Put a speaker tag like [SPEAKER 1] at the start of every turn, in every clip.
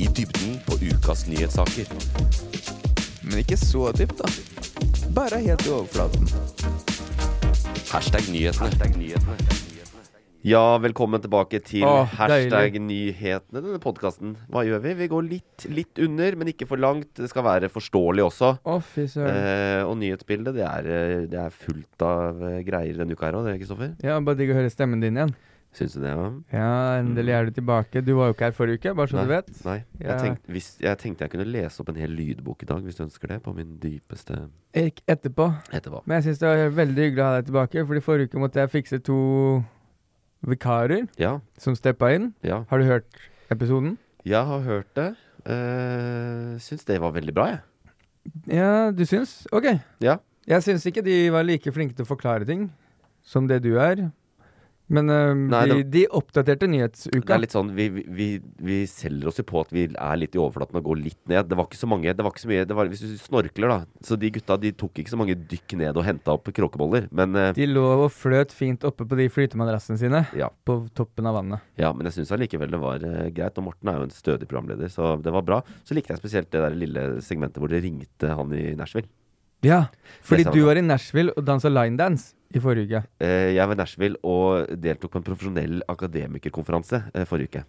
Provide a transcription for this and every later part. [SPEAKER 1] I dybden på ukas nyhetssaker.
[SPEAKER 2] Men ikke så dypt, da. Bare helt i overflaten.
[SPEAKER 1] Hashtag nyhetene. Ja, velkommen tilbake til
[SPEAKER 2] Åh,
[SPEAKER 1] hashtag nyhetene, denne podkasten. Hva gjør vi? Vi går litt, litt under, men ikke for langt. Det skal være forståelig også.
[SPEAKER 2] Å, fy søren.
[SPEAKER 1] Eh, og nyhetsbildet, det er, eh, det er fullt av eh, greier denne uka her òg, det, Kristoffer?
[SPEAKER 2] Ja, bare digg å høre stemmen din igjen.
[SPEAKER 1] Syns du det? Ja?
[SPEAKER 2] Ja, endelig er du tilbake. Du var jo ikke her forrige uke, bare så
[SPEAKER 1] Nei.
[SPEAKER 2] du vet.
[SPEAKER 1] Nei.
[SPEAKER 2] Ja.
[SPEAKER 1] Jeg, tenkte, hvis, jeg tenkte jeg kunne lese opp en hel lydbok i dag, hvis du ønsker det. På min dypeste
[SPEAKER 2] Ikke etterpå.
[SPEAKER 1] etterpå.
[SPEAKER 2] Men jeg syns det var veldig hyggelig å ha deg tilbake, fordi forrige uke måtte jeg fikse to vikarer
[SPEAKER 1] Ja,
[SPEAKER 2] som steppa inn.
[SPEAKER 1] ja.
[SPEAKER 2] Har du hørt episoden?
[SPEAKER 1] Jeg har hørt det. Uh, Syns det var veldig bra, jeg.
[SPEAKER 2] Ja, du syns? Ok.
[SPEAKER 1] Ja.
[SPEAKER 2] Jeg syns ikke de var like flinke til å forklare ting som det du er. Men eh,
[SPEAKER 1] Nei,
[SPEAKER 2] de, de oppdaterte
[SPEAKER 1] Det
[SPEAKER 2] nyhetsuka.
[SPEAKER 1] er litt sånn, vi, vi- vi, vi selger oss jo på at vi er litt i overflaten og går litt ned. Det var ikke så mange, det var ikke så mye, det var, hvis du snorkler da, så de gutta de tok ikke så mange dykk ned og hentet opp kråkeboller. Men, eh,
[SPEAKER 2] De lå og fløt fint oppe på de flytemadrassene sine
[SPEAKER 1] Ja.
[SPEAKER 2] på toppen av vannet.
[SPEAKER 1] ja, men jeg synes allikevel det var eh, greit, og Morten er jo en stødig programleder, så det var bra. Så likte jeg spesielt det der lille segmentet hvor det ringte han i Nashville.
[SPEAKER 2] Ja, fordi
[SPEAKER 1] sa
[SPEAKER 2] du
[SPEAKER 1] han.
[SPEAKER 2] var i Nashville og dansa linedance i forrige uke.
[SPEAKER 1] Eh, jeg var i Nashville og deltok på en profesjonell akademikerkonferanse eh, forrige uke.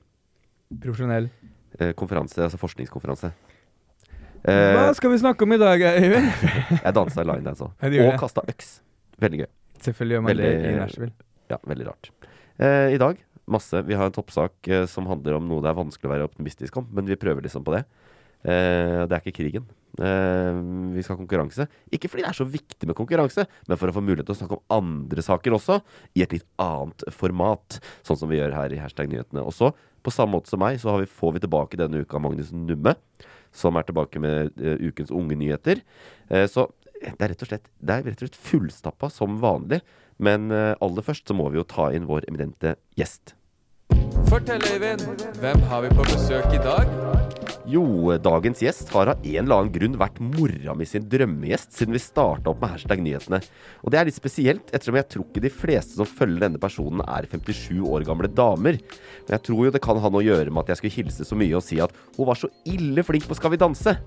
[SPEAKER 2] Profesjonell.
[SPEAKER 1] Eh, konferanse, altså forskningskonferanse.
[SPEAKER 2] Hva
[SPEAKER 1] Eh,
[SPEAKER 2] skal vi snakke om i dag, Øyvind?
[SPEAKER 1] jeg dansa i line dance
[SPEAKER 2] Ja, du
[SPEAKER 1] også.
[SPEAKER 2] gjorde
[SPEAKER 1] Og
[SPEAKER 2] det.
[SPEAKER 1] kastet øks. Veldig gøy.
[SPEAKER 2] Selvfølgelig gjør man det i
[SPEAKER 1] Veldig-
[SPEAKER 2] Nashville.
[SPEAKER 1] Ja, veldig rart. Eh, I dag, masse. Vi har en toppsak eh, som handler om noe det er vanskelig å være optimistisk om, men vi prøver liksom på det. Eh, det er ikke krigen. Eh, vi skal ha konkurranse. Ikke fordi det er så viktig med konkurranse, men for å få mulighet til å snakke om andre saker også, i et litt annet format. Sånn som vi gjør her i Hashtag nyhetene. Og så, på samme måte som meg, så har vi, får vi tilbake denne uka Magnus Numme, som er tilbake med eh, ukens unge nyheter. Eh, så det er rett og slett, det er rett og slett fullstappa som vanlig. Men eh, aller først så må vi jo ta inn vår eminente gjest.
[SPEAKER 3] Fortell, Øyvind. Hvem har vi på besøk i dag?
[SPEAKER 1] Jo, eh, dagens gjest har av en eller annen grunn vært mora mi sin drømmegjest siden vi starta opp med hashtag nyhetene. Og det er litt spesielt, ettersom jeg tror ikke de fleste som følger denne personen, er 57 år gamle damer. Men jeg tror jo det kan ha noe å gjøre med at jeg skulle hilse så mye og si at hun var så ille flink på Skal vi danse.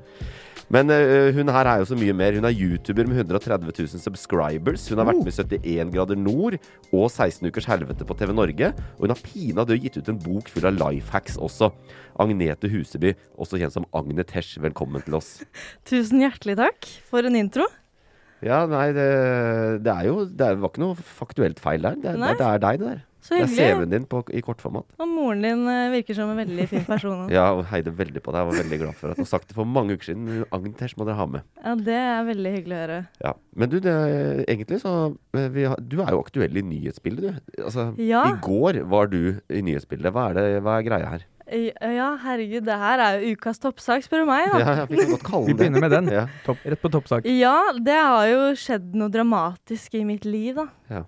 [SPEAKER 1] Men øh, hun her er jo så mye mer. Hun er YouTuber med 130 000 subscribers. Hun har vært med i 71 grader nord og 16 ukers helvete på TV Norge. Og hun har pinadø gitt ut en bok full av life hacks også. Agnete Huseby, også kjent som Agnetesh. Velkommen til oss.
[SPEAKER 4] Tusen hjertelig takk for en intro.
[SPEAKER 1] Ja, nei, det, det er jo Det var ikke noe faktuelt feil der. Det, er-
[SPEAKER 4] Nei.
[SPEAKER 1] det er deg, det der.
[SPEAKER 4] Så
[SPEAKER 1] Det er
[SPEAKER 4] hyggelig.
[SPEAKER 1] CV-en din på, i kortformat.
[SPEAKER 4] Og moren din eh, virker som en veldig fin person. ja.
[SPEAKER 1] Ja, og heide veldig på deg. Jeg var veldig glad for at du har sagt det for mange uker siden. men Agnetesh må dere ha med.
[SPEAKER 4] Det er veldig hyggelig å høre.
[SPEAKER 1] Ja, Men du, det, er- egentlig så eh, vi har, Du er jo aktuell i nyhetsbildet, du. Altså,
[SPEAKER 4] Ja.
[SPEAKER 1] I går var du i nyhetsbildet. Hva er, det, hva er greia her?
[SPEAKER 4] Eh, Ja, herregud, det her er jo ukas toppsak, spør du meg, da.
[SPEAKER 1] Ja, jeg fikk jo godt kalle
[SPEAKER 2] Vi
[SPEAKER 1] den det.
[SPEAKER 2] begynner med den.
[SPEAKER 1] Ja.
[SPEAKER 2] Topp, rett på toppsak.
[SPEAKER 4] Ja, det har jo skjedd noe dramatisk i mitt liv, da.
[SPEAKER 1] Ja.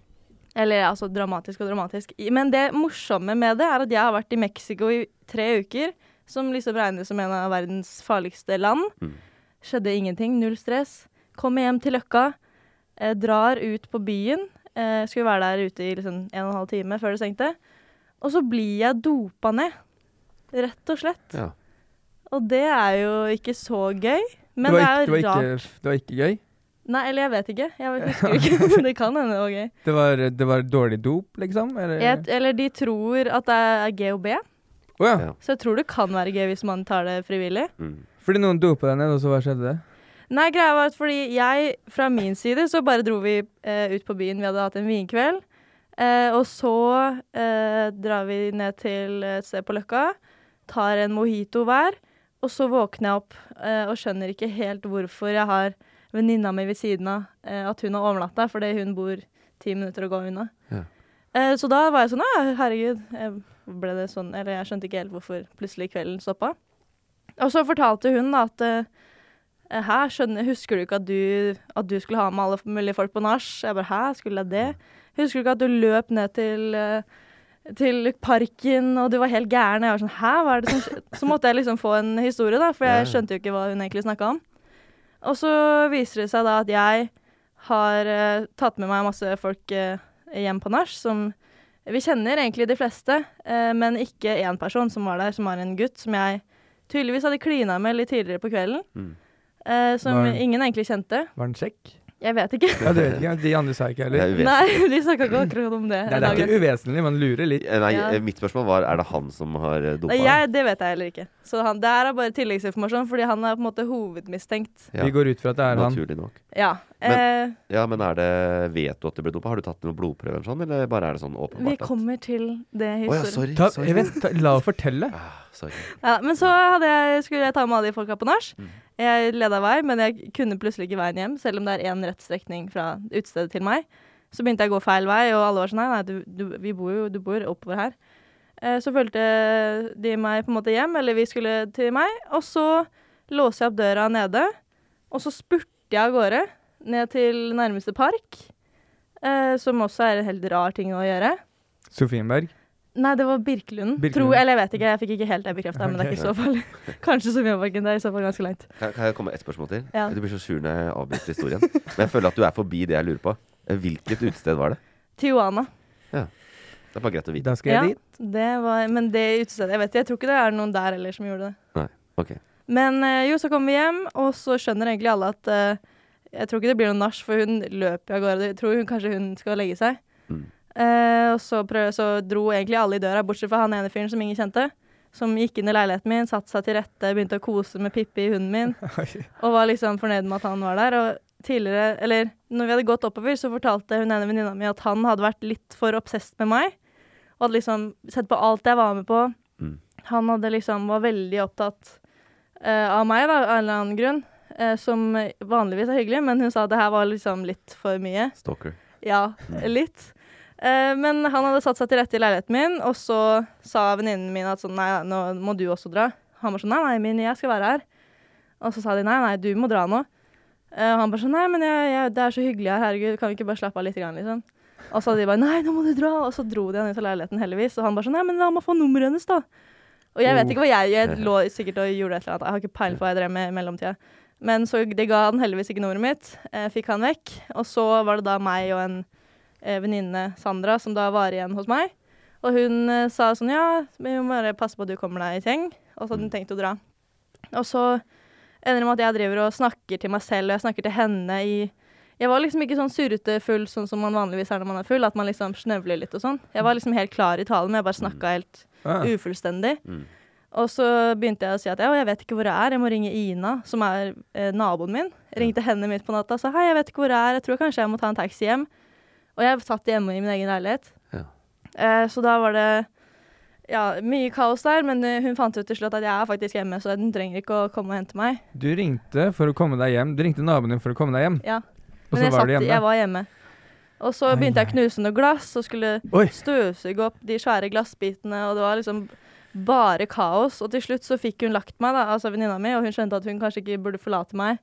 [SPEAKER 4] Eller altså dramatisk og dramatisk. I- Men det morsomme med det er at jeg har vært i Mexico i tre uker, som liksom regnes som en av verdens farligste land.
[SPEAKER 1] Mm.
[SPEAKER 4] Skjedde ingenting, null stress. Kommer hjem til Løkka, eh, drar ut på byen. Eh, skulle være der ute i liksom en og en halv time før det stengte. Og så blir jeg dopa ned, rett og slett.
[SPEAKER 1] Ja.
[SPEAKER 4] Og det er jo ikke så gøy.
[SPEAKER 2] det,
[SPEAKER 4] Men det,
[SPEAKER 2] var ikke,
[SPEAKER 4] er
[SPEAKER 2] det,
[SPEAKER 4] jo
[SPEAKER 2] var
[SPEAKER 4] rart.
[SPEAKER 2] ikke, det var ikke gøy.
[SPEAKER 4] Nei, eller jeg vet ikke. Jeg husker ikke. Men det kan hende det var gøy.
[SPEAKER 2] Det var, det var dårlig dop, liksom? Eller?
[SPEAKER 4] Jeg, eller de tror at det er GHB,
[SPEAKER 2] Å ja.
[SPEAKER 1] Ja.
[SPEAKER 4] Så jeg tror det kan være gøy hvis man tar det frivillig.
[SPEAKER 1] Mm.
[SPEAKER 2] Fordi noen dopa deg ned, og så hva skjedde?
[SPEAKER 4] Nei, greia var at fordi jeg, fra min side, så bare dro vi eh, ut på byen. Vi hadde hatt en vinkveld. Eh, og så eh, drar vi ned til et sted på Løkka, tar en mojito hver. Og så våkner jeg opp eh, og skjønner ikke helt hvorfor jeg har venninna mi ved siden av eh, at hun har overnatta, fordi hun bor ti minutter å gå unna.
[SPEAKER 1] Ja.
[SPEAKER 4] Eh, så da var jeg sånn ja, herregud. Jeg ble det sånn, eller jeg skjønte ikke helt hvorfor plutselig kvelden stoppa. Og så fortalte hun da at eh, Eh, Hæ, skjønner, husker du ikke at du, at du skulle ha med alle mulige folk på nach? Jeg bare, hæ, skulle jeg det? Husker du ikke at du løp ned til, eh, til parken, og du var helt gæren? Og jeg var sånn, hæ, hva er det som skjer? Så måtte jeg liksom få en historie, da, for
[SPEAKER 1] Ja, ja.
[SPEAKER 4] jeg skjønte jo ikke hva hun egentlig snakka om. Og så viser det seg da at jeg har eh, tatt med meg masse folk eh, hjem på nach, som vi kjenner egentlig de fleste, eh, men ikke én person som var der, som var en gutt som jeg tydeligvis hadde klina med litt tidligere på kvelden.
[SPEAKER 1] Mm.
[SPEAKER 4] Eh, som
[SPEAKER 2] Nei.
[SPEAKER 4] ingen egentlig kjente.
[SPEAKER 2] Var den kjekk?
[SPEAKER 4] Jeg vet ikke.
[SPEAKER 2] Ja, det vet ikke. jeg. De andre sa ikke
[SPEAKER 1] Det
[SPEAKER 2] heller.
[SPEAKER 1] er uvesentlig.
[SPEAKER 4] Nei, de snakka ikke akkurat om det.
[SPEAKER 2] Nei, det er ikke uvesentlig, man lurer litt.
[SPEAKER 1] Eh, Nei,
[SPEAKER 4] Ja.
[SPEAKER 1] eh, mitt spørsmål var er det han som har eh, dopa?
[SPEAKER 4] Nei, jeg, det vet jeg heller ikke. Så han, det her er bare tilleggsinformasjon, fordi han er på en måte hovedmistenkt.
[SPEAKER 1] Ja.
[SPEAKER 2] Vi går ut fra at det er han.
[SPEAKER 1] Naturlig nok.
[SPEAKER 4] Ja. Eh,
[SPEAKER 1] Ja, men er det, Vet du at du ble dopa? Har du tatt noen blodprøver, eller sånn, eller bare er det sånn åpenbart?
[SPEAKER 4] vi
[SPEAKER 1] at-
[SPEAKER 4] kommer til det
[SPEAKER 1] Å ja,
[SPEAKER 4] historien.
[SPEAKER 1] sorry.
[SPEAKER 2] Ta,
[SPEAKER 1] sorry.
[SPEAKER 2] Even, ta, la oss fortelle.
[SPEAKER 1] Ah, sorry.
[SPEAKER 4] ja, men så hadde jeg, skulle jeg ta med alle de folka på nach. Jeg leda vei, men jeg kunne plutselig ikke veien hjem, selv om det er én rett strekning fra utestedet til meg. Så begynte jeg å gå feil vei, og alle var sånn nei, nei, du, du, vi bor jo du bor oppover her. Eh, så fulgte de meg på en måte hjem, eller vi skulle til meg. Og så låste jeg opp døra nede, og så spurte jeg av gårde ned til nærmeste park. Eh, som også er en helt rar ting å gjøre.
[SPEAKER 2] Sofienberg.
[SPEAKER 4] Nei, det var Birkelunden.
[SPEAKER 2] Birkelunden.
[SPEAKER 4] Tror, eller jeg vet ikke, jeg fikk ikke helt det bekrefta, men det er ikke så farlig. Kanskje Sofienparken, det er i så fall ganske langt.
[SPEAKER 1] Kan, kan jeg komme med ett spørsmål til?
[SPEAKER 4] Ja.
[SPEAKER 1] Du blir så sur når jeg avbryter historien. Men jeg føler at du er forbi det jeg lurer på. Eh, Hvilket utested var det?
[SPEAKER 4] Tijuana.
[SPEAKER 1] Det er bare greit å vite.
[SPEAKER 2] Da skal jeg dit.
[SPEAKER 4] det var, men det utestedet, jeg vet ikke, jeg tror ikke det er noen der heller som gjorde det.
[SPEAKER 1] Nei, ok.
[SPEAKER 4] Men eh, jo, så kommer vi hjem, og så skjønner egentlig alle at eh, Jeg tror ikke det blir noe nach, for hun løper jo av gårde. Jeg tror hun, kanskje hun skal legge seg.
[SPEAKER 1] Mm.
[SPEAKER 4] Eh, og så, prøv, så dro egentlig alle i døra, bortsett fra han ene fyren som ingen kjente. Som gikk inn i leiligheten min, satte seg til rette, begynte å kose med Pippi, hunden min. Og var liksom fornøyd med at han var der. Og tidligere, eller når vi hadde gått oppover, så fortalte hun ene venninna mi at han hadde vært litt for obsess med meg. Og hadde liksom sett på alt jeg var med på.
[SPEAKER 1] Mm.
[SPEAKER 4] Han hadde liksom var veldig opptatt eh, av meg, da, av en eller annen grunn. eh, som vanligvis er hyggelig, men hun sa at det her var liksom litt for mye.
[SPEAKER 1] Stalker.
[SPEAKER 4] Ja, litt. Eh, men han hadde satt seg til rette i leiligheten min, og så sa venninnen min at sånn, nei, nei, nå må du også dra. Han var sånn, nei, nei, min, jeg skal være her. Og så sa de, nei, nei, du må dra nå. Eh, og han bare sånn, nei, men jeg, jeg, det er så hyggelig her, herregud, kan vi ikke bare slappe av litt grann, liksom. Og så hadde de bare, nei, nå må du dra. Og så dro de han ut av leiligheten heldigvis, og han bare sånn, nei, men la meg få nummeret hennes da. Og jeg vet ikke hva jeg, jeg lå sikkert og gjorde et eller annet, jeg har ikke peiling på hva jeg drev med i mellomtida. Men så det ga han heldigvis ikke nummeret mitt, eh, fikk han vekk. Og så var det da meg og en eh, venninne, Sandra, som da var igjen hos meg. Og hun eh, sa sånn Ja, vi må bare passe på at du kommer deg i seng. Og så hadde hun tenkt å dra. Og så ender det med at jeg driver og snakker til meg selv, og jeg snakker til henne i Jeg var liksom ikke sånn surrete full sånn som man vanligvis er når man er full, at man liksom snøvler litt og sånn. Jeg var liksom helt klar i talen, men jeg bare snakka helt
[SPEAKER 2] Ah,
[SPEAKER 4] ufullstendig.
[SPEAKER 1] Mm.
[SPEAKER 4] Og så begynte jeg å si at ja, jeg vet ikke hvor jeg er, jeg må ringe Ina, som er eh, naboen min. Jeg ringte henne midt på natta og sa hei, jeg vet ikke hvor jeg er, jeg tror kanskje jeg må ta en taxi hjem. Og jeg satt hjemme i min egen leilighet.
[SPEAKER 1] Ja.
[SPEAKER 4] Eh, så da var det ja, mye kaos der, men eh, hun fant ut til slutt at jeg er faktisk hjemme, så hun trenger ikke å komme og hente meg.
[SPEAKER 2] Du ringte for å komme deg hjem. Du ringte naboen din for å komme deg hjem.
[SPEAKER 4] Ja.
[SPEAKER 2] Og
[SPEAKER 4] Men
[SPEAKER 2] så
[SPEAKER 4] jeg,
[SPEAKER 2] var du
[SPEAKER 4] satt, jeg
[SPEAKER 2] hjemme.
[SPEAKER 4] var hjemme. Og så
[SPEAKER 2] Ai,
[SPEAKER 4] begynte jeg å knuse noe glass og skulle
[SPEAKER 2] Oi.
[SPEAKER 4] støvsuge opp de svære glassbitene, og det var liksom bare kaos. Og til slutt så fikk hun lagt meg, da, altså venninna mi, og hun skjønte at hun kanskje ikke burde forlate meg.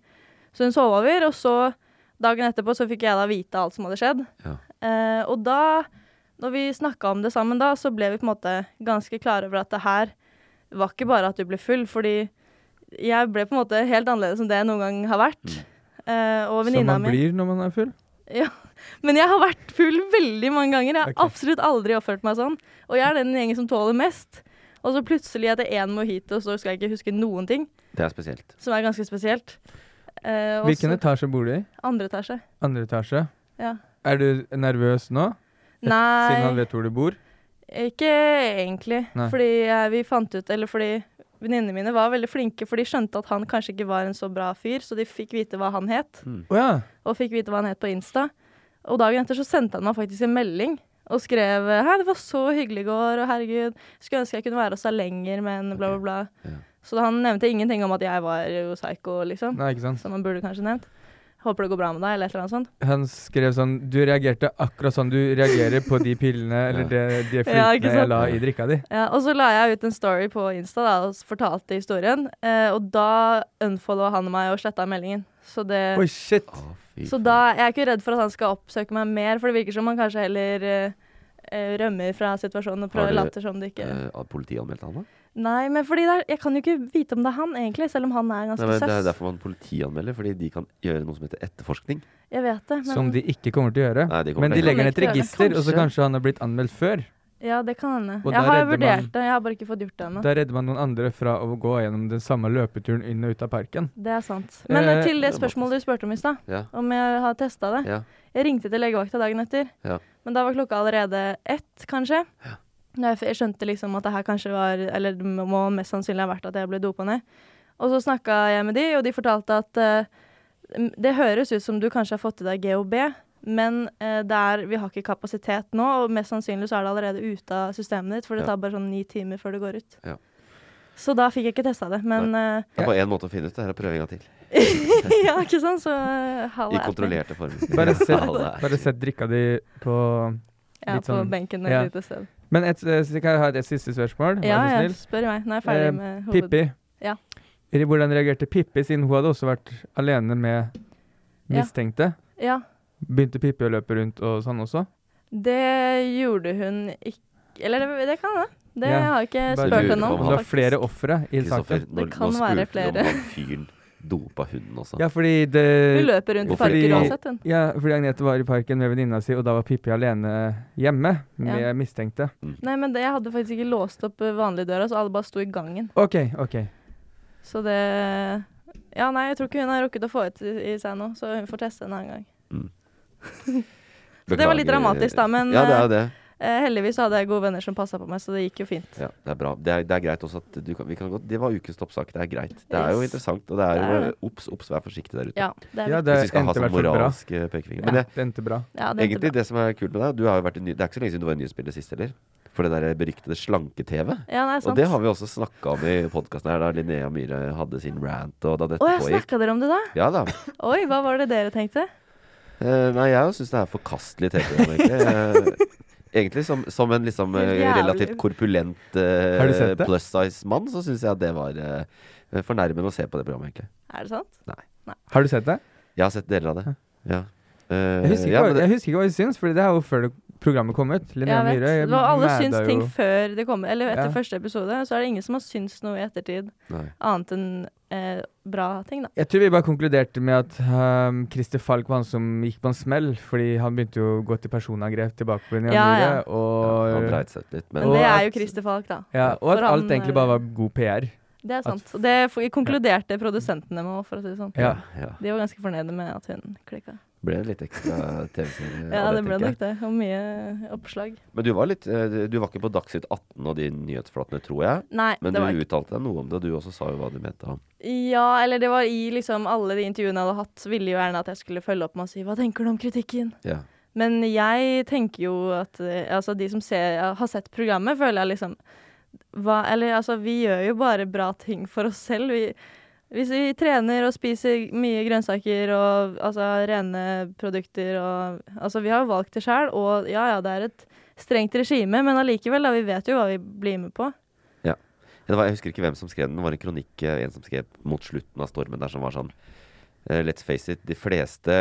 [SPEAKER 4] Så hun sov over, og så dagen etterpå så fikk jeg da vite alt som hadde skjedd.
[SPEAKER 1] Ja.
[SPEAKER 4] Eh, og da, når vi snakka om det sammen da, så ble vi på en måte ganske klare over at det her var ikke bare at du ble full, fordi jeg ble på en måte helt annerledes enn det jeg noen gang har vært. Eh, og
[SPEAKER 2] Som
[SPEAKER 4] venninna
[SPEAKER 2] Mm. man
[SPEAKER 4] mi
[SPEAKER 2] blir når man er full.
[SPEAKER 4] ja. Men jeg har vært full veldig mange ganger. Jeg har
[SPEAKER 2] Ok.
[SPEAKER 4] absolutt aldri oppført meg sånn. Og jeg er den gjengen som tåler mest. Og så plutselig etter én mojito så skal jeg ikke huske noen ting,
[SPEAKER 1] Det er spesielt.
[SPEAKER 4] som er ganske spesielt. Eh, og
[SPEAKER 2] Hvilken
[SPEAKER 4] så-
[SPEAKER 2] etasje bor du i?
[SPEAKER 4] Andre etasje.
[SPEAKER 2] Andre etasje.
[SPEAKER 4] Ja.
[SPEAKER 2] Er du nervøs nå? Siden han
[SPEAKER 4] Nei
[SPEAKER 2] vet hvor du bor?
[SPEAKER 4] Ikke egentlig.
[SPEAKER 2] Nei.
[SPEAKER 4] Fordi jeg, vi fant ut Eller fordi venninnene mine var veldig flinke, for de skjønte at han kanskje ikke var en så bra fyr, så de fikk vite hva han het.
[SPEAKER 1] Mm.
[SPEAKER 2] Å ja.
[SPEAKER 4] og fikk vite hva han het på Insta. Og dagen etter så sendte han meg faktisk en melding og skrev Hei, det var så hyggelig i går, og herregud, skulle ønske jeg kunne være hos deg lenger, men bla, bla, bla.
[SPEAKER 1] Ja.
[SPEAKER 4] Så han nevnte ingenting om at jeg var jo psycho, liksom.
[SPEAKER 2] Nei, ikke sant.
[SPEAKER 4] Som han burde kanskje nevnt. Håper det går bra med deg, eller et eller annet sånt.
[SPEAKER 2] Han skrev sånn Du reagerte akkurat sånn du reagerer på de pillene eller det, de
[SPEAKER 4] Ja,
[SPEAKER 2] flytene
[SPEAKER 4] ikke
[SPEAKER 2] jeg
[SPEAKER 4] sant?
[SPEAKER 2] la i drikka di.
[SPEAKER 4] Ja, og så la jeg ut en story på Insta da, og s- fortalte historien, eh, og da unfollowa han meg og sletta meldingen. Så det
[SPEAKER 2] Oi, shit.
[SPEAKER 1] Å, fy
[SPEAKER 4] Så
[SPEAKER 1] faen.
[SPEAKER 4] da jeg er ikke redd for at han skal oppsøke meg mer, for det virker som han kanskje heller eh, eh, rømmer fra situasjonen og
[SPEAKER 1] Har
[SPEAKER 4] prøver å
[SPEAKER 1] du-
[SPEAKER 4] late som det ikke
[SPEAKER 1] Eh, har Politiet anmeldte han, da?
[SPEAKER 4] Nei, men fordi det er, jeg kan jo ikke vite om det er han, egentlig, selv om han er
[SPEAKER 1] Nei,
[SPEAKER 4] ganske
[SPEAKER 1] men det er
[SPEAKER 4] søs.
[SPEAKER 1] derfor man politianmelder, fordi de kan gjøre noe som heter etterforskning.
[SPEAKER 4] Jeg vet det, men
[SPEAKER 2] Som de ikke kommer til å gjøre.
[SPEAKER 1] Nei, de kommer
[SPEAKER 2] Men de
[SPEAKER 1] til å
[SPEAKER 2] legger
[SPEAKER 4] gjøre
[SPEAKER 2] ned et
[SPEAKER 4] det.
[SPEAKER 2] register, og så
[SPEAKER 4] Kanskje.
[SPEAKER 2] kanskje han har blitt anmeldt før.
[SPEAKER 4] Ja, det kan hende.
[SPEAKER 2] Og da
[SPEAKER 4] Jeg har jo
[SPEAKER 2] redder man-
[SPEAKER 4] vurdert det, jeg har bare ikke fått gjort det ennå.
[SPEAKER 2] Da redder man noen andre fra å gå gjennom den samme løpeturen inn og ut av parken.
[SPEAKER 4] Det er sant. Men eh,
[SPEAKER 2] Eh,
[SPEAKER 4] til det
[SPEAKER 1] det må
[SPEAKER 4] spørsmålet du spurte om i stad,
[SPEAKER 1] Ja.
[SPEAKER 4] om jeg har testa det.
[SPEAKER 1] Ja.
[SPEAKER 4] Jeg ringte til legevakta dagen etter,
[SPEAKER 1] Ja.
[SPEAKER 4] men da var klokka allerede ett, kanskje. Da jeg f- jeg skjønte liksom at det her kanskje var Eller det må mest sannsynlig ha vært at jeg ble dopa ned. Og så snakka jeg med de, og de fortalte at eh, m- det høres ut som du kanskje har fått i deg GHB, men eh, det er, vi har ikke kapasitet nå, og mest sannsynlig så er det allerede ute av systemet ditt, for det
[SPEAKER 1] Ja.
[SPEAKER 4] tar bare sånn ni timer før det går ut.
[SPEAKER 1] Ja.
[SPEAKER 4] Så da fikk jeg ikke testa det, men eh,
[SPEAKER 1] Det er bare én måte å finne ut det her, å prøve en gang til.
[SPEAKER 4] Ja, ikke sant? Så eh, halve
[SPEAKER 1] I kontrollerte former.
[SPEAKER 2] Bare
[SPEAKER 1] Ja,
[SPEAKER 2] sett,
[SPEAKER 1] det er-
[SPEAKER 2] bare sett drikka di på
[SPEAKER 4] Ja,
[SPEAKER 2] litt
[SPEAKER 4] på
[SPEAKER 2] sånn-
[SPEAKER 4] benken et
[SPEAKER 2] ja.
[SPEAKER 4] lite sted.
[SPEAKER 2] Men et, eh, så kan jeg ha et siste spørsmål?
[SPEAKER 4] Ja,
[SPEAKER 2] vær så
[SPEAKER 4] ja,
[SPEAKER 2] snill.
[SPEAKER 4] spør meg. Nå er jeg
[SPEAKER 2] Eh,
[SPEAKER 4] ferdig med hovedtemaet.
[SPEAKER 2] Pippi.
[SPEAKER 4] Ja.
[SPEAKER 2] Eller Hvordan reagerte Pippi, siden hun hadde også vært alene med
[SPEAKER 4] Ja.
[SPEAKER 2] mistenkte?
[SPEAKER 4] Ja,
[SPEAKER 2] Begynte Pippi å løpe rundt og sånn også?
[SPEAKER 4] det gjorde hun ikke Eller det, det kan hende. Det
[SPEAKER 2] Ja,
[SPEAKER 4] har jeg ikke
[SPEAKER 2] bare
[SPEAKER 4] spurt
[SPEAKER 1] lurer
[SPEAKER 4] henne
[SPEAKER 1] på
[SPEAKER 4] om.
[SPEAKER 1] om
[SPEAKER 2] Du har
[SPEAKER 4] faktisk.
[SPEAKER 2] flere ofre i
[SPEAKER 1] Kristoffer,
[SPEAKER 2] saken.
[SPEAKER 1] nå,
[SPEAKER 4] Det kan
[SPEAKER 1] nå spurte du
[SPEAKER 4] være flere.
[SPEAKER 1] om han fyren dopa hunden også.
[SPEAKER 2] Ja, fordi det
[SPEAKER 4] Hun løper rundt i
[SPEAKER 1] Hvorfor
[SPEAKER 4] parker
[SPEAKER 2] de-
[SPEAKER 4] uansett, hun.
[SPEAKER 2] Ja, fordi Agnete var i parken med venninna si, og da var Pippi alene hjemme med
[SPEAKER 4] Ja.
[SPEAKER 2] mistenkte.
[SPEAKER 4] Nei, men det, jeg hadde faktisk ikke låst opp eh, vanlig døra, så alle bare sto i gangen.
[SPEAKER 2] OK, OK.
[SPEAKER 4] Så det Ja, nei, jeg tror ikke hun har rukket å få ut i, i seg noe, så hun får teste en annen gang. Så det var litt
[SPEAKER 1] Beklager.
[SPEAKER 4] dramatisk da, men,
[SPEAKER 1] Ja, det er jo det.
[SPEAKER 4] Eh, heldigvis hadde jeg gode venner som passa på meg, så det gikk jo fint.
[SPEAKER 1] Ja, det er bra. Det er, det er greit også at du kan, vi kan godt Det var ukens toppsak. Det er greit. Det er jo
[SPEAKER 4] Yes.
[SPEAKER 1] interessant, og det er
[SPEAKER 4] Det er
[SPEAKER 1] jo
[SPEAKER 4] det.
[SPEAKER 1] Ops, ops, vær forsiktig der ute.
[SPEAKER 4] Ja, det, er
[SPEAKER 2] Ja,
[SPEAKER 4] viktig.
[SPEAKER 2] det
[SPEAKER 1] Hvis vi skal ha
[SPEAKER 2] endte i
[SPEAKER 1] sånn
[SPEAKER 2] hvert fall bra.
[SPEAKER 1] moralsk eh, pekefinger. Men det,
[SPEAKER 2] Det endte bra.
[SPEAKER 4] ja, det endte
[SPEAKER 1] egentlig
[SPEAKER 4] bra.
[SPEAKER 1] det som er kult med deg, du har jo vært en ny, det er ikke så lenge siden du var i nyhetsbildet sist heller. For det der beryktede slanke-TV.
[SPEAKER 4] Ja, nei,
[SPEAKER 1] Og
[SPEAKER 4] sant.
[SPEAKER 1] det har vi også snakka om i podkasten her, da Linnea Myhre hadde sin rant, og da dette
[SPEAKER 4] Å ja,
[SPEAKER 1] pågikk.
[SPEAKER 4] snakka dere om det da?
[SPEAKER 1] Ja da.
[SPEAKER 4] Oi, hva var det dere tenkte?
[SPEAKER 1] Eh, nei, jeg syns det er forkastelig TV-program, egentlig. Eh, egentlig som, som en liksom eh,
[SPEAKER 4] Helt jævlig.
[SPEAKER 1] relativt korpulent eh,
[SPEAKER 2] Har du sett det?
[SPEAKER 1] plus size mann, så syns jeg det var eh, fornærmende å se på det programmet, egentlig.
[SPEAKER 4] Er det sant?
[SPEAKER 2] Har du sett det?
[SPEAKER 1] Jeg har sett deler av det. Ja. Eh,
[SPEAKER 2] Jeg husker ikke,
[SPEAKER 1] ja, men
[SPEAKER 2] hva,
[SPEAKER 1] det,
[SPEAKER 2] jeg husker ikke hva vi syns, for det er jo før det programmet kom ut. Linnea
[SPEAKER 4] Jeg vet.
[SPEAKER 2] Myhre
[SPEAKER 4] det var alle
[SPEAKER 2] mæda
[SPEAKER 4] syns
[SPEAKER 2] jo-
[SPEAKER 4] ting før det kom, eller etter
[SPEAKER 2] Ja.
[SPEAKER 4] første episode. Så er det ingen som har syns noe i ettertid,
[SPEAKER 1] nei.
[SPEAKER 4] annet enn eh, bra ting, da.
[SPEAKER 2] Jeg tror vi bare konkluderte med at ehm, Christer Falk var han som gikk på en smell, fordi han begynte jo å gå til personangrep tilbake på Linnea
[SPEAKER 4] Ja,
[SPEAKER 2] Myhre,
[SPEAKER 4] ja.
[SPEAKER 1] Ja, han
[SPEAKER 2] og ja,
[SPEAKER 1] dreit seg ut litt,
[SPEAKER 4] Men
[SPEAKER 1] men
[SPEAKER 2] Og
[SPEAKER 4] det er
[SPEAKER 2] at-
[SPEAKER 4] jo Christer Falk, da.
[SPEAKER 2] og at
[SPEAKER 4] For han eh,
[SPEAKER 2] alt egentlig bare var god PR.
[SPEAKER 4] Det er sant. Og det f- konkluderte produsentene med òg, for å si det sånn.
[SPEAKER 2] Ja.
[SPEAKER 1] ja.
[SPEAKER 4] De var ganske fornøyde med at hun klikka.
[SPEAKER 1] Ble det litt ekstra TV-serie
[SPEAKER 4] Ja,
[SPEAKER 1] av
[SPEAKER 4] det ble
[SPEAKER 1] tenker jeg.
[SPEAKER 4] nok det. Og mye oppslag.
[SPEAKER 1] Men du var litt eh, Du var ikke på Dagsnytt 18 og de nyhetsflatene, tror jeg.
[SPEAKER 4] Nei,
[SPEAKER 1] Men
[SPEAKER 4] det
[SPEAKER 1] du
[SPEAKER 4] var ikke
[SPEAKER 1] uttalte deg noe om det, og du også sa jo hva du mente. om.
[SPEAKER 4] Ja, eller det var i liksom alle de intervjuene jeg hadde hatt, ville jo gjerne at jeg skulle følge opp med å si 'hva tenker du om kritikken'?
[SPEAKER 1] Ja.
[SPEAKER 4] Men jeg tenker jo at eh, altså de som ser, har sett programmet, føler jeg liksom hva, Eller altså, vi gjør jo bare bra ting for oss selv. Vi, hvis vi trener og spiser mye grønnsaker og altså rene produkter og Altså, vi har jo valgt det sjøl, og ja ja, det er et strengt regime, men allikevel, da. Vi vet jo hva vi blir med på.
[SPEAKER 1] Ja, Det var, jeg husker ikke hvem som skrev den. Det var en kronikk eh, en som skrev mot slutten av stormen der som var sånn eh, Let's face it, de fleste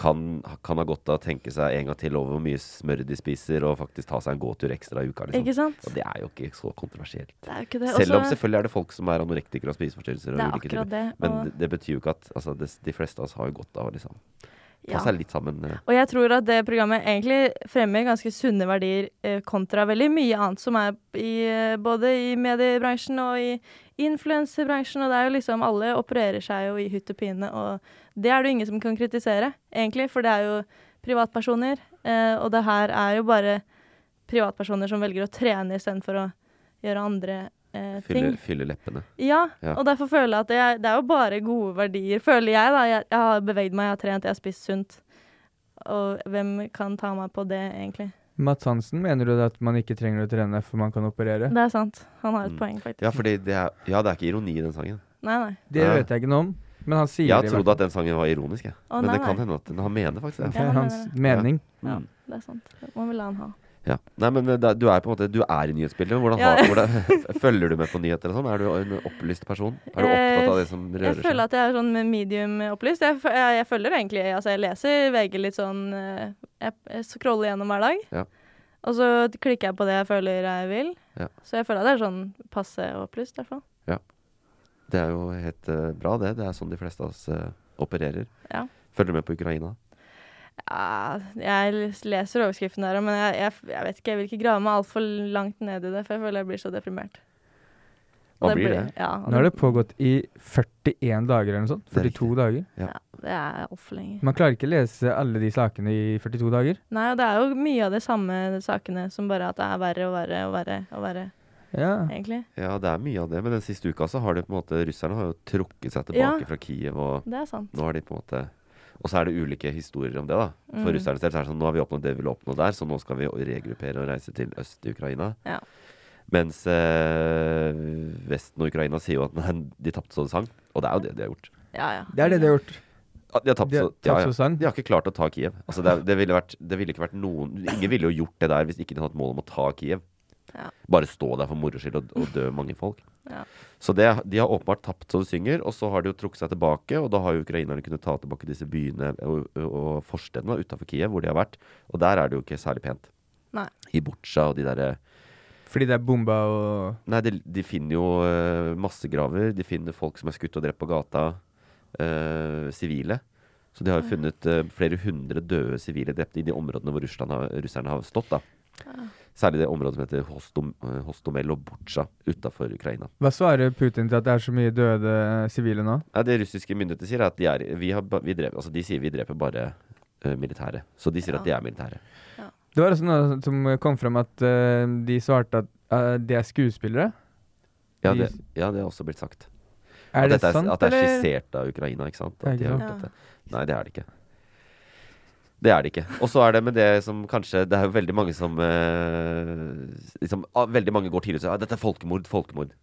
[SPEAKER 1] kan, kan ha godt av å tenke seg en gang til over hvor mye smør de spiser, og faktisk ta seg en gåtur ekstra i uka.
[SPEAKER 4] Ikke
[SPEAKER 1] Liksom.
[SPEAKER 4] sant?
[SPEAKER 1] Og det er jo ikke så kontroversielt.
[SPEAKER 4] Det er jo ikke det.
[SPEAKER 1] Selv om
[SPEAKER 4] Også-
[SPEAKER 1] selvfølgelig er det folk som er anorektikere og spiseforstyrrelser.
[SPEAKER 4] det
[SPEAKER 1] og
[SPEAKER 4] er
[SPEAKER 1] ulike typer.
[SPEAKER 4] akkurat det.
[SPEAKER 1] Men
[SPEAKER 4] og-
[SPEAKER 1] det, det betyr jo ikke at altså, det, de fleste av oss har jo godt av å liksom, ta
[SPEAKER 4] ja.
[SPEAKER 1] seg litt sammen. eh.
[SPEAKER 4] Og jeg tror at det programmet egentlig fremmer ganske sunne verdier eh, kontra veldig mye annet som er i, eh, både i mediebransjen og i influenserbransjen, og det er jo liksom alle opererer seg jo i hytt og pine, og det er det jo ingen som kan kritisere, egentlig, for det er jo privatpersoner, eh, og det her er jo bare privatpersoner som velger å trene istedenfor å gjøre andre eh, ting.
[SPEAKER 1] Fylle, fylle leppene.
[SPEAKER 4] Ja,
[SPEAKER 1] Ja.
[SPEAKER 4] og derfor føler jeg at det er, det er jo bare gode verdier, føler jeg da. Jeg, jeg har beveget meg, jeg har trent, jeg har spist sunt. Og hvem kan ta meg på det, egentlig?
[SPEAKER 2] Mads Hansen, mener du at man ikke trenger å trene for man kan operere?
[SPEAKER 4] Det er sant. Han har et
[SPEAKER 1] Mm.
[SPEAKER 4] poeng, faktisk.
[SPEAKER 1] Ja, fordi det er, ja, det er ikke ironi i den sangen.
[SPEAKER 4] Nei, nei.
[SPEAKER 2] Det
[SPEAKER 1] Ja.
[SPEAKER 2] vet jeg ikke noe om, men han sier
[SPEAKER 1] Jeg
[SPEAKER 2] det i hvert
[SPEAKER 1] trodde at den sangen var ironisk, jeg.
[SPEAKER 4] Å,
[SPEAKER 1] Men
[SPEAKER 4] nei,
[SPEAKER 1] det kan
[SPEAKER 4] nei.
[SPEAKER 1] hende Mm. at den- han mener faktisk
[SPEAKER 2] fall.
[SPEAKER 1] det.
[SPEAKER 2] Det
[SPEAKER 4] Ja, eh,
[SPEAKER 2] er
[SPEAKER 4] han
[SPEAKER 2] hans
[SPEAKER 4] mener
[SPEAKER 2] mening.
[SPEAKER 4] Ja, det er sant. Man vil la han ha.
[SPEAKER 1] Ja. Nei, men eh, da- du er på en måte Du er i nyhetsbildet. men Hvordan,
[SPEAKER 4] Ja.
[SPEAKER 1] har, hvordan, følger du med på nyheter og sånn? Er du en opplyst person? Er du opptatt av det som
[SPEAKER 4] Eh, Jeg
[SPEAKER 1] rører
[SPEAKER 4] føler
[SPEAKER 1] seg?
[SPEAKER 4] at jeg er sånn medium opplyst. Jeg, f- jeg, jeg følger egentlig Altså, jeg leser VG litt sånn eh, Jeg, jeg scroller gjennom hver dag.
[SPEAKER 1] Ja.
[SPEAKER 4] Og så klikker jeg på det jeg føler jeg vil.
[SPEAKER 1] Ja.
[SPEAKER 4] Så jeg føler at det er sånn passe opplyst, i hvert fall.
[SPEAKER 1] Det er jo helt eh, bra, det. Det er sånn de fleste av oss eh, opererer.
[SPEAKER 4] Ja.
[SPEAKER 1] Følger du med på Ukraina?
[SPEAKER 4] Ja, jeg les- leser overskriften der òg, men jeg, jeg, jeg vet ikke, jeg vil ikke grave meg altfor langt ned i det, for jeg føler jeg blir så deprimert. Og
[SPEAKER 1] Man blir det.
[SPEAKER 4] Ja, og
[SPEAKER 2] Nå har det pågått i 41 dager eller noe sånt.
[SPEAKER 1] Det er
[SPEAKER 2] 42 dager.
[SPEAKER 4] det er altfor lenge.
[SPEAKER 2] Man klarer ikke lese alle de sakene i 42 dager.
[SPEAKER 4] Nei, og det er jo mye av de samme sakene, som bare at det er verre og verre og verre og verre,
[SPEAKER 2] Ja.
[SPEAKER 4] egentlig.
[SPEAKER 1] Ja, det er mye av det. Men den siste uka så har det på en måte Russerne har jo trukket seg tilbake
[SPEAKER 4] Ja.
[SPEAKER 1] fra Kiev, og
[SPEAKER 4] Det er sant.
[SPEAKER 1] nå har de på en måte Og så er det ulike historier om det, da. For
[SPEAKER 4] Mm.
[SPEAKER 1] russerne selv så er det sånn nå har vi oppnådd det vi ville oppnå der, så nå skal vi regruppere og reise til øst i Ukraina.
[SPEAKER 4] Ja.
[SPEAKER 1] Mens eh, Vesten og Ukraina sier jo at nei, de tapte så det sang. Og det er jo det de har gjort.
[SPEAKER 4] Ja, ja.
[SPEAKER 2] Det er det de har gjort.
[SPEAKER 1] Ja, De har tapt
[SPEAKER 2] De
[SPEAKER 1] så,
[SPEAKER 2] har
[SPEAKER 1] ja,
[SPEAKER 2] tapt
[SPEAKER 1] ja.
[SPEAKER 2] så sang.
[SPEAKER 1] De har ikke klart å ta Kiev. Altså det, er- det, ville vært, det ville ikke vært noen Ingen ville jo gjort det der hvis ikke de hadde hatt mål om å ta Kiev.
[SPEAKER 4] Ja.
[SPEAKER 1] Bare stå der for moro skyld og, og dø mange folk.
[SPEAKER 4] Ja.
[SPEAKER 1] Så det, de har åpenbart tapt så det synger, og så har de jo trukket seg tilbake. Og da har jo ukrainerne kunnet ta tilbake disse byene og, og forstedene utafor Kiev, hvor de har vært. Og der er det jo ikke særlig pent.
[SPEAKER 4] Nei.
[SPEAKER 1] I Butsja og de derre
[SPEAKER 2] Fordi det er bomba og
[SPEAKER 1] Nei, de, de finner jo eh, massegraver. De finner folk som er skutt og drept på gata. eh, Sivile. Så de har jo funnet eh, flere hundre døde sivile drepte i de områdene hvor Russland har, russerne har stått. da. Særlig det området som heter Hostom, eh, Hostomel og Butsja utafor Ukraina.
[SPEAKER 2] Hva svarer Putin til at det er så mye døde sivile nå?
[SPEAKER 1] Nei, det russiske myndigheter sier, er at de, er, vi har, ba- vi drev, altså de sier vi dreper bare eh, militære. Så de sier at de er militære.
[SPEAKER 2] Det var også noe som kom fram at eh, de svarte at eh, de er skuespillere.
[SPEAKER 1] Ja
[SPEAKER 2] De-
[SPEAKER 1] det, ja, det har også blitt sagt.
[SPEAKER 2] Er
[SPEAKER 1] at
[SPEAKER 2] det
[SPEAKER 1] dette
[SPEAKER 2] sant,
[SPEAKER 1] er, at det er
[SPEAKER 2] eller?
[SPEAKER 1] skissert av Ukraina, ikke sant?
[SPEAKER 2] Det er
[SPEAKER 1] At de
[SPEAKER 2] ikke
[SPEAKER 1] har
[SPEAKER 4] sant.
[SPEAKER 1] gjort dette. Nei, det er det ikke. Det er det ikke. Og så er det med det som kanskje Det er jo veldig mange som eh, liksom, ah, Veldig mange går tidlig ut og sier at dette er folkemord, folkemord.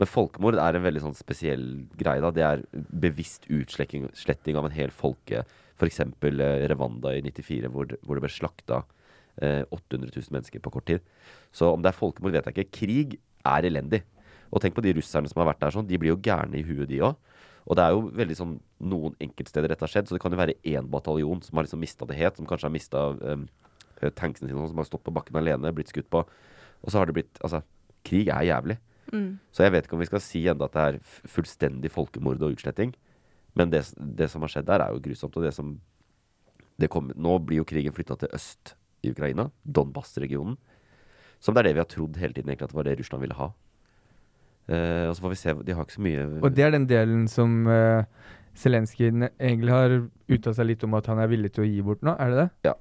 [SPEAKER 1] Men folkemord er en veldig sånn spesiell greie. da Det er bevisst utsletting sletting av en hel folke. F.eks. Eh, Rwanda i 94, hvor, det- hvor det ble slakta eh, 800 000 mennesker på kort tid. Så om det er folkemord, vet jeg ikke. Krig er elendig. Og tenk på de russerne som har vært der sånn. De blir jo gærne i huet, de òg. Og det er jo veldig sånn noen enkeltsteder dette har skjedd, så det kan jo være én bataljon som har liksom mista det helt, som kanskje har mista um, tanksene sine, og sånn, som har stått på bakken alene, blitt skutt på. Og så har det blitt Altså, krig er jævlig.
[SPEAKER 4] Mm.
[SPEAKER 1] Så jeg vet ikke om vi skal si enda at det er f- fullstendig folkemord og utsletting. Men det, s- det som har skjedd der, er jo grusomt. Og det som det kom, Nå blir jo krigen flytta til øst i Ukraina. Donbas-regionen. Som det er det vi har trodd hele tiden egentlig at det var det Russland ville ha. Eh, og så får vi se. De har ikke så mye
[SPEAKER 2] Og det er den delen som uh, Zelenskyj ne- egentlig har uttalt seg litt om at han er villig til å gi bort nå, er det det?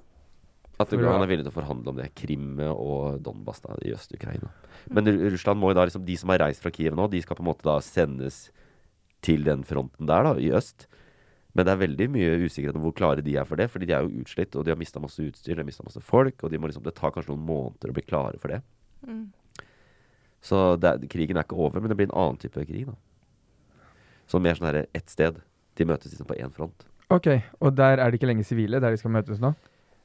[SPEAKER 1] At
[SPEAKER 2] For å-
[SPEAKER 1] han er villig til å forhandle om det. Krim og Donbas da, i Øst-Ukraina. Men Ru- Russland må jo da liksom De som har reist fra Kiev nå, de skal på en måte da sendes til den fronten der, da, i øst. Men det er veldig mye usikkerhet om hvor klare de er for det. Fordi de er jo utslitt, og de har mista masse utstyr, de har mistet masse folk. Og de må liksom, det tar kanskje noen måneder å bli klare for det. Så det, er- krigen er ikke over, men det blir en annen type krig, da. Så mer sånn herre ett sted. De møtes liksom på én front.
[SPEAKER 2] Ok, og der er det ikke lenger sivile, der de skal møtes nå?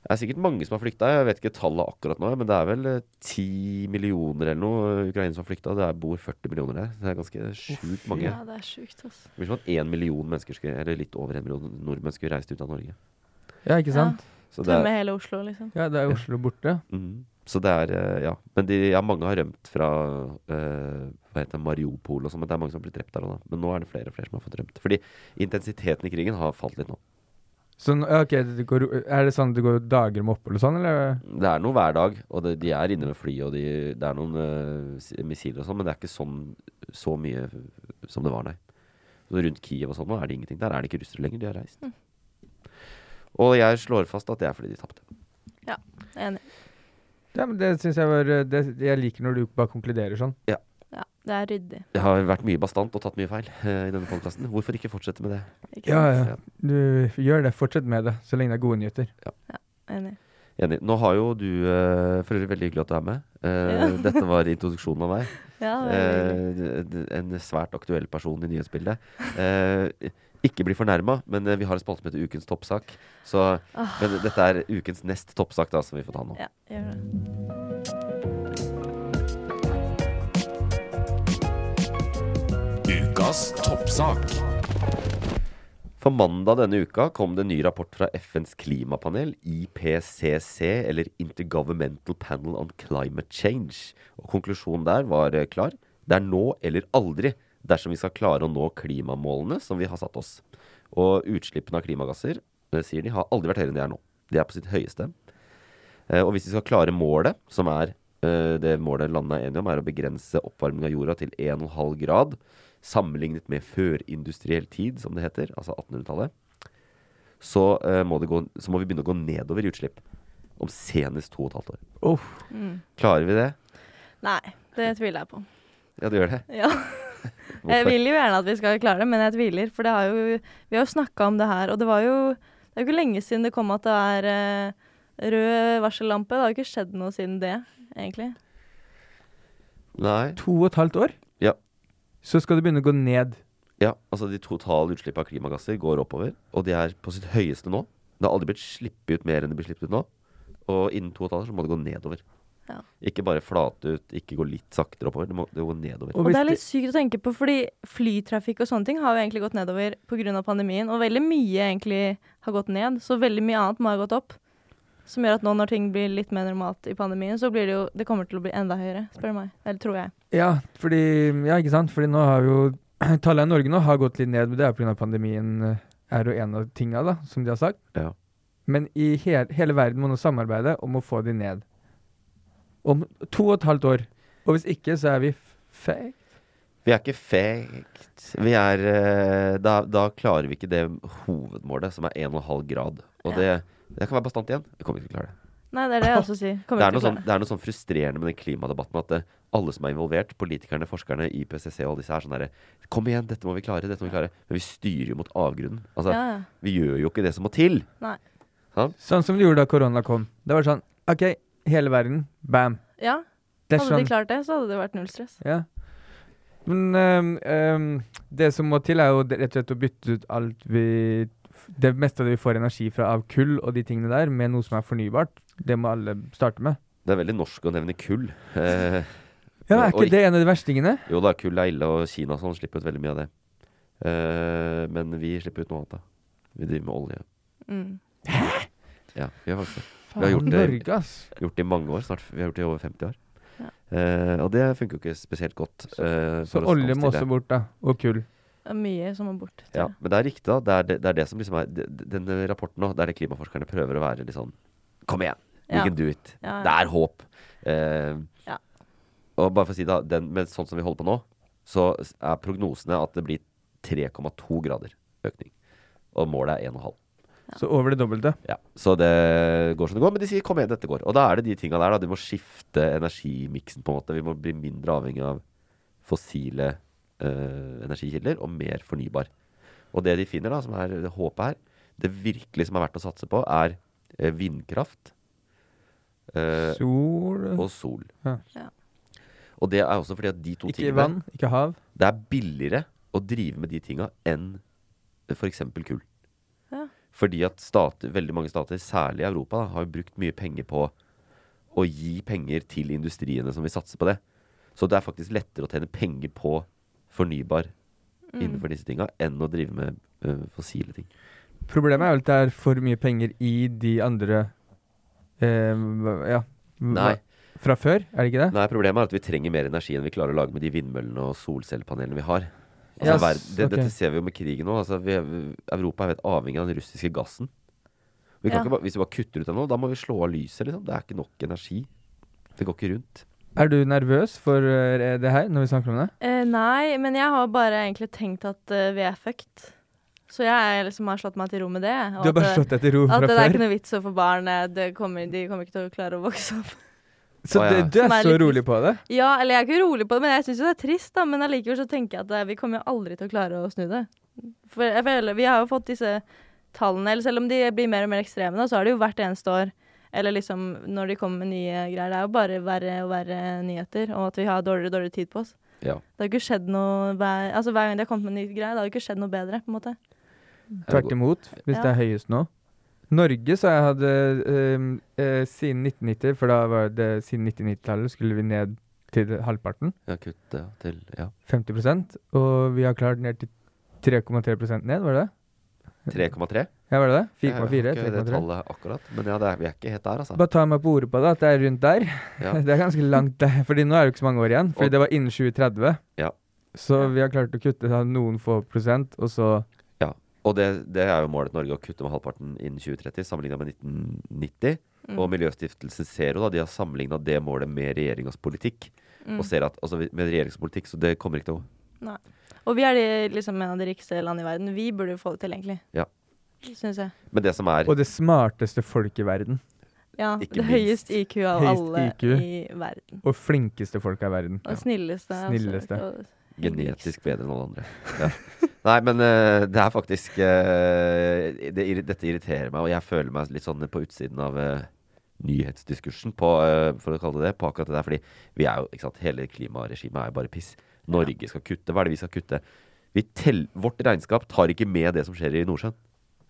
[SPEAKER 1] Det er sikkert mange som har flykta. Jeg vet ikke tallet akkurat nå, men det er vel eh, ti millioner eller noe eh, ukrainere som har flykta. Det er, bor 40 millioner der. Det er ganske sjukt mange.
[SPEAKER 4] Ja, det er sjukt, altså.
[SPEAKER 1] Det blir som at én million mennesker skulle, eller litt over en million nordmenn skulle reist ut av Norge.
[SPEAKER 2] Ja, ikke sant?
[SPEAKER 1] Så det
[SPEAKER 4] Tømme
[SPEAKER 1] er,
[SPEAKER 4] hele Oslo, liksom.
[SPEAKER 2] Ja, det er
[SPEAKER 1] Ja.
[SPEAKER 2] Oslo borte.
[SPEAKER 1] Mhm. så det er eh, Ja. Men de, ja, mange har rømt fra eh, hva heter det, Mariupol og sånn, men det er mange som har blitt drept der òg, da. Men nå er det flere og flere som har fått rømt. Fordi intensiteten i krigen har falt litt nå.
[SPEAKER 2] Så nå- ja, ok, det går, er det sånn at det går dager med opphold og sånn, eller?
[SPEAKER 1] Det er noe hver dag, og det, de er inne med fly, og de, det er noen eh, s- missiler og sånn, men det er ikke sånn så mye som det var, nei. Så rundt Kiev og sånn nå er det ingenting. Der er det ikke russere lenger, de har reist. Og jeg slår fast at det er fordi de tapte.
[SPEAKER 4] Enig.
[SPEAKER 2] Ja, men det syns jeg var eh, det, Jeg liker når du bare konkluderer sånn.
[SPEAKER 4] Ja, det er ryddig.
[SPEAKER 1] Jeg har vært mye bastant og tatt mye feil eh, i denne podkasten. Hvorfor ikke fortsette med det?
[SPEAKER 4] Ikke
[SPEAKER 2] Ja,
[SPEAKER 4] sant?
[SPEAKER 2] ja. Du gjør det. Fortsett med det, så lenge det er gode nyheter.
[SPEAKER 4] Enig.
[SPEAKER 1] Enig. Nå har jo du eh, For øvrig veldig hyggelig at du er med. Eh,
[SPEAKER 4] Ja.
[SPEAKER 1] Dette var introduksjonen av meg.
[SPEAKER 4] Ja, det er veldig hyggelig.
[SPEAKER 1] Eh, d- d- en svært aktuell person i nyhetsbildet. Eh, ikke bli fornærma, men eh, vi har en spalte som heter Ukens toppsak. Så,
[SPEAKER 4] Ah.
[SPEAKER 1] men dette er ukens nest toppsak, da, som vi får ta nå.
[SPEAKER 4] ja, gjør det.
[SPEAKER 5] Ukas toppsak.
[SPEAKER 1] For mandag denne uka kom det en ny rapport fra FNs klimapanel, IPCC, eller Intergovernmental Panel on Climate Change. Og konklusjonen der var eh, klar. Det er nå eller aldri dersom vi skal klare å nå klimamålene som vi har satt oss. Og utslippene av klimagasser, eh, sier de, har aldri vært høyere enn de er nå. De er på sitt høyeste. Eh, Og hvis vi skal klare målet, som er eh, det målet landene er enige om, er å begrense oppvarming av jorda til 1,5 grad, sammenlignet med førindustriell tid, som det heter, altså 1800-tallet, så, eh, må det gå, så må vi begynne å gå nedover i utslipp om senest 2,5 år.
[SPEAKER 4] Mm.
[SPEAKER 1] Klarer vi det?
[SPEAKER 4] Nei, det tviler jeg på.
[SPEAKER 1] Ja, det gjør det.
[SPEAKER 4] Ja. Jeg vil jo gjerne at Eh, vi skal klare det, men jeg tviler. For det har jo, vi har jo snakka om det her, og det var jo Det er jo ikke lenge siden det kom at det er eh, rød varsellampe. Det har jo ikke skjedd noe siden det, egentlig.
[SPEAKER 1] Nei.
[SPEAKER 2] To og et halvt år,
[SPEAKER 1] Ja.
[SPEAKER 2] så skal du begynne å gå ned.
[SPEAKER 1] Ja, altså de totale utslippene av klimagasser går oppover, og de er på sitt høyeste nå. Det har aldri blitt slippet ut mer enn det blir slippet ut nå. Og innen to og et halvt år så må det gå nedover.
[SPEAKER 4] Ja.
[SPEAKER 1] Ikke bare flate ut, ikke gå litt saktere oppover. Det må det må gå nedover.
[SPEAKER 4] Og
[SPEAKER 2] hvis
[SPEAKER 4] det er litt sykt å tenke på, fordi flytrafikk og sånne ting har jo egentlig gått nedover pga. pandemien. Og veldig mye egentlig har gått ned, så veldig mye annet må ha gått opp. Som gjør at nå når ting blir litt mer normalt i pandemien, så blir det jo Det kommer til å bli enda høyere, spør du meg. Eller tror jeg.
[SPEAKER 2] Ja, fordi, ja, ikke sant? Fordi nå har jo tallet i Norge nå har gått litt ned, men det er pga. pandemien eh, er jo en av tinga, da, som de har sagt.
[SPEAKER 1] Ja.
[SPEAKER 2] Men i hel, hele verden må nå samarbeide om å få de ned. Om to og et halvt år. Og hvis ikke, så er vi fake.
[SPEAKER 1] Vi er ikke fekt. Vi er eh, da, da klarer vi ikke det hovedmålet, som er 1,5 grad. Og
[SPEAKER 4] Ja.
[SPEAKER 1] det, jeg kan være bastant igjen. Vi kommer ikke til å klare det.
[SPEAKER 4] Nei, det er det jeg også sier.
[SPEAKER 1] Det
[SPEAKER 4] Kommer
[SPEAKER 1] er,
[SPEAKER 4] ikke
[SPEAKER 1] noe
[SPEAKER 4] til å
[SPEAKER 1] sånn,
[SPEAKER 4] klare det.
[SPEAKER 1] det er noe sånn frustrerende med den klimadebatten at eh, alle som er involvert, politikerne, forskerne, IPCC og alle disse, er sånn derre Kom igjen, dette må vi klare, dette må vi klare. Men vi styrer jo mot avgrunnen. Altså,
[SPEAKER 4] Ja, ja.
[SPEAKER 1] Vi gjør jo ikke det som må til.
[SPEAKER 2] Sånn som de gjorde da korona kom. Det var sånn OK, hele verden. Bam.
[SPEAKER 4] ja.
[SPEAKER 2] Det er
[SPEAKER 4] Hadde de
[SPEAKER 2] sånn.
[SPEAKER 4] klart det, så hadde det vært null stress.
[SPEAKER 2] Ja. Men ehm, ehm, det som må til, er jo rett og slett å bytte ut alt vi Det meste av det vi får energi fra av kull og de tingene der, med noe som er fornybart. Det må alle starte med.
[SPEAKER 1] Det er veldig norsk å nevne kull. Eh,
[SPEAKER 2] Ja, men Er
[SPEAKER 1] Oi.
[SPEAKER 2] ikke det en av de verstingene?
[SPEAKER 1] jo da, kull er ille, og Kina og sånn slipper ut veldig mye av det. Eh, men vi slipper ut noe annet, da. Vi driver med olje.
[SPEAKER 4] Mm.
[SPEAKER 1] Ja, vi har faktisk det. Vi har gjort det.
[SPEAKER 2] Norge, ass.
[SPEAKER 1] gjort det i mange år. Snart, vi har gjort det i over 50 år.
[SPEAKER 4] Ja.
[SPEAKER 1] Eh, og det funker jo ikke spesielt godt. eh,
[SPEAKER 2] Så
[SPEAKER 1] for oss
[SPEAKER 2] olje må
[SPEAKER 1] omstille.
[SPEAKER 2] også bort, da. Og kull.
[SPEAKER 4] Det er mye som må bort. tror
[SPEAKER 1] Ja,
[SPEAKER 4] jeg.
[SPEAKER 1] men det er riktig, da. Det er det, det, er det som liksom er d- d- Denne rapporten nå, det er det klimaforskerne prøver å være litt sånn Kom igjen, we
[SPEAKER 4] Ja.
[SPEAKER 1] can do it.
[SPEAKER 4] Ja, ja.
[SPEAKER 1] Det er håp. Eh,
[SPEAKER 4] Ja.
[SPEAKER 1] Og bare for å si det, den, med sånn som vi holder på nå, så s- er prognosene at det blir 3,2 grader økning. Og målet er 1,5.
[SPEAKER 2] Så over det dobbelte.
[SPEAKER 1] Ja, så det går som det går, men de sier 'kom igjen, dette går'. Og da er det de tinga der, da. Du må skifte energimiksen, på en måte. Vi må bli mindre avhengig av fossile eh, energikilder og mer fornybar. Og det de finner, da, som er det håpet her, det virkelig som er verdt å satse på, er eh, vindkraft eh,
[SPEAKER 2] Sol
[SPEAKER 1] og sol.
[SPEAKER 2] Ja.
[SPEAKER 4] Ja.
[SPEAKER 1] Og det er også fordi at de to
[SPEAKER 2] Ikke
[SPEAKER 1] tingene
[SPEAKER 2] vann, ikke hav.
[SPEAKER 1] det er billigere å drive med de tinga enn f.eks. kull.
[SPEAKER 4] Ja.
[SPEAKER 1] Fordi at stater, veldig mange stater, særlig i Europa, da, har jo brukt mye penger på å gi penger til industriene som vil satse på det. Så det er faktisk lettere å tjene penger på fornybar innenfor disse tinga enn å drive med øh, fossile ting.
[SPEAKER 2] Problemet er jo at det er for mye penger i de andre eh, hva- Ja. hva-
[SPEAKER 1] Nei.
[SPEAKER 2] Fra før, er det ikke det?
[SPEAKER 1] Nei, problemet er at vi trenger mer energi enn vi klarer å lage med de vindmøllene og solcellepanelene vi har. Altså,
[SPEAKER 2] Yes,
[SPEAKER 1] verden- det,
[SPEAKER 2] ok.
[SPEAKER 1] Dette ser vi jo med krigen nå. Altså, vi, vi- Europa er jo helt avhengig av den russiske gassen. Vi kan
[SPEAKER 4] Ja.
[SPEAKER 1] ikke bare, hvis vi bare kutter ut den nå, da må vi slå av lyset. Liksom. Det er ikke nok energi. Det går ikke rundt.
[SPEAKER 2] Er du nervøs for eh, det her, når vi snakker om det?
[SPEAKER 4] Eh, nei, men jeg har bare egentlig tenkt at eh, vi er fucked. Så jeg er liksom har slått meg til ro med det. jeg. Og
[SPEAKER 2] Du har
[SPEAKER 4] at
[SPEAKER 2] bare
[SPEAKER 4] det-
[SPEAKER 2] slått deg til ro
[SPEAKER 4] At
[SPEAKER 2] fra
[SPEAKER 4] det er ikke
[SPEAKER 2] før?
[SPEAKER 4] noe vits å få barn. eh, Det kommer, de kommer ikke til å klare å vokse opp.
[SPEAKER 2] Så
[SPEAKER 1] Å, ja.
[SPEAKER 2] det, du
[SPEAKER 4] Som
[SPEAKER 2] er
[SPEAKER 4] er
[SPEAKER 2] så
[SPEAKER 4] litt
[SPEAKER 2] rolig på det?
[SPEAKER 4] Ja, eller jeg er ikke rolig på det, men jeg syns jo det er trist, da. Men allikevel så tenker jeg at eh, vi kommer jo aldri til å klare å snu det. For jeg føler, vi har jo fått disse tallene, eller selv om de blir mer og mer ekstreme, da, så har det jo hvert eneste år, eller liksom når de kommer med nye greier, det er jo bare verre og verre nyheter, og at vi har dårligere og dårligere tid på oss.
[SPEAKER 1] Ja.
[SPEAKER 4] Det har jo ikke skjedd noe hver, altså hver gang de har kommet med en ny greie, det har jo ikke skjedd noe bedre, på en måte.
[SPEAKER 2] Tvert imot, hvis
[SPEAKER 4] Ja.
[SPEAKER 2] det er høyest nå. Norge så jeg hadde ehm, eh, siden 1990, for da var det siden 1990-tallet skulle vi ned til halvparten,
[SPEAKER 1] Ja, kutt ja, til ja.
[SPEAKER 2] 50 og vi har klart ned til 3,3 ned, var det det?
[SPEAKER 1] 3,3.
[SPEAKER 2] Ja, var det det?
[SPEAKER 1] Jeg har
[SPEAKER 2] 4,4?
[SPEAKER 1] ikke det
[SPEAKER 2] 3,3?
[SPEAKER 1] tallet akkurat, men ja, det er, vi er ikke helt der, altså.
[SPEAKER 2] Bare ta meg på ordet på det, at det er rundt der.
[SPEAKER 1] Ja.
[SPEAKER 2] Det er ganske langt der, fordi nå er det jo ikke så mange år igjen. Fordi
[SPEAKER 1] Og-
[SPEAKER 2] det var innen 2030.
[SPEAKER 1] Ja.
[SPEAKER 2] Så vi har klart å kutte da noen få prosent, og så
[SPEAKER 1] Ja. Og det, det er jo målet Norge å kutte med halvparten innen 2030, sammenligna med 1990. Og Miljøstiftelsen Zero da, de har sammenligna det målet med regjeringas politikk. Og ser at altså, med regjeringspolitikk, så det kommer ikke til å
[SPEAKER 4] Nei. Og vi er de, liksom en av de rikeste landene i verden. Vi burde jo få det til, egentlig.
[SPEAKER 1] Ja.
[SPEAKER 4] Syns jeg.
[SPEAKER 1] Men det som er
[SPEAKER 2] Og det smarteste folk i verden.
[SPEAKER 4] Ja,
[SPEAKER 1] Ikke
[SPEAKER 4] det
[SPEAKER 1] minst.
[SPEAKER 4] høyest IQ av
[SPEAKER 2] Høyest
[SPEAKER 4] alle
[SPEAKER 2] IQ.
[SPEAKER 4] i verden.
[SPEAKER 2] Og flinkeste folk i verden.
[SPEAKER 4] Og snilleste. altså.
[SPEAKER 2] Snilleste.
[SPEAKER 4] Og-
[SPEAKER 1] Genetisk bedre enn alle andre. Ja. Nei, men eh, det er faktisk eh, det, irri- Dette irriterer meg, og jeg føler meg litt sånn på utsiden av eh, nyhetsdiskursen, på, eh, for å kalle det det, på akkurat det der. Fordi vi er jo, ikke sant, hele klimaregimet er jo bare piss. Norge skal kutte. Hva er det vi skal kutte? Vi tell, vårt regnskap tar ikke med det som skjer i Nordsjøen.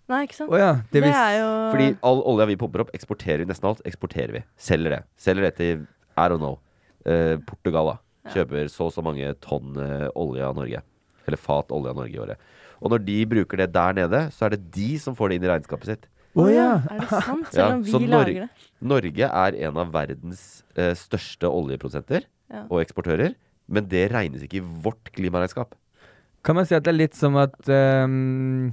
[SPEAKER 4] Nei, ikke sant?
[SPEAKER 2] Å ja. Det
[SPEAKER 4] det,
[SPEAKER 2] vil
[SPEAKER 4] er jo
[SPEAKER 1] Fordi all olja vi pumper opp, eksporterer vi nesten alt. Eksporterer vi. Selger det. Selger det til I don't know. eh, Portugal, da. Kjøper så og så mange tonn eh, olje av Norge. Eller fat olje av Norge i året. Og når de bruker det der nede, så er det de som får det inn i regnskapet sitt.
[SPEAKER 2] Å ja.
[SPEAKER 4] Er det sant?
[SPEAKER 1] Ja, sånn
[SPEAKER 4] Selv om vi
[SPEAKER 1] så Nor-
[SPEAKER 4] lager det.
[SPEAKER 1] Norge er en av verdens eh, største oljeprodusenter
[SPEAKER 4] Ja.
[SPEAKER 1] og eksportører. Men det regnes ikke i vårt klimaregnskap.
[SPEAKER 2] Kan man si at det er litt som at ehm,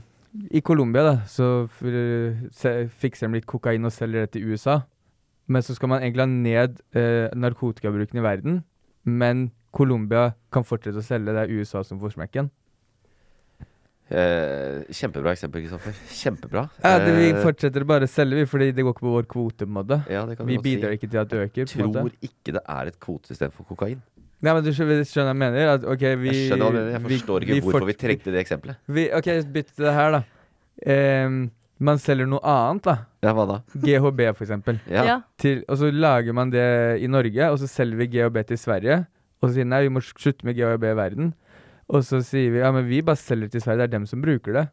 [SPEAKER 2] I Colombia, da, så f- se- fikser de litt kokain og selger det til USA. Men så skal man egentlig ha ned eh, narkotikabruken i verden. Men Colombia kan fortsette å selge, det er USA som får smekken.
[SPEAKER 1] Eh, kjempebra eksempel, Kristoffer. Kjempebra.
[SPEAKER 2] Ja, det, vi
[SPEAKER 1] Eh,
[SPEAKER 2] fortsetter bare å selge, vi, fordi det går ikke på vår kvote. på en måte.
[SPEAKER 1] ja, det kan
[SPEAKER 2] Vi
[SPEAKER 1] godt si.
[SPEAKER 2] bidrar ikke til at det øker. på en måte.
[SPEAKER 1] Tror ikke det er et kvotesystem for kokain.
[SPEAKER 2] Nei, men du skjønner, skjønner hva jeg mener? At, ok, vi,
[SPEAKER 1] jeg skjønner hva du mener. Jeg
[SPEAKER 2] vi-
[SPEAKER 1] forstår ikke
[SPEAKER 2] vi
[SPEAKER 1] hvorfor
[SPEAKER 2] fort-
[SPEAKER 1] vi trengte det eksempelet.
[SPEAKER 2] vi, Ok, bytt det her, da. Ehm, man selger noe annet, da.
[SPEAKER 1] Ja, hva da?
[SPEAKER 2] GHB, for eksempel.
[SPEAKER 1] Ja.
[SPEAKER 4] Ja.
[SPEAKER 2] Til, og så lager man det i Norge, og så selger vi GHB til Sverige. Og så sier nei, vi må slutte med GHB i verden. Og så sier vi ja, men vi bare selger til Sverige, det er dem som bruker det.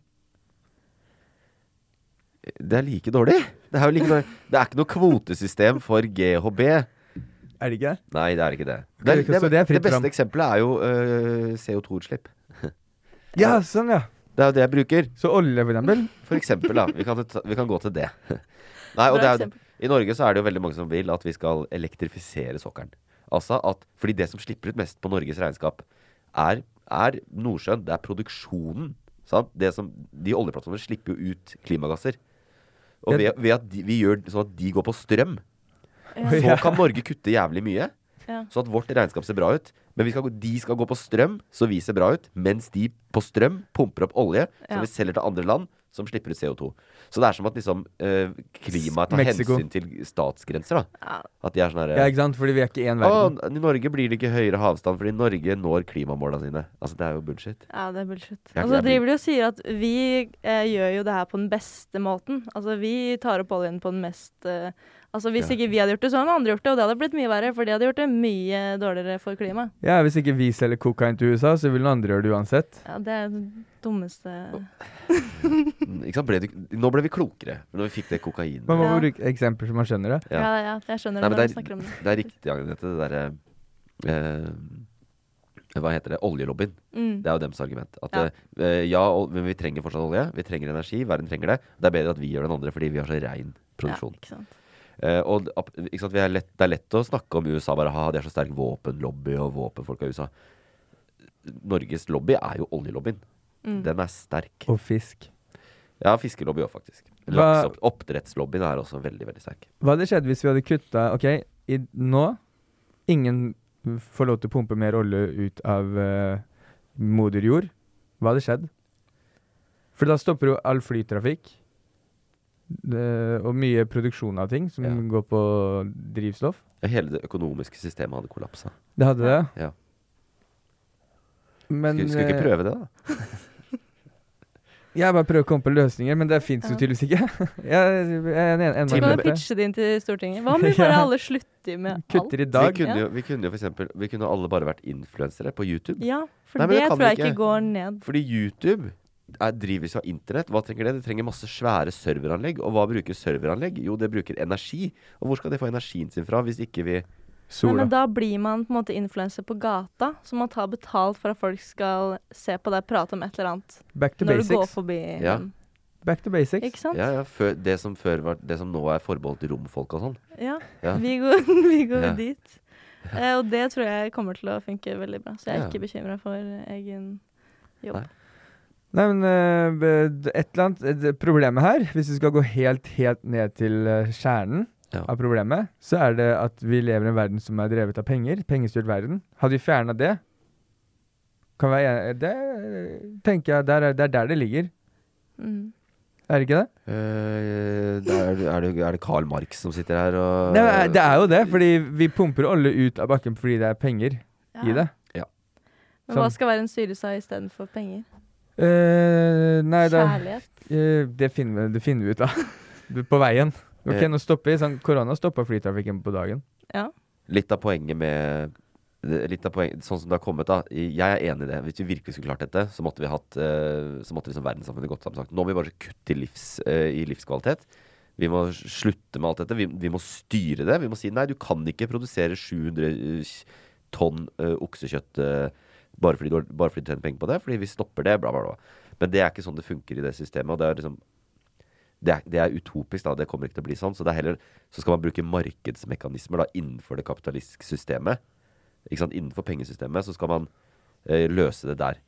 [SPEAKER 1] Det er like dårlig. Det er jo like dårlig. Det er ikke noe kvotesystem for GHB.
[SPEAKER 2] Er det ikke?
[SPEAKER 1] Nei, det er ikke det.
[SPEAKER 2] Ok, så det er
[SPEAKER 1] det
[SPEAKER 2] fritt
[SPEAKER 1] beste
[SPEAKER 2] fram.
[SPEAKER 1] eksempelet er jo øh, CO2-utslipp.
[SPEAKER 2] Ja, sånn, ja.
[SPEAKER 1] Det er jo det jeg bruker.
[SPEAKER 2] Så olje, for eksempel.
[SPEAKER 1] For eksempel, da. Vi kan, ta- vi kan gå til det. Nei, og det
[SPEAKER 4] Bra
[SPEAKER 1] er, jo- I Norge så er det jo veldig mange som vil at vi skal elektrifisere sokkelen. Altså at, fordi det som slipper ut mest på Norges regnskap, er, er Nordsjøen. Det er produksjonen. Sant? Det som, de oljeplattformene slipper jo ut klimagasser. Og ved, ved at de, vi gjør sånn at de går på strøm, så kan Norge kutte jævlig mye.
[SPEAKER 4] Ja.
[SPEAKER 1] Så at vårt regnskap ser bra ut. Men vi skal, gå- de skal gå på strøm, så vi ser bra ut. Mens de på strøm pumper opp olje som
[SPEAKER 4] Ja.
[SPEAKER 1] vi selger til andre land, som slipper ut CO2. Så det er som at liksom, eh, klimaet tar
[SPEAKER 2] Mexico.
[SPEAKER 1] hensyn til statsgrenser. Da. At de er sånn
[SPEAKER 2] Ja,
[SPEAKER 1] herre
[SPEAKER 2] ikke sant? Fordi vi er ikke én
[SPEAKER 1] Å,
[SPEAKER 2] verden.
[SPEAKER 1] I Norge blir det ikke høyere havstand fordi Norge når klimamåla sine. Altså, det er jo bullshit.
[SPEAKER 4] Ja, det er bullshit.
[SPEAKER 1] Ja,
[SPEAKER 4] Og
[SPEAKER 1] det
[SPEAKER 4] så
[SPEAKER 1] er
[SPEAKER 4] driver de og sier at vi eh, gjør jo det her på den beste måten. Altså, vi tar opp oljen på den mest eh, Altså, hvis
[SPEAKER 1] Ja.
[SPEAKER 4] ikke vi hadde gjort det, så hadde noen andre gjort det, og det hadde blitt mye verre, for de hadde gjort det mye dårligere for klimaet.
[SPEAKER 2] Ja, Hvis ikke vi selger kokain til USA, så vil noen andre gjøre det uansett.
[SPEAKER 4] Ja, det er det dummeste
[SPEAKER 1] Ikke sant? Ble det, nå ble vi klokere når vi fikk det kokainet.
[SPEAKER 2] Man må
[SPEAKER 4] Ja.
[SPEAKER 2] bruke eksempler så man skjønner det.
[SPEAKER 4] Ja,
[SPEAKER 1] Ja.
[SPEAKER 4] ja, jeg skjønner
[SPEAKER 1] Nei,
[SPEAKER 4] det
[SPEAKER 1] men
[SPEAKER 4] når
[SPEAKER 1] det
[SPEAKER 4] vi snakker
[SPEAKER 1] er,
[SPEAKER 4] om det.
[SPEAKER 1] det er riktig, Agnete, det derre eh, Hva heter det? Oljelobbyen.
[SPEAKER 4] Mm.
[SPEAKER 1] Det er jo deres argument. At
[SPEAKER 4] Ja.
[SPEAKER 1] ja, ja ol- men vi trenger fortsatt olje. Vi trenger energi. Verden trenger det. Det er bedre at vi gjør den andre fordi vi har så rein produksjon.
[SPEAKER 4] Ja, ikke sant.
[SPEAKER 1] Eh, og d- ap- ikke sant, vi er lett, Det er lett å snakke om USA bare ha, de har så sterk våpenlobby og våpenfolk av USA. Norges lobby er jo oljelobbyen.
[SPEAKER 4] Mm.
[SPEAKER 1] Den er sterk.
[SPEAKER 2] Og fisk.
[SPEAKER 1] Ja, fiskelobby òg, faktisk.
[SPEAKER 2] Hva-
[SPEAKER 1] Lakseopp- Oppdrettslobbyen er også veldig, veldig sterk.
[SPEAKER 2] Hva hadde skjedd hvis vi hadde kutta Ok, i, nå Ingen får lov til å pumpe mer olje ut av eh, moder jord. Hva hadde skjedd? For da stopper jo all flytrafikk. Det- og mye produksjon av ting som
[SPEAKER 1] Ja.
[SPEAKER 2] går på drivstoff.
[SPEAKER 1] Ja, hele det økonomiske systemet hadde kollapsa.
[SPEAKER 2] Det hadde det.
[SPEAKER 1] Ja.
[SPEAKER 2] Men
[SPEAKER 1] Skulle, skulle
[SPEAKER 2] eh,
[SPEAKER 1] ikke prøve det, da?
[SPEAKER 2] jeg bare prøver å komme på løsninger, men det fins jo
[SPEAKER 4] Ja.
[SPEAKER 2] tydeligvis ikke. jeg, jeg er en, en,
[SPEAKER 4] Du
[SPEAKER 2] en
[SPEAKER 4] kan
[SPEAKER 1] med-
[SPEAKER 4] jo pitche det inn til Stortinget. Hva om vi bare
[SPEAKER 2] Ja.
[SPEAKER 4] alle slutter med alt?
[SPEAKER 2] Kutter i
[SPEAKER 1] Så Vi
[SPEAKER 2] dag.
[SPEAKER 1] kunne,
[SPEAKER 4] Ja.
[SPEAKER 1] jo, vi kunne jo for eksempel Vi kunne alle bare vært influensere på YouTube.
[SPEAKER 4] Ja, for
[SPEAKER 1] Nei, men
[SPEAKER 4] det,
[SPEAKER 1] det kan
[SPEAKER 4] tror
[SPEAKER 1] vi
[SPEAKER 4] jeg ikke
[SPEAKER 1] ikke.
[SPEAKER 4] går ned.
[SPEAKER 1] Fordi YouTube er, drives av internett. Hva trenger det? Det trenger masse svære serveranlegg. Og hva bruker serveranlegg? Jo, det bruker energi. Og hvor skal de få energien sin fra hvis ikke vi
[SPEAKER 4] Nei,
[SPEAKER 2] Sola.
[SPEAKER 4] men da blir man på en måte influenser på gata, så man tar betalt for at folk skal se på deg prate om et eller annet
[SPEAKER 2] Back to
[SPEAKER 4] når du går
[SPEAKER 2] basics.
[SPEAKER 4] forbi
[SPEAKER 1] Ja.
[SPEAKER 4] dem.
[SPEAKER 2] Back to
[SPEAKER 4] Ikke
[SPEAKER 2] basics.
[SPEAKER 4] sant?
[SPEAKER 1] Ja, ja, før, det som før var Det som nå er forbeholdt romfolk og sånn.
[SPEAKER 4] Ja,
[SPEAKER 1] Ja.
[SPEAKER 4] vi går, vi går
[SPEAKER 1] Ja.
[SPEAKER 4] dit. Eh, og det tror jeg kommer til å funke veldig bra, så jeg er
[SPEAKER 1] Ja.
[SPEAKER 4] ikke bekymra for eh, egen jobb.
[SPEAKER 1] Nei.
[SPEAKER 2] Nei, men eh, b- et eller annet eh, det- Problemet her, hvis vi skal gå helt, helt ned til eh, kjernen
[SPEAKER 1] Ja.
[SPEAKER 2] av problemet, så er det at vi lever i en verden som er drevet av penger. Pengestyrt verden. Hadde vi fjerna det kan være, en- eh, Det tenker jeg der er, Det er der det ligger.
[SPEAKER 4] Mm.
[SPEAKER 2] Er det ikke det?
[SPEAKER 1] Eh, da er, det, er, det, er det Karl Marx som sitter her og
[SPEAKER 2] Nei, men eh, det er jo det, fordi vi pumper olje ut av bakken fordi det er penger i det.
[SPEAKER 4] Men hva
[SPEAKER 2] Sånn.
[SPEAKER 4] skal være en syresak istedenfor penger?
[SPEAKER 2] Eh, nei, da
[SPEAKER 4] Kjærlighet?
[SPEAKER 2] eh, det, finner vi, det finner vi ut av. Du, På veien. Ok,
[SPEAKER 1] Ja.
[SPEAKER 2] nå stopper vi. Sånn, korona stoppa flytrafikken på dagen.
[SPEAKER 1] Litt av poenget med det- Litt av poenget, Sånn som det har kommet, da. i- Jeg er enig i det. Hvis vi virkelig skulle klart dette, så måtte vi hatt eh, Så måtte liksom verdenssamfunnet gått sammen. og sagt, Nå må vi bare kutte i, livs, eh, i livskvalitet. Vi må slutte med alt dette. Vi, vi må styre det. Vi må si nei, du kan ikke produsere 700 tonn eh, oksekjøtt eh, bare fordi, du, har- bare fordi du tjener penger på det, fordi vi stopper det, bla, bla, bla. Men det er ikke sånn det funker i det systemet. og det er liksom det er, det er utopisk, da. Det kommer ikke til å bli sånn. Så, det er heller, så skal man bruke markedsmekanismer da, innenfor det kapitalistiske systemet. Ikke sant? Innenfor pengesystemet så skal man eh, løse det der.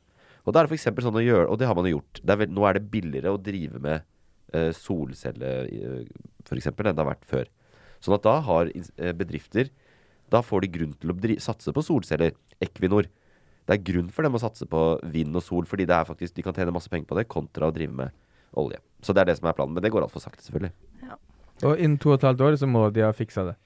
[SPEAKER 1] Og da er det for eksempel sånn å gjøre, og det har man jo gjort. Det er vel, nå er det billigere å drive med eh, solcelle eh, for eksempel, enn det har vært før. Sånn at da har ins- eh, bedrifter Da får de grunn til å dri satse på solceller. Equinor. Det er grunn for dem å satse på vind og sol, fordi det er faktisk, de kan tjene masse penger på det, kontra å drive med olje. Så det er det som er planen. Men det går altfor sakte, selvfølgelig.
[SPEAKER 2] Og innen to og et halvt år så må de ha fiksa det.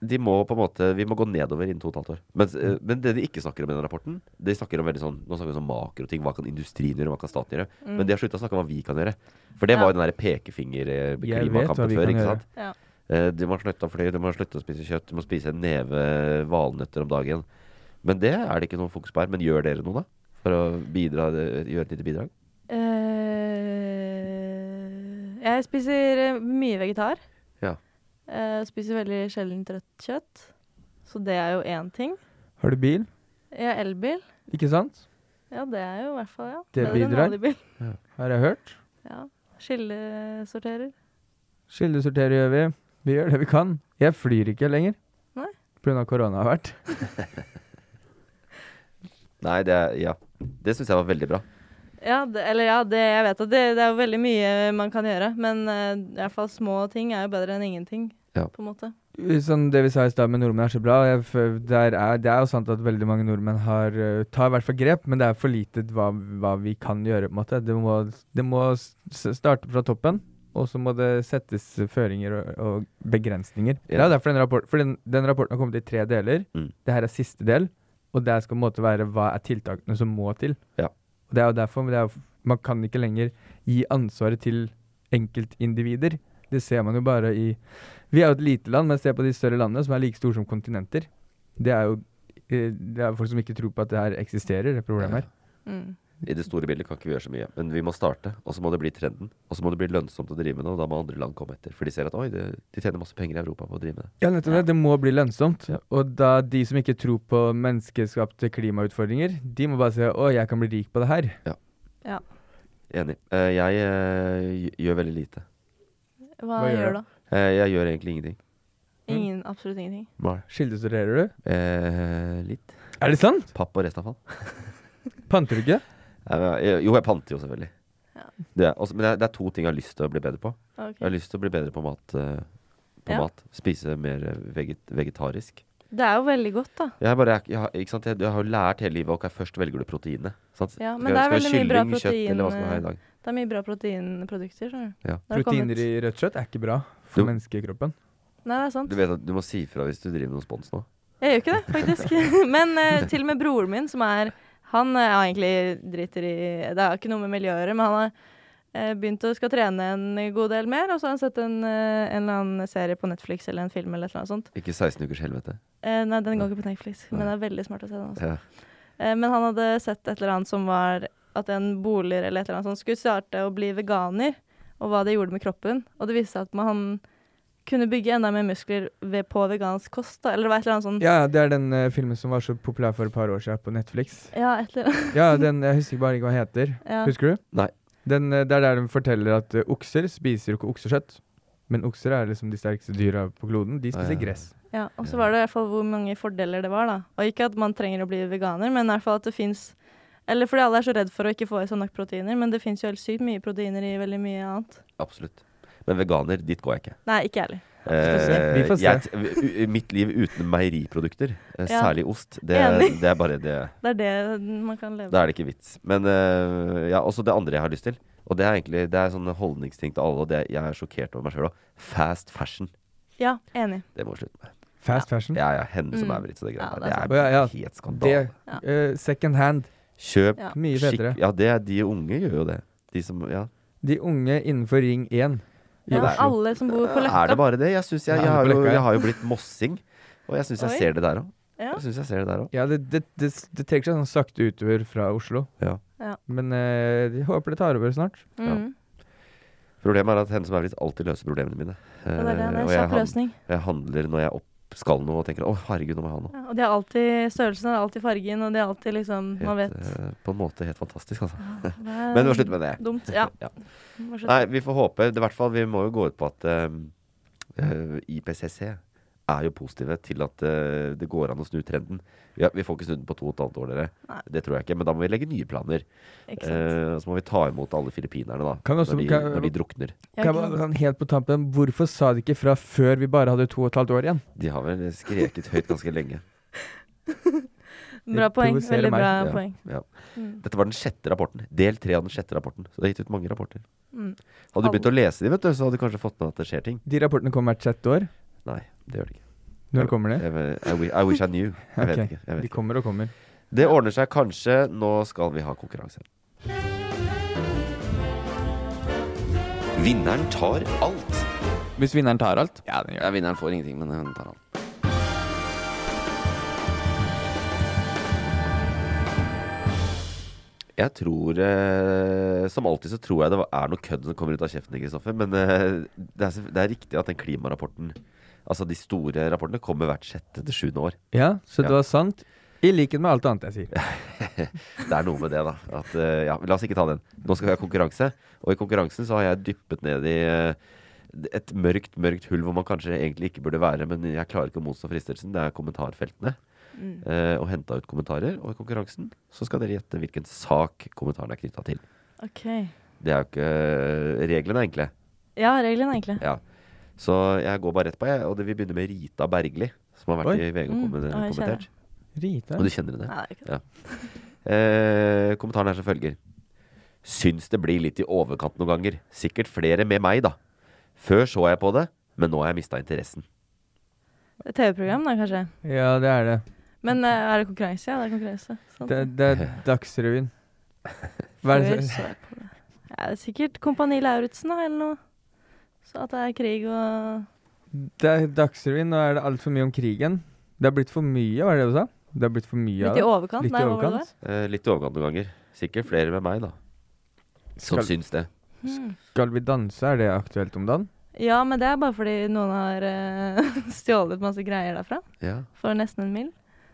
[SPEAKER 1] De må på en måte, Vi må gå nedover innen to og et halvt år. Men,
[SPEAKER 2] Mm.
[SPEAKER 1] eh, men det de ikke snakker om i den rapporten De snakker om veldig sånn, Nå snakker vi om sånn makroting. Hva kan industrien gjøre? Hva kan staten gjøre?
[SPEAKER 2] Mm.
[SPEAKER 1] Men de har slutta å snakke om hva vi kan gjøre. For det
[SPEAKER 4] Ja.
[SPEAKER 1] var jo den der
[SPEAKER 2] Jeg vet hva
[SPEAKER 1] pekefinger-klimakampen
[SPEAKER 2] vi
[SPEAKER 1] før.
[SPEAKER 2] kan
[SPEAKER 1] ikke
[SPEAKER 2] gjøre.
[SPEAKER 1] sant? Eh, Du må slutte å fly, du må slutte å spise kjøtt, du må spise en neve valnøtter om dagen. Men det er det ikke noe fokus på her. Men gjør dere noe, da? For å bidra, gjøre et lite bidrag?
[SPEAKER 4] Eh, jeg spiser eh, mye vegetar.
[SPEAKER 1] Ja.
[SPEAKER 4] Eh, spiser veldig sjelden rødt kjøtt. Så det er jo én ting.
[SPEAKER 2] Har du bil?
[SPEAKER 4] Jeg har elbil.
[SPEAKER 2] Ikke sant?
[SPEAKER 4] Ja, det er jo i hvert fall ja.
[SPEAKER 2] Det
[SPEAKER 4] bedre enn
[SPEAKER 2] bidrar.
[SPEAKER 4] vanlig bil.
[SPEAKER 2] Har jeg hørt.
[SPEAKER 4] Ja. Skillesorterer.
[SPEAKER 2] Kildesorterer gjør vi. Vi gjør det vi kan. Jeg flyr ikke lenger.
[SPEAKER 4] Nei.
[SPEAKER 2] Pga. korona har vært.
[SPEAKER 1] Nei, det er- Ja. Det syns jeg var veldig bra.
[SPEAKER 4] Ja, det, eller ja, det, jeg vet at det, det er jo veldig mye man kan gjøre, men eh, i hvert fall små ting er jo bedre enn ingenting,
[SPEAKER 1] Ja.
[SPEAKER 4] på en måte.
[SPEAKER 2] Sånn det vi sa i stad med nordmenn er så bra. Jeg, f- der er, det er jo sant at veldig mange nordmenn har, eh, tar i hvert fall grep, men det er for lite hva, hva vi kan gjøre. på en måte. Det må, det må s- starte fra toppen, og så må det settes føringer og, og begrensninger. Det
[SPEAKER 1] Ja.
[SPEAKER 2] er derfor den, rapport, for den, den rapporten har kommet i tre deler.
[SPEAKER 1] Mm.
[SPEAKER 2] Det her er siste del, og der skal på en måte være hva er tiltakene som må til.
[SPEAKER 1] Ja.
[SPEAKER 2] Og det er jo derfor men det er, jo f- man kan ikke lenger gi ansvaret til enkeltindivider. Det ser man jo bare i Vi er jo et lite land, men se på de større landene som er like store som kontinenter. Det er jo eh, det er folk som ikke tror på at det her eksisterer, det problemet her.
[SPEAKER 4] Mm.
[SPEAKER 1] I det store bildet kan ikke vi gjøre så mye, men vi må starte. Og så må det bli trenden. Og så må det bli lønnsomt å drive med det, og da må andre land komme etter. For de ser at oi, det, de tjener masse penger i Europa på å drive med det.
[SPEAKER 2] Ja, nettopp det. Det må bli lønnsomt.
[SPEAKER 1] Ja.
[SPEAKER 2] Og da de som ikke tror på menneskeskapte klimautfordringer, de må bare se å, jeg kan bli rik på det her.
[SPEAKER 1] Enig. Eh, Jeg eh, gjør veldig lite.
[SPEAKER 4] Hva,
[SPEAKER 2] gjør
[SPEAKER 4] gjør
[SPEAKER 2] du? Mm.
[SPEAKER 4] du da?
[SPEAKER 1] Eh, Jeg gjør egentlig ingenting.
[SPEAKER 4] Ingen, absolutt ingenting.
[SPEAKER 2] Kildesorterer du?
[SPEAKER 1] Eh, Litt.
[SPEAKER 2] Er det sant?
[SPEAKER 1] Papp og restavfall.
[SPEAKER 2] Panter du ikke?
[SPEAKER 1] Nei, men jeg- Jo, jeg panter jo selvfølgelig.
[SPEAKER 4] Ja.
[SPEAKER 1] Det er, også, men det er, det er to ting jeg har lyst til å bli bedre på.
[SPEAKER 4] Ok.
[SPEAKER 1] Jeg har lyst til å bli bedre på mat. eh, på
[SPEAKER 4] Ja.
[SPEAKER 1] mat. Spise mer eh, veget, vegetarisk.
[SPEAKER 4] Det er jo veldig godt, da.
[SPEAKER 1] Jeg, bare, jeg, har- ikke sant? Jeg, jeg har jo lært hele livet ok, først velger du proteinet. Sant?
[SPEAKER 4] Ja,
[SPEAKER 1] Skal-
[SPEAKER 4] men det er
[SPEAKER 1] skal jeg
[SPEAKER 4] veldig
[SPEAKER 1] kylling,
[SPEAKER 4] mye bra
[SPEAKER 1] kjøtt
[SPEAKER 4] protein, eh,
[SPEAKER 1] eller hva skal man ha i dag.
[SPEAKER 4] Det er mye bra proteinprodukter. skjønner du.
[SPEAKER 1] Ja.
[SPEAKER 4] Det har kommet-
[SPEAKER 2] Proteiner i rødt kjøtt er ikke bra for
[SPEAKER 1] Jo.
[SPEAKER 2] menneskekroppen.
[SPEAKER 4] Nei, det er sant.
[SPEAKER 1] Du vet at du må si fra hvis du driver med noe spons nå.
[SPEAKER 4] Jeg gjør ikke det, faktisk. Men eh, til og med broren min, som er Han eh, ja, egentlig driter i Det er ikke noe med miljøet, men han har eh, begynt å skal trene en god del mer. Og så har han sett en, eh, en eller annen serie på Netflix eller en film eller noe sånt.
[SPEAKER 1] Ikke 16 ukers helvete.
[SPEAKER 4] Eh, nei, den går ikke på Netflix, men det er veldig smart å se den også.
[SPEAKER 1] Ja.
[SPEAKER 4] Eh, men han hadde sett et eller annet som var at en boliger eller et eller annet sånt skulle starte å bli veganer, og hva det gjorde med kroppen. Og det viste seg at man, han kunne bygge enda mer muskler ved, på vegansk kost, da. Eller det var et eller annet sånt.
[SPEAKER 2] Ja, det er den eh, filmen som var så populær for et par år siden på Netflix.
[SPEAKER 4] Ja, et eller annet.
[SPEAKER 2] Ja, den, jeg husker bare ikke hva den heter.
[SPEAKER 4] Ja.
[SPEAKER 2] Husker du?
[SPEAKER 1] Nei.
[SPEAKER 2] Den, eh, det er der de forteller at eh, okser spiser jo ikke oksekjøtt. Men okser er liksom de sterkeste dyra på kloden. De
[SPEAKER 1] Ah,
[SPEAKER 2] spiser
[SPEAKER 1] Ja.
[SPEAKER 2] gress.
[SPEAKER 4] Ja, og så var det i hvert fall hvor mange fordeler det var, da. Og ikke at man trenger å bli veganer, men i hvert fall at det fins Eller fordi alle er så redd for å ikke få i seg nok proteiner, men det fins jo helt sykt mye proteiner i veldig mye annet.
[SPEAKER 1] Absolutt. Men veganer, dit går jeg ikke.
[SPEAKER 4] Nei, ikke jeg heller.
[SPEAKER 2] se. Vi får se.
[SPEAKER 1] jeg, u- u- mitt liv uten meieriprodukter, eh,
[SPEAKER 4] Ja.
[SPEAKER 1] særlig ost, det,
[SPEAKER 4] Enig.
[SPEAKER 1] det er bare det
[SPEAKER 4] Det er det man kan leve
[SPEAKER 1] Da er det ikke vits. Men eh, ja, også det andre jeg har lyst til, og det er egentlig det er sånne holdningsting til alle, og det jeg er sjokkert over meg sjøl òg. Fast fashion.
[SPEAKER 4] Ja, enig.
[SPEAKER 1] Det må vi slutte med.
[SPEAKER 2] Fast fashion.
[SPEAKER 1] Ja, ja, henne som
[SPEAKER 4] Mm.
[SPEAKER 1] er vridd, så det
[SPEAKER 4] Ja,
[SPEAKER 1] greiene
[SPEAKER 4] det er
[SPEAKER 1] der.
[SPEAKER 2] sant.
[SPEAKER 1] Det
[SPEAKER 2] Å,
[SPEAKER 1] er
[SPEAKER 2] ja, ja.
[SPEAKER 1] helt
[SPEAKER 2] Det,
[SPEAKER 1] skandale.
[SPEAKER 4] Ja.
[SPEAKER 2] eh, second hand.
[SPEAKER 1] Kjøp
[SPEAKER 4] Ja.
[SPEAKER 2] Mye
[SPEAKER 1] skikk...
[SPEAKER 2] federe.
[SPEAKER 1] Ja, det er de unge gjør jo det. De som Ja.
[SPEAKER 2] De unge innenfor Ring 1 i
[SPEAKER 4] Ja,
[SPEAKER 2] Oslo.
[SPEAKER 4] alle som bor på
[SPEAKER 1] Er det
[SPEAKER 4] Løkka.
[SPEAKER 1] bare det? Jeg syns jeg,
[SPEAKER 2] Ja,
[SPEAKER 1] jeg, har
[SPEAKER 2] det er
[SPEAKER 1] jo,
[SPEAKER 2] blekka, ja.
[SPEAKER 1] jeg har jo blitt mossing, og jeg syns jeg
[SPEAKER 4] Oi.
[SPEAKER 1] ser det der òg.
[SPEAKER 4] Ja.
[SPEAKER 1] Jeg syns jeg ser det der òg.
[SPEAKER 2] Ja, det, det, det, det trekker seg sånn sakte utover fra Oslo.
[SPEAKER 1] Ja.
[SPEAKER 4] Ja.
[SPEAKER 2] Men eh, jeg håper det tar over snart.
[SPEAKER 4] Mm.
[SPEAKER 1] Problemet er at henne som er blitt, alltid løser problemene mine.
[SPEAKER 4] Og det er det,
[SPEAKER 1] Eh,
[SPEAKER 4] det er
[SPEAKER 1] og
[SPEAKER 4] en
[SPEAKER 1] jeg,
[SPEAKER 4] kjapp
[SPEAKER 1] han,
[SPEAKER 4] løsning.
[SPEAKER 1] jeg handler når jeg opp skal noe og tenker 'Å, herregud, nå må jeg ha noe'.
[SPEAKER 4] Ja, og de har alltid størrelsen, og de har alltid fargen, og de har alltid liksom Man vet.
[SPEAKER 1] Helt, eh, på en måte helt fantastisk, altså.
[SPEAKER 4] hva er
[SPEAKER 1] Men vi må slutte med det.
[SPEAKER 4] Dumt. Ja.
[SPEAKER 1] Ja.
[SPEAKER 4] Må slutte.
[SPEAKER 1] Nei, vi får håpe. Det, er i hvert fall, vi må jo gå ut på at eh, eh, IPCC er jo positive til at eh, det går an å snu trenden. Ja, vi får ikke snudd den på to og et halvt år, dere.
[SPEAKER 4] Nei.
[SPEAKER 1] Det tror jeg ikke. Men da må vi legge nye planer.
[SPEAKER 4] Ikke sant.
[SPEAKER 1] Eh, og så må vi ta imot alle filippinerne, da.
[SPEAKER 2] Kan vi også-
[SPEAKER 1] når, de,
[SPEAKER 2] kan-
[SPEAKER 1] når de drukner.
[SPEAKER 4] Ja,
[SPEAKER 2] Kan jeg
[SPEAKER 4] ikke
[SPEAKER 2] bare,
[SPEAKER 4] sant.
[SPEAKER 2] sånn helt på tampen, hvorfor sa de ikke fra før vi bare hadde to og et halvt år igjen?
[SPEAKER 1] De har vel skreket høyt ganske lenge.
[SPEAKER 4] Bra poeng.
[SPEAKER 2] provoserer
[SPEAKER 4] Veldig bra
[SPEAKER 2] meg.
[SPEAKER 1] Ja. Ja.
[SPEAKER 4] poeng. Mm.
[SPEAKER 1] Dette var den sjette rapporten. Del tre av den sjette rapporten. Så det har gitt ut mange rapporter.
[SPEAKER 4] Mm.
[SPEAKER 1] Hadde du begynt å lese de, vet du, så hadde du kanskje fått med at det skjer ting.
[SPEAKER 2] De rapportene kommer hvert sjette år.
[SPEAKER 1] Nei, det gjør det ikke.
[SPEAKER 2] Når kommer de?
[SPEAKER 1] Jeg, I, wi- I wish I knew. Jeg vet
[SPEAKER 2] Ok,
[SPEAKER 1] ikke. Jeg vet
[SPEAKER 2] De kommer og kommer.
[SPEAKER 1] Det ordner seg kanskje. Nå skal vi ha konkurranse. Vinneren tar alt.
[SPEAKER 5] Hvis vinneren tar alt?
[SPEAKER 1] Ja, vinneren får ingenting, men hun tar alt. Jeg tror eh, Som alltid så tror jeg det var- er noe kødd som kommer ut av kjeften din, Kristoffer. Men eh, det, er, selvf- det er riktig at den klimarapporten, altså de store rapportene, kommer hvert sjette til sjuende år.
[SPEAKER 2] Ja, så det
[SPEAKER 1] Ja.
[SPEAKER 2] var sant. I likhet med alt annet jeg sier.
[SPEAKER 1] Det er noe med det, da. At, eh, ja, la oss ikke ta den. Nå skal vi ha konkurranse. Og i konkurransen så har jeg dyppet ned i eh, et mørkt, mørkt hull hvor man kanskje egentlig ikke burde være, men jeg klarer ikke å motstå fristelsen. Det er kommentarfeltene.
[SPEAKER 4] Mm.
[SPEAKER 1] eh, og henta ut kommentarer. Og i konkurransen så skal dere gjette hvilken sak kommentaren er knytta til.
[SPEAKER 4] OK.
[SPEAKER 1] Det er jo ikke eh, Reglene er enkle.
[SPEAKER 4] Ja, reglene, egentlig.
[SPEAKER 1] Ja. Så jeg går bare rett på, jeg. Og det vil begynne med Rita Bergli, som har vært
[SPEAKER 2] Oi.
[SPEAKER 1] i VG og
[SPEAKER 4] Mm,
[SPEAKER 1] kommen-
[SPEAKER 4] ja, jeg kjenner
[SPEAKER 1] kommentert.
[SPEAKER 2] Rita?
[SPEAKER 1] Og du kjenner henne?
[SPEAKER 4] Nei, det er ikke det.
[SPEAKER 1] Eh, kommentaren er som følger. Syns det blir litt i overkant noen ganger. Sikkert flere med meg, da. Før så jeg på det, men nå har jeg mista interessen.
[SPEAKER 4] Det er TV-program, da, kanskje.
[SPEAKER 2] Ja, det er det.
[SPEAKER 4] Men eh, er det konkurranse? Ja, det er konkurranse. Sant?
[SPEAKER 2] Det, det er Dagsrevyen. Hva er
[SPEAKER 4] Før
[SPEAKER 2] det
[SPEAKER 4] så jeg på det. Ja, det er sikkert Kompani Lauritzen, da, eller noe. Så at det er krig og
[SPEAKER 2] det er Dagsrevyen, nå er det altfor mye om krigen. Det har blitt for mye, var det det du sa? Det har blitt for mye av
[SPEAKER 4] Litt i
[SPEAKER 2] det.
[SPEAKER 4] overkant.
[SPEAKER 2] Litt i
[SPEAKER 4] der, hva var det
[SPEAKER 2] overkant.
[SPEAKER 1] Eh, litt i overkant noen ganger. Sikkert flere med meg, da. Som
[SPEAKER 2] Skal-
[SPEAKER 1] syns det.
[SPEAKER 4] det var? Hmm.
[SPEAKER 2] Skal vi danse, er det aktuelt om dagen?
[SPEAKER 4] Ja, men det er bare fordi noen har eh, stjålet masse greier derfra.
[SPEAKER 1] Ja,
[SPEAKER 4] For nesten en mil.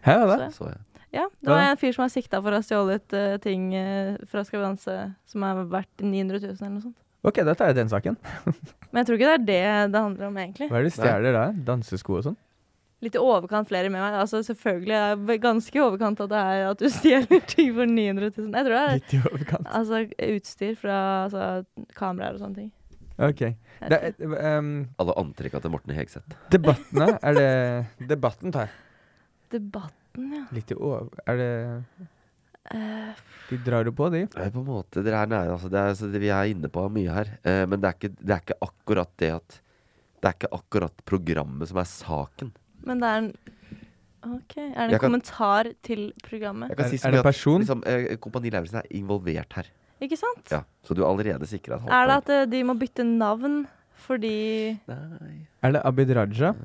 [SPEAKER 2] Hæ, hva da?
[SPEAKER 1] så
[SPEAKER 4] Så,
[SPEAKER 1] jeg.
[SPEAKER 4] ja, det var
[SPEAKER 2] Ja.
[SPEAKER 4] en fyr som er sikta for å ha stjålet eh, ting eh, fra Skal vi danse som er verdt 900 000 eller noe sånt.
[SPEAKER 2] Ok, da tar jeg den saken.
[SPEAKER 4] Men jeg tror ikke det er det det handler om, egentlig.
[SPEAKER 2] Hva er det de stjeler da? Dansesko og sånn?
[SPEAKER 4] Litt i overkant flere med meg. Altså Selvfølgelig er det ganske i overkant at det er at du stjeler ting for 900 000. Jeg tror det er
[SPEAKER 2] Litt i overkant.
[SPEAKER 4] altså, utstyr fra altså, kameraer og sånne ting.
[SPEAKER 2] Ok.
[SPEAKER 4] Jeg
[SPEAKER 2] Det
[SPEAKER 4] vet
[SPEAKER 2] er, eh, em,
[SPEAKER 1] Alle antrekka til Morten Hegseth.
[SPEAKER 2] debattene, er det Debatten tar jeg.
[SPEAKER 4] Debatten, ja.
[SPEAKER 2] Litt i over... Er det
[SPEAKER 4] Eh,
[SPEAKER 2] De drar jo på, de.
[SPEAKER 1] Nei, på en måte, dere er nære, altså. Det er, altså, det, vi er inne på mye her. Eh, men det er, ikke, det er ikke akkurat det at Det er ikke akkurat programmet som er saken.
[SPEAKER 4] men det er en OK. Er det en
[SPEAKER 1] Jeg kan-
[SPEAKER 4] kommentar til programmet?
[SPEAKER 1] Jeg kan
[SPEAKER 2] Er-
[SPEAKER 1] si så
[SPEAKER 2] er
[SPEAKER 1] mye
[SPEAKER 2] det en person?
[SPEAKER 1] At, liksom, eh, Kompani Lauritzen er involvert her.
[SPEAKER 4] Ikke sant?
[SPEAKER 1] Ja, så du er allerede sikra et
[SPEAKER 4] Er det
[SPEAKER 1] halvt
[SPEAKER 4] at eh, de må bytte navn fordi
[SPEAKER 1] Nei.
[SPEAKER 2] Er det Abid Raja?
[SPEAKER 1] Eh.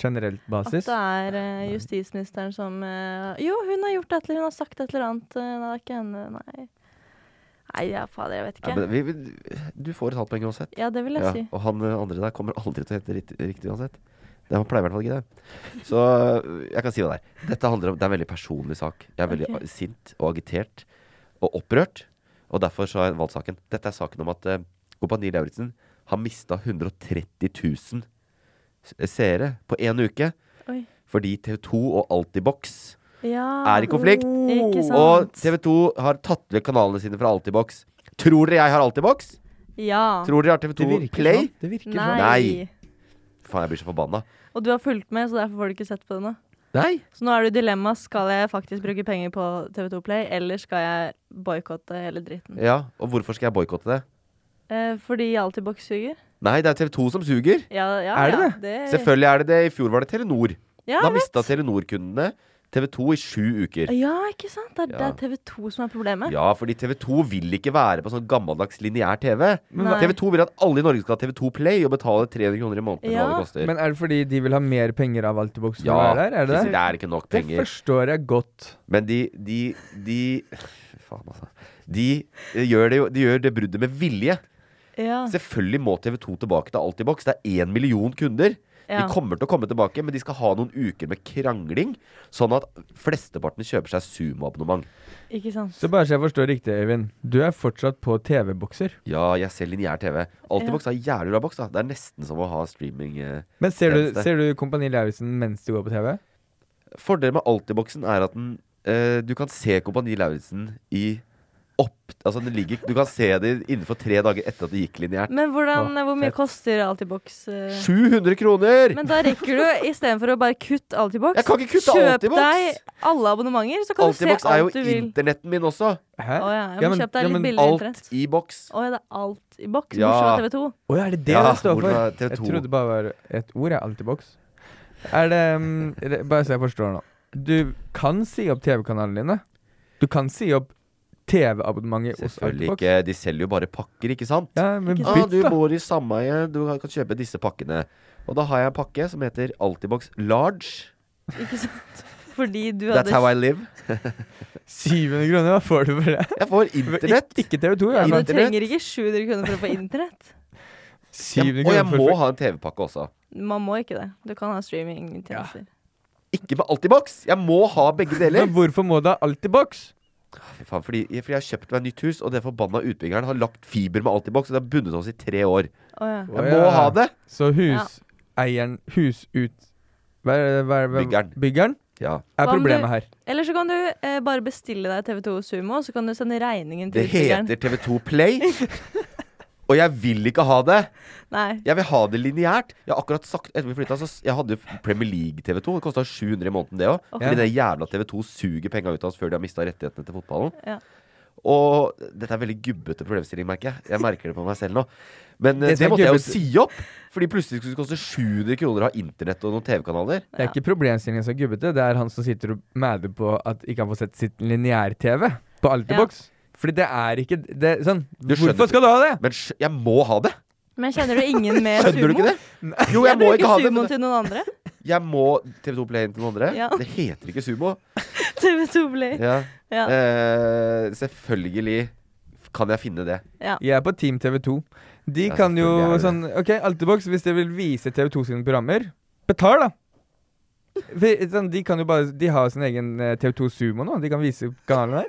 [SPEAKER 2] Generelt
[SPEAKER 4] at
[SPEAKER 2] basis?
[SPEAKER 4] det er eh, justisministeren som eh, Jo, hun har gjort et eller hun har sagt et eller annet. eh, Nei, det er ikke henne. Nei, Nei ja, fader, jeg vet
[SPEAKER 1] Nei,
[SPEAKER 4] ikke.
[SPEAKER 1] men vi, vi, du får et halvt poeng uansett.
[SPEAKER 4] Ja, det vil jeg
[SPEAKER 1] Ja,
[SPEAKER 4] si.
[SPEAKER 1] og han eh, andre der kommer aldri til å hete riktig, riktig uansett. Det han pleier i hvert fall ikke det. Så eh, jeg kan si det der. Dette handler om, det er en veldig personlig sak. Jeg er veldig
[SPEAKER 4] Ok.
[SPEAKER 1] a- sint og agitert og opprørt. Og derfor så har jeg valgt saken. Dette er saken om at eh, Kompani Lauritzen har mista 130 000 s- seere på én uke
[SPEAKER 4] Oi.
[SPEAKER 1] fordi TV2 og Altibox
[SPEAKER 4] Ja.
[SPEAKER 1] er i konflikt.
[SPEAKER 4] Ikke sant.
[SPEAKER 1] Og TV2 har tatt vekk kanalene sine fra Altibox. Tror dere jeg har Altibox?
[SPEAKER 4] Ja.
[SPEAKER 1] Tror dere jeg har TV2 Play?
[SPEAKER 2] sånn. Det virker
[SPEAKER 4] Nei.
[SPEAKER 2] sånn.
[SPEAKER 1] Nei. Faen, jeg blir så forbanna.
[SPEAKER 4] Og du har fulgt med, så derfor får du ikke sett på det nå.
[SPEAKER 1] Nei.
[SPEAKER 4] Så nå er det jo dilemma. Skal jeg faktisk bruke penger på TV2 Play, eller skal jeg boikotte hele dritten?
[SPEAKER 1] Ja, og hvorfor skal jeg boikotte det?
[SPEAKER 4] Eh, fordi Altibox suger?
[SPEAKER 1] Nei, det er TV2 som suger.
[SPEAKER 4] Ja, ja,
[SPEAKER 2] Er det
[SPEAKER 4] ja,
[SPEAKER 2] det?
[SPEAKER 1] Selvfølgelig er det det. I fjor var det Telenor.
[SPEAKER 4] Ja,
[SPEAKER 1] da
[SPEAKER 4] jeg vet.
[SPEAKER 1] mista Telenor-kundene TV2 i sju uker.
[SPEAKER 4] ja, ikke sant? Det er, det
[SPEAKER 1] Ja.
[SPEAKER 4] er TV2 som er problemet.
[SPEAKER 1] Ja, fordi TV2 vil ikke være på sånn gammeldags lineær TV.
[SPEAKER 4] Men hva-
[SPEAKER 1] TV2 vil at alle i Norge skal ha TV2 Play og betale 300 kroner i måneden. Ja.
[SPEAKER 4] Ja.
[SPEAKER 1] Hva det koster.
[SPEAKER 2] Men er det fordi de vil ha mer penger av Altibox?
[SPEAKER 1] ja,
[SPEAKER 2] Ja, er det
[SPEAKER 1] Kristin,
[SPEAKER 2] det?
[SPEAKER 1] det er ikke nok
[SPEAKER 2] Det
[SPEAKER 1] penger.
[SPEAKER 2] forstår jeg godt.
[SPEAKER 1] Men de, de, de Faen, altså. De eh, gjør det, jo- de gjør det bruddet med vilje.
[SPEAKER 4] Ja.
[SPEAKER 1] Selvfølgelig må TV2 tilbake til Altibox. Det er én million kunder.
[SPEAKER 4] Ja.
[SPEAKER 1] De kommer til å komme tilbake, men de skal ha noen uker med krangling, sånn at flesteparten kjøper seg Sumo-abonnement.
[SPEAKER 4] Ikke sant?
[SPEAKER 2] Så bare så jeg forstår riktig, Øyvind. Du er fortsatt på TV-bokser.
[SPEAKER 1] Ja, jeg ser lineær TV. Altibox er jævlig bra boks, da. Det er nesten som å ha streaming. eh.
[SPEAKER 2] Men ser du,
[SPEAKER 1] Eneste.
[SPEAKER 2] ser du Kompani Lauritzen mens du går på TV?
[SPEAKER 1] Fordelen med Altiboxen er at den, eh, du kan se Kompani Lauritzen i opp... Altså, den ligger, du kan se det innenfor tre dager etter at det gikk lineært.
[SPEAKER 4] Men hvordan, hvor mye
[SPEAKER 2] fett.
[SPEAKER 4] koster Altibox? eh?
[SPEAKER 1] 700 kroner!
[SPEAKER 4] Men da rekker du, istedenfor å bare kutte Altibox,
[SPEAKER 1] Jeg kan ikke kutte
[SPEAKER 4] kjøp
[SPEAKER 1] Altibox!
[SPEAKER 4] deg alle abonnementer, så kan
[SPEAKER 1] Altibox
[SPEAKER 4] du se
[SPEAKER 1] er jo
[SPEAKER 4] alt du vil.
[SPEAKER 1] internetten min også.
[SPEAKER 2] Hæ?
[SPEAKER 4] Å ja, jeg
[SPEAKER 2] Ja,
[SPEAKER 4] må
[SPEAKER 2] men-
[SPEAKER 4] kjøpe deg
[SPEAKER 2] ja, men
[SPEAKER 4] litt billigere
[SPEAKER 1] Alt
[SPEAKER 4] internett.
[SPEAKER 1] i boks.
[SPEAKER 4] Å ja, det er alt i boks,
[SPEAKER 1] Ja.
[SPEAKER 4] bortsett fra TV2.
[SPEAKER 2] Å ja, er det det
[SPEAKER 1] Ja,
[SPEAKER 2] det står
[SPEAKER 1] hvor
[SPEAKER 2] for?
[SPEAKER 1] var TV2?
[SPEAKER 2] Jeg trodde det bare var et ord, jeg. Altibox. Er det mm, er det- Bare så jeg forstår nå. Du kan si opp TV-kanalene dine. Du kan si opp TV-abonnementet hos
[SPEAKER 1] Selvfølgelig
[SPEAKER 2] Altibox.
[SPEAKER 1] ikke. De selger jo bare pakker, ikke sant?
[SPEAKER 2] Ja, men
[SPEAKER 4] Ikke
[SPEAKER 1] Ah,
[SPEAKER 2] bytt,
[SPEAKER 1] du
[SPEAKER 2] da.
[SPEAKER 1] bor i sameie, du kan kjøpe disse pakkene. Og da har jeg en pakke som heter Altibox Large.
[SPEAKER 4] Ikke sant? Fordi du
[SPEAKER 1] That's
[SPEAKER 4] hadde
[SPEAKER 1] how I live.
[SPEAKER 2] 700 kroner, hva får du for det?
[SPEAKER 1] Jeg får internett.
[SPEAKER 2] Ikke TV2, i
[SPEAKER 4] ja,
[SPEAKER 2] hvert
[SPEAKER 4] men
[SPEAKER 2] fall.
[SPEAKER 4] Du trenger ikke 700 kroner for å få internett.
[SPEAKER 1] Jeg,
[SPEAKER 2] 700
[SPEAKER 1] og jeg
[SPEAKER 2] kroner
[SPEAKER 1] må
[SPEAKER 2] for
[SPEAKER 1] ha en TV-pakke også.
[SPEAKER 4] Man må ikke det. Du kan ha streamingtjenester.
[SPEAKER 1] Ikke med Altibox! Jeg må ha begge deler.
[SPEAKER 2] Men hvorfor må du ha Altibox?
[SPEAKER 1] Fy faen, fordi, fordi jeg har kjøpt meg nytt hus, og den forbanna utbyggeren har lagt fiber med Altibox, og det har bundet oss i tre år.
[SPEAKER 4] Å ja.
[SPEAKER 2] Å,
[SPEAKER 1] Jeg
[SPEAKER 2] ja.
[SPEAKER 1] må ha det!
[SPEAKER 2] Så huseieren Husut... Hva er det? Hva er det?
[SPEAKER 1] Byggeren.
[SPEAKER 2] Byggeren
[SPEAKER 1] Ja.
[SPEAKER 2] er
[SPEAKER 4] Hva om
[SPEAKER 2] problemet
[SPEAKER 4] du-
[SPEAKER 2] her.
[SPEAKER 4] Eller så kan du eh, bare bestille deg TV2 Sumo, så kan du sende regningen
[SPEAKER 1] Det
[SPEAKER 4] til utbyggeren.
[SPEAKER 1] heter TV2 Play. Og jeg vil ikke ha det!
[SPEAKER 4] Nei.
[SPEAKER 1] Jeg vil ha det lineært. Jeg har akkurat sagt Etter vi flytta, så s- Jeg hadde jo Premier League TV2. Det kosta 700 i måneden, det òg. Fordi det jævla TV2 suger penga ut av oss før de har mista rettighetene til fotballen.
[SPEAKER 4] Ja.
[SPEAKER 1] Og dette er veldig gubbete problemstilling, merker jeg. Jeg merker det på meg selv nå. Men eh,
[SPEAKER 2] Det
[SPEAKER 1] det,
[SPEAKER 2] som er
[SPEAKER 1] måtte jeg jo
[SPEAKER 2] gubbete-
[SPEAKER 1] si opp! Fordi plutselig skulle det koste 700 kroner å ha internett og noen TV-kanaler.
[SPEAKER 2] Det er ikke problemstillingen som er gubbete, det er han som sitter og mæder på at ikke han får sett sitt lineær-TV på Altibox. Fordi det er ikke det, sånn
[SPEAKER 1] Du skjønner
[SPEAKER 2] Hvorfor skal du ha det?
[SPEAKER 1] Men skj- jeg må ha det!
[SPEAKER 4] Men kjenner du ingen med
[SPEAKER 1] Skjønner du
[SPEAKER 4] sumo?
[SPEAKER 1] ikke det? Jo, jeg må
[SPEAKER 4] bruker
[SPEAKER 1] ikke ha det.
[SPEAKER 4] sumoen
[SPEAKER 1] men
[SPEAKER 4] til noen andre.
[SPEAKER 1] Jeg må TV2 Play inn til noen andre.
[SPEAKER 4] Ja.
[SPEAKER 1] Det heter ikke Sumo.
[SPEAKER 4] TV2 Play.
[SPEAKER 1] Ja.
[SPEAKER 4] Ja.
[SPEAKER 1] Eh, selvfølgelig kan jeg finne det.
[SPEAKER 2] Jeg er på Team TV2. De
[SPEAKER 1] Ja,
[SPEAKER 2] kan jo
[SPEAKER 1] selvfølgelig er du
[SPEAKER 2] sånn OK, Altibox, hvis dere vil vise TV2 sine programmer, betal, da! For, sånn, de kan jo bare De har sin egen eh, TV2 Sumo nå. De kan vise kanalen her.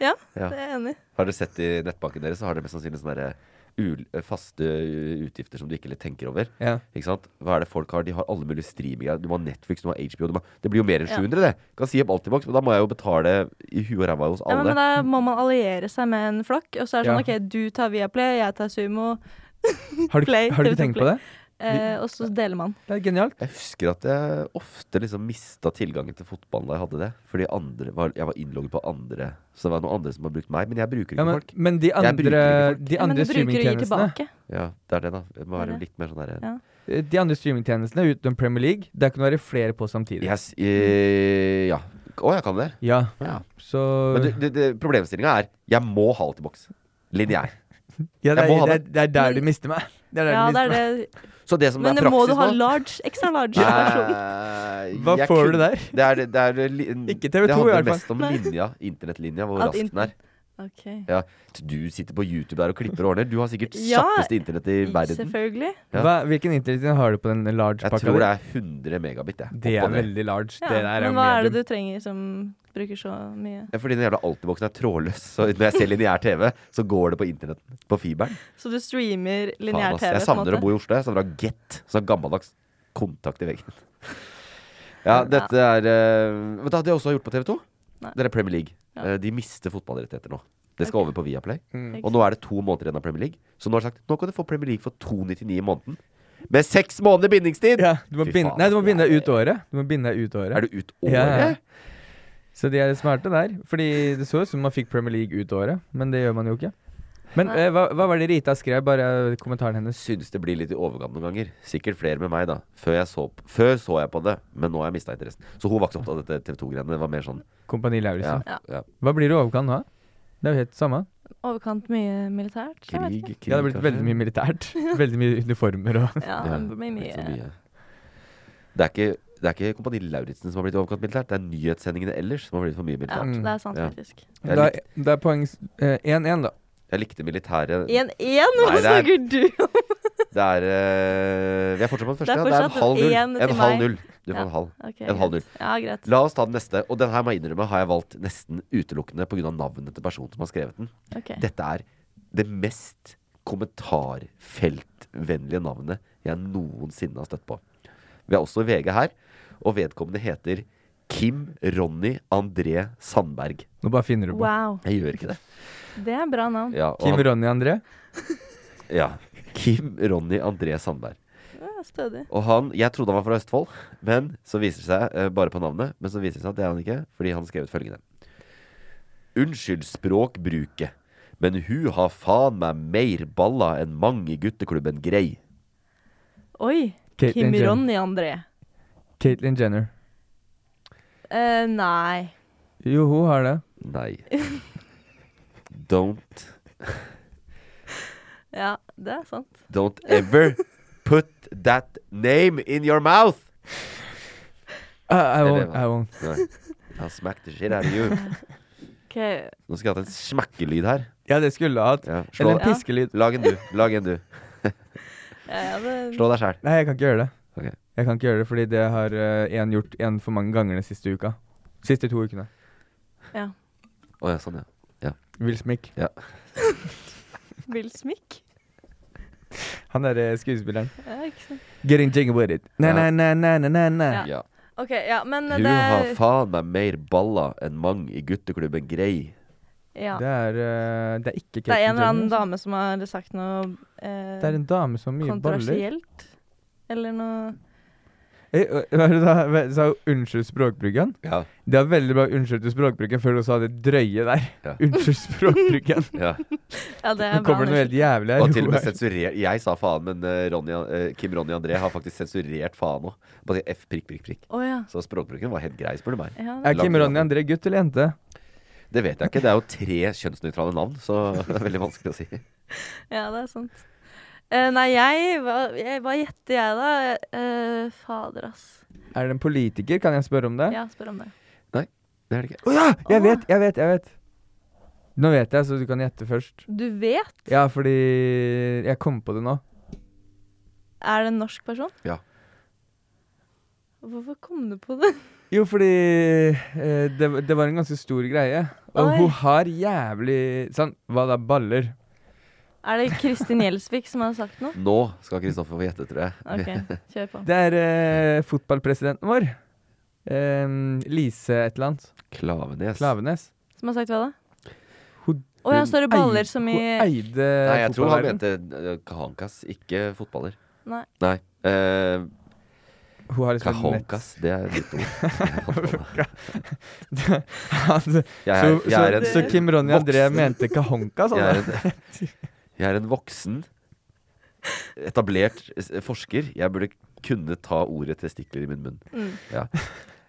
[SPEAKER 4] Ja,
[SPEAKER 1] Ja.
[SPEAKER 4] det er jeg enig i.
[SPEAKER 1] Har dere sett i nettbanken deres, så har dere mest sannsynlig sånne der, ul- faste utgifter som du ikke litt tenker over.
[SPEAKER 2] Ja.
[SPEAKER 1] Ikke sant? Hva er det folk har? De har alle mulige streaminger. Du må ha Netflix, du må ha HBO. Du må... Det blir jo mer enn 700, det. Kan si opp alt i boks, men da må jeg jo betale i huet og ræva hos
[SPEAKER 4] Ja, men
[SPEAKER 1] alle.
[SPEAKER 4] da må man alliere seg med en flokk. Og så er det sånn
[SPEAKER 2] Ja.
[SPEAKER 4] OK, du tar Viaplay, jeg tar Sumo,
[SPEAKER 2] Har du,
[SPEAKER 4] Play,
[SPEAKER 2] har du
[SPEAKER 4] TV2
[SPEAKER 2] ikke tenkt på det?
[SPEAKER 4] Play. eh, og så deler man.
[SPEAKER 2] Det er genialt.
[SPEAKER 1] Jeg husker at jeg ofte liksom mista tilgangen til fotballen da jeg hadde det. Fordi andre var, jeg var innlogget på andre. Så det var noen andre som har brukt meg. Men jeg bruker ikke
[SPEAKER 2] Ja, men,
[SPEAKER 1] folk.
[SPEAKER 2] men de
[SPEAKER 1] bruker
[SPEAKER 2] andre,
[SPEAKER 1] ikke folk.
[SPEAKER 2] de
[SPEAKER 4] Ja, men
[SPEAKER 2] andre
[SPEAKER 4] du bruker og gir
[SPEAKER 2] streamingtjenestene eh,
[SPEAKER 4] tilbake.
[SPEAKER 1] Ja, det er det, da. Det må
[SPEAKER 4] Det er
[SPEAKER 1] være
[SPEAKER 4] det.
[SPEAKER 1] litt mer sånn derre
[SPEAKER 4] Ja.
[SPEAKER 2] De andre streamingtjenestene utenom Premier League, der kan det være flere på samtidig.
[SPEAKER 1] yes, eh, Ja. Å, jeg kan det.
[SPEAKER 2] Ja,
[SPEAKER 1] Ja.
[SPEAKER 2] så
[SPEAKER 1] Men du- du- du- problemstillinga er jeg må ha alt i boks. Lineær.
[SPEAKER 2] ja, det,
[SPEAKER 1] jeg må ha
[SPEAKER 2] er, det, er, det er der du
[SPEAKER 4] Men-
[SPEAKER 2] mister meg. Det er der
[SPEAKER 4] Ja,
[SPEAKER 2] du
[SPEAKER 4] det
[SPEAKER 2] mister
[SPEAKER 4] er
[SPEAKER 2] meg.
[SPEAKER 4] det.
[SPEAKER 1] Så det som
[SPEAKER 4] Men
[SPEAKER 1] er
[SPEAKER 4] det må
[SPEAKER 1] praksis
[SPEAKER 4] du ha
[SPEAKER 1] nå
[SPEAKER 4] large, ekstra large. versjon.
[SPEAKER 1] Nei,
[SPEAKER 2] Hva
[SPEAKER 1] jeg
[SPEAKER 2] får
[SPEAKER 1] kun-
[SPEAKER 2] du der?
[SPEAKER 1] Det er, det er, li-
[SPEAKER 2] Ikke TV2
[SPEAKER 1] det
[SPEAKER 2] i
[SPEAKER 1] handler
[SPEAKER 2] hvert fall.
[SPEAKER 1] mest om
[SPEAKER 4] Nei.
[SPEAKER 1] linja, internettlinja, hvor
[SPEAKER 4] At
[SPEAKER 1] rask den er.
[SPEAKER 4] internett- Ok.
[SPEAKER 1] Ja. Du sitter på YouTube der og klipper og ordner. Du har sikkert
[SPEAKER 4] Ja, mm,
[SPEAKER 1] kjappeste internett i verden.
[SPEAKER 4] Selvfølgelig.
[SPEAKER 1] Ja.
[SPEAKER 2] Hva, hvilken internettlinje har du på den large
[SPEAKER 1] Jeg
[SPEAKER 2] pakka?
[SPEAKER 1] tror det
[SPEAKER 2] di?
[SPEAKER 1] er 100 megabit. Jeg.
[SPEAKER 2] det
[SPEAKER 1] Opp og
[SPEAKER 2] er
[SPEAKER 1] ned.
[SPEAKER 2] veldig large.
[SPEAKER 4] Ja.
[SPEAKER 2] Det der er jo
[SPEAKER 4] Men hva er det
[SPEAKER 2] medium.
[SPEAKER 4] du trenger som bruker så mye?
[SPEAKER 1] Ja, Fordi den jævla Altiboksen er trådløs. Så når jeg ser lineær TV, så går det på internett. På fiberen.
[SPEAKER 4] Så du streamer
[SPEAKER 1] Faen, ass.
[SPEAKER 4] lineær-TV?
[SPEAKER 1] Jeg savner å bo i Oslo. Jeg savner å ha Get. Sånn gammeldags kontakt i veggen. Ja, dette er eh, Vet du hva de også har gjort på TV2?
[SPEAKER 4] Nei.
[SPEAKER 1] Det er Premier League.
[SPEAKER 4] Ja.
[SPEAKER 1] Eh, De mister fotballrettigheter nå. Det skal over på Viaplay.
[SPEAKER 2] Mm.
[SPEAKER 1] Og nå er det to måneder igjen av Premier League. Så nå har jeg sagt nå kan du få Premier League for 2,99 i måneden. Med seks måneder bindingstid!
[SPEAKER 2] altså. Ja, du må
[SPEAKER 1] Fy
[SPEAKER 2] binde,
[SPEAKER 1] faen,
[SPEAKER 2] nei, du må
[SPEAKER 1] ass.
[SPEAKER 2] binde deg ut året. Du må binde deg ut året.
[SPEAKER 1] Er du ut året?
[SPEAKER 2] Ja. Så de er smarte der. Fordi det så ut som man fikk Premier League ut året, men det gjør man jo ikke. Men
[SPEAKER 4] Nei.
[SPEAKER 2] eh, hva, hva var det Rita skrev? Bare kommentaren hennes.
[SPEAKER 1] Syns det blir litt i overgang noen ganger. Sikkert flere med meg, da. Før, jeg så, p- før så jeg på det, men nå har jeg mista interessen. Så hun var ikke så opptatt av dette TV2-greiene. Det var mer sånn
[SPEAKER 2] Kompani
[SPEAKER 1] ja,
[SPEAKER 2] Lauritzen.
[SPEAKER 4] Ja.
[SPEAKER 1] ja.
[SPEAKER 2] Hva blir det i overkant nå? Det er jo helt samme.
[SPEAKER 4] Overkant mye militært? Jeg vet
[SPEAKER 1] Krig,
[SPEAKER 4] ikke.
[SPEAKER 1] krig
[SPEAKER 2] Ja, det har blitt veldig mye militært. Veldig mye uniformer og
[SPEAKER 4] Ja,
[SPEAKER 1] Ja,
[SPEAKER 4] det blir
[SPEAKER 1] Ikke så
[SPEAKER 4] mye.
[SPEAKER 1] mye. Det er ikke, det er ikke Kompani Lauritzen som har blitt i overkant militært, det er nyhetssendingene ellers som har blitt for mye
[SPEAKER 4] Ja,
[SPEAKER 1] militært.
[SPEAKER 2] Mm.
[SPEAKER 4] det er sant,
[SPEAKER 1] Ja.
[SPEAKER 4] faktisk.
[SPEAKER 1] Jeg,
[SPEAKER 2] Da,
[SPEAKER 1] lik,
[SPEAKER 2] da er poeng s- eh, 1-1, da.
[SPEAKER 1] jeg likte militæret
[SPEAKER 4] 1-1, hva
[SPEAKER 1] Nei, det er-
[SPEAKER 4] snakker du om?
[SPEAKER 1] Det er eh, Vi er fortsatt på den
[SPEAKER 4] Det
[SPEAKER 1] første.
[SPEAKER 4] er
[SPEAKER 1] ja. Det er en
[SPEAKER 4] fortsatt
[SPEAKER 1] halv null.
[SPEAKER 4] en til
[SPEAKER 1] En halv
[SPEAKER 4] meg.
[SPEAKER 1] null. Du får
[SPEAKER 4] Ja.
[SPEAKER 1] en halv.
[SPEAKER 4] Ok,
[SPEAKER 1] En halv null.
[SPEAKER 4] greit. Ja, greit.
[SPEAKER 1] La oss ta den neste. Og den her må jeg innrømme har jeg valgt nesten utelukkende pga. navnet til personen som har skrevet den.
[SPEAKER 4] Ok.
[SPEAKER 1] Dette er det mest kommentarfeltvennlige navnet jeg noensinne har støtt på. Vi har også VG her, og vedkommende heter Kim Ronny André Sandberg.
[SPEAKER 2] Nå bare finner du på.
[SPEAKER 4] Wow.
[SPEAKER 1] Jeg gjør ikke det.
[SPEAKER 4] Det er bra navn.
[SPEAKER 1] Ja, og
[SPEAKER 2] Kim
[SPEAKER 1] han,
[SPEAKER 2] Ronny André.
[SPEAKER 1] ja. Kim Ronny André Sandberg.
[SPEAKER 4] Ja, Stødig.
[SPEAKER 1] Og han, Jeg trodde han var fra Østfold, men så viser det seg eh, bare på navnet Men så viser det seg at det er han ikke, fordi han skrev ut følgende. Unnskyld språkbruket, men hun har faen meg mer balla enn mange i gutteklubben grei.
[SPEAKER 4] Oi.
[SPEAKER 2] Caitlyn
[SPEAKER 4] Kim
[SPEAKER 2] Jenner.
[SPEAKER 4] Ronny André.
[SPEAKER 2] Caitlyn Jenner.
[SPEAKER 4] Eh, nei.
[SPEAKER 2] Jo, hun har det.
[SPEAKER 1] Nei. Don't
[SPEAKER 4] Ja, det er sant.
[SPEAKER 1] Don't ever put that name in your mouth!
[SPEAKER 2] I
[SPEAKER 1] Eller-
[SPEAKER 2] won't. I won't.
[SPEAKER 1] Nei. I'll smack the shit out of you.
[SPEAKER 4] OK.
[SPEAKER 1] Nå skulle jeg hatt en smekkelyd her.
[SPEAKER 2] Ja, det skulle jeg hatt.
[SPEAKER 1] Ja, slå,
[SPEAKER 2] Eller en piskelyd.
[SPEAKER 1] Lag en du. Lag en du.
[SPEAKER 4] Ja, ja, det,
[SPEAKER 1] Slå deg sjæl.
[SPEAKER 2] Nei, jeg kan ikke gjøre det.
[SPEAKER 1] Ok.
[SPEAKER 2] Jeg kan ikke gjøre det, fordi det har én gjort en for mange ganger den siste uka. Siste to ukene.
[SPEAKER 4] ja.
[SPEAKER 1] Å ja, sånn, ja.
[SPEAKER 2] Will Smith.
[SPEAKER 4] Will Smith?
[SPEAKER 2] Han derre skuespilleren.
[SPEAKER 4] Ja, ikke sant.
[SPEAKER 2] Getting jingle with it. Na,
[SPEAKER 1] Ja.
[SPEAKER 2] na, na, na, na, na, na.
[SPEAKER 4] Ja.
[SPEAKER 1] ja.
[SPEAKER 4] OK, ja, men eh,
[SPEAKER 1] Hun
[SPEAKER 4] det
[SPEAKER 1] har
[SPEAKER 4] er
[SPEAKER 1] faen meg mer baller enn mange i gutteklubben Grei.
[SPEAKER 4] ja.
[SPEAKER 2] Det er eh, Det er ikke
[SPEAKER 4] Det er en
[SPEAKER 2] Caitlyn
[SPEAKER 4] eller annen
[SPEAKER 2] Jenner.
[SPEAKER 4] dame som har sagt noe eh,
[SPEAKER 2] Det er en dame som har mye baller.
[SPEAKER 4] kontroversielt. Eller noe
[SPEAKER 2] Eh, eh, Hva er det da? Hva- Sa hun unnskyld språkbruken?
[SPEAKER 1] Ja.
[SPEAKER 2] Det er veldig bra unnskyld til språkbruken før hun sa det drøye der.
[SPEAKER 1] Ja.
[SPEAKER 2] Unnskyld språkbruken.
[SPEAKER 1] ja.
[SPEAKER 4] Ja, det er
[SPEAKER 2] Nå kommer det noe helt jævlig her.
[SPEAKER 1] Og til og med
[SPEAKER 2] Joar.
[SPEAKER 1] sensurer Jeg sa faen, men eh, Ronny, eh, Kim Ronny André har faktisk sensurert faen òg. Bare F prikk, prikk, prikk.
[SPEAKER 4] Å ja.
[SPEAKER 1] Så språkbruken var helt grei, spør du meg.
[SPEAKER 4] ja det,
[SPEAKER 2] Er Kim Ronny André gutt eller jente?
[SPEAKER 1] Det vet jeg ikke. Det er jo tre kjønnsnøytrale navn, så det er veldig vanskelig å si.
[SPEAKER 4] ja, det er sant. Eh, nei, jeg Hva jeg- hva gjetter jeg, da? Eh, fader, ass.
[SPEAKER 2] Er det en politiker? Kan jeg spørre om det?
[SPEAKER 4] Ja, spør om det.
[SPEAKER 1] Det er det ikke.
[SPEAKER 2] Å ja! Jeg
[SPEAKER 4] Åh.
[SPEAKER 2] vet, jeg vet, jeg vet. Nå vet jeg, så du kan gjette først.
[SPEAKER 4] Du vet?
[SPEAKER 2] Ja, fordi jeg kom på det nå.
[SPEAKER 4] Er det en norsk person?
[SPEAKER 1] Ja.
[SPEAKER 4] Hvorfor kom du på det?
[SPEAKER 2] Jo, fordi eh, det, det var en ganske stor greie. Og
[SPEAKER 4] Oi.
[SPEAKER 2] hun har jævlig Sånn, hva da? Baller.
[SPEAKER 4] Er det Kristin Gjelsvik som har sagt noe?
[SPEAKER 1] Nå skal Kristoffer få gjette, tror jeg.
[SPEAKER 4] OK, kjør på.
[SPEAKER 2] Det er eh, fotballpresidenten vår. Em, Lise et eller annet.
[SPEAKER 1] Klavenes.
[SPEAKER 2] Klavenes.
[SPEAKER 4] Som har sagt hva da?
[SPEAKER 2] Hun-
[SPEAKER 4] Å ja,
[SPEAKER 1] hun
[SPEAKER 4] står det baller som i
[SPEAKER 2] Hun eide
[SPEAKER 1] Nei, jeg tror han
[SPEAKER 2] fotballverden.
[SPEAKER 1] mente eh, Kahankas, ikke fotballer.
[SPEAKER 4] Nei.
[SPEAKER 1] Nei. Eh,
[SPEAKER 2] Hun har liksom et nett.
[SPEAKER 1] Kahonkas, det er ditt ord. Jeg fant på det.
[SPEAKER 2] Altså,
[SPEAKER 1] Jeg
[SPEAKER 2] så,
[SPEAKER 1] er, jeg er
[SPEAKER 2] så,
[SPEAKER 1] en
[SPEAKER 2] så Kim Ronny André
[SPEAKER 1] voksen-
[SPEAKER 2] mente kahonka, sa
[SPEAKER 1] jeg er,
[SPEAKER 2] han.
[SPEAKER 1] en, jeg er en voksen, etablert s- forsker. Jeg burde kunne ta ordet testikler i min munn.
[SPEAKER 4] Mm.
[SPEAKER 1] Ja.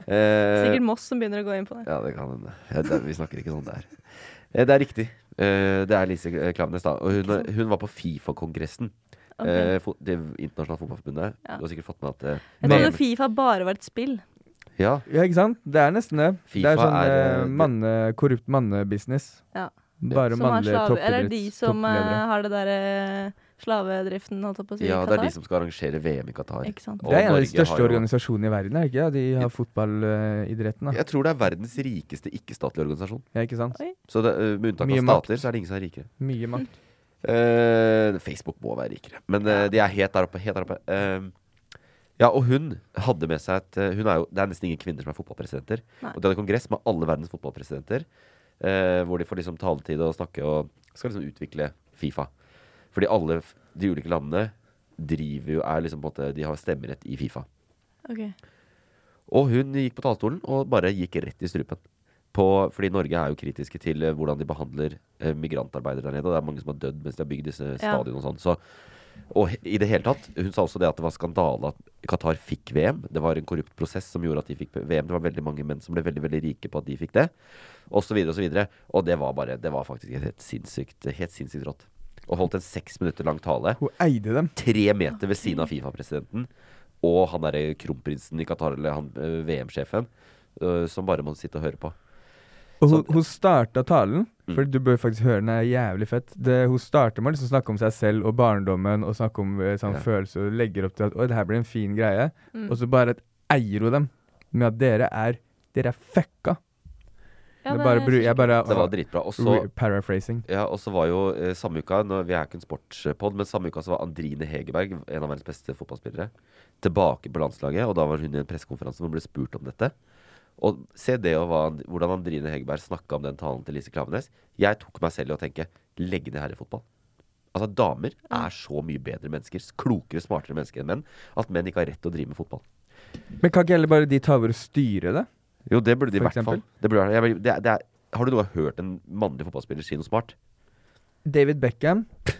[SPEAKER 1] Eh,
[SPEAKER 4] Sikkert Moss som begynner å gå inn på det.
[SPEAKER 1] ja, det kan hende. Ja, det, vi snakker ikke sånn der. Eh, det er riktig. Eh, det er Lise eh, Klaveness, da. Og hun, er- hun var på Fifa-kongressen.
[SPEAKER 4] Ok.
[SPEAKER 1] Eh, fo- det internasjonale fotballforbundet.
[SPEAKER 4] Ja.
[SPEAKER 1] Du har sikkert fått med at eh,
[SPEAKER 4] Jeg
[SPEAKER 1] VM
[SPEAKER 4] trodde Fifa bare var et spill.
[SPEAKER 1] Ja,
[SPEAKER 2] Ja, ikke sant? Det er nesten det. det
[SPEAKER 1] FIFA
[SPEAKER 2] er sånn
[SPEAKER 1] er,
[SPEAKER 2] eh,
[SPEAKER 1] eh,
[SPEAKER 2] manne, korrupt mannebusiness.
[SPEAKER 4] Ja.
[SPEAKER 2] Bare
[SPEAKER 4] Som har
[SPEAKER 2] mannlige
[SPEAKER 4] slave, eller de
[SPEAKER 2] toppidretts-
[SPEAKER 4] som eh,
[SPEAKER 2] toppledere.
[SPEAKER 4] har det derre slavedriften, holdt jeg på å si,
[SPEAKER 1] ja,
[SPEAKER 4] i
[SPEAKER 1] det er
[SPEAKER 4] Qatar.
[SPEAKER 1] de som skal arrangere VM i Qatar.
[SPEAKER 4] Ikke sant.
[SPEAKER 1] Og
[SPEAKER 2] Det er en av
[SPEAKER 1] Norge
[SPEAKER 2] de største
[SPEAKER 1] har jo-
[SPEAKER 2] organisasjonene i verden, er det ikke? Ja, de har fotballidretten, da.
[SPEAKER 1] Jeg tror det er verdens rikeste ikke-statlige organisasjon.
[SPEAKER 2] Ja, ikke sant?
[SPEAKER 1] Så det, eh, Med unntak
[SPEAKER 2] Mye
[SPEAKER 1] av
[SPEAKER 2] makt.
[SPEAKER 1] stater, så er det ingen som er rikere.
[SPEAKER 2] Mye makt.
[SPEAKER 1] Eh, Facebook må være rikere. Men eh, de er helt der oppe. Helt der oppe. Eh, ja, og hun hadde med seg et eh, hun er jo, Det er nesten ingen kvinner som er fotballpresidenter.
[SPEAKER 4] Nei.
[SPEAKER 1] Og de hadde kongress med alle verdens fotballpresidenter. eh, hvor de får liksom taletid og snakke og skal liksom utvikle Fifa. Fordi alle f- de ulike landene driver jo er liksom på en måte De har stemmerett i Fifa.
[SPEAKER 4] Ok.
[SPEAKER 1] Og hun gikk på talerstolen og bare gikk rett i strupen. På, fordi Norge er jo kritiske til eh, hvordan de behandler eh, migrantarbeidere der nede. Og det er mange som har dødd mens de har bygd disse
[SPEAKER 4] Ja.
[SPEAKER 1] stadionene og sånn. Så, og he- i det hele tatt, hun sa også det at det var skandale at Qatar fikk VM. Det var en korrupt prosess som gjorde at de fikk VM. Det var veldig mange menn som ble veldig veldig rike på at de fikk det. Og så videre og så videre. Og det var bare, det var faktisk et helt sinnssykt, helt sinnssykt rått. Og holdt en seks minutter lang tale
[SPEAKER 2] Hun eide dem.
[SPEAKER 1] tre meter ved siden av Fifa-presidenten og han derre kronprinsen i Qatar, eller han eh, VM-sjefen, eh, som bare må sitte og høre på.
[SPEAKER 2] Og hun,
[SPEAKER 1] Sånn.
[SPEAKER 2] hun starta talen,
[SPEAKER 1] Mm.
[SPEAKER 2] for du bør faktisk høre den er jævlig fett. Det, hun starter med å liksom snakke om seg selv og barndommen og snakke om eh, sånn
[SPEAKER 1] Ja.
[SPEAKER 2] følelser og legger opp til at 'oi, det her blir en fin greie',
[SPEAKER 4] Mm.
[SPEAKER 2] og så bare at eier hun dem med at dere er Dere er fucka.
[SPEAKER 4] Ja,
[SPEAKER 2] det bare, bru- jeg bare
[SPEAKER 1] Det var dritbra. Og så
[SPEAKER 2] re- Paraphrasing.
[SPEAKER 1] ja, og så var jo eh, samme uka nå, Vi er jo ikke en sportspod, men samme uka så var Andrine Hegerberg, en av verdens beste fotballspillere, tilbake på landslaget. Og da var hun i en pressekonferanse hvor hun ble spurt om dette. Og se det og hva, hvordan Andrine Hegerberg snakka om den talen til Lise Klavenes. Jeg tok meg selv i å tenke legg ned herrefotball. Altså, damer er så mye bedre mennesker, klokere, smartere mennesker enn menn, at menn ikke har rett til å drive med fotball.
[SPEAKER 2] Men kan ikke heller bare de ta over og styre det?
[SPEAKER 1] Jo, det burde de i
[SPEAKER 2] For
[SPEAKER 1] hvert fall.
[SPEAKER 2] eksempel?
[SPEAKER 1] Det burde, jeg, vil- det, er- det er, har du noe hørt en mannlig fotballspiller si noe smart?
[SPEAKER 2] David Beckham.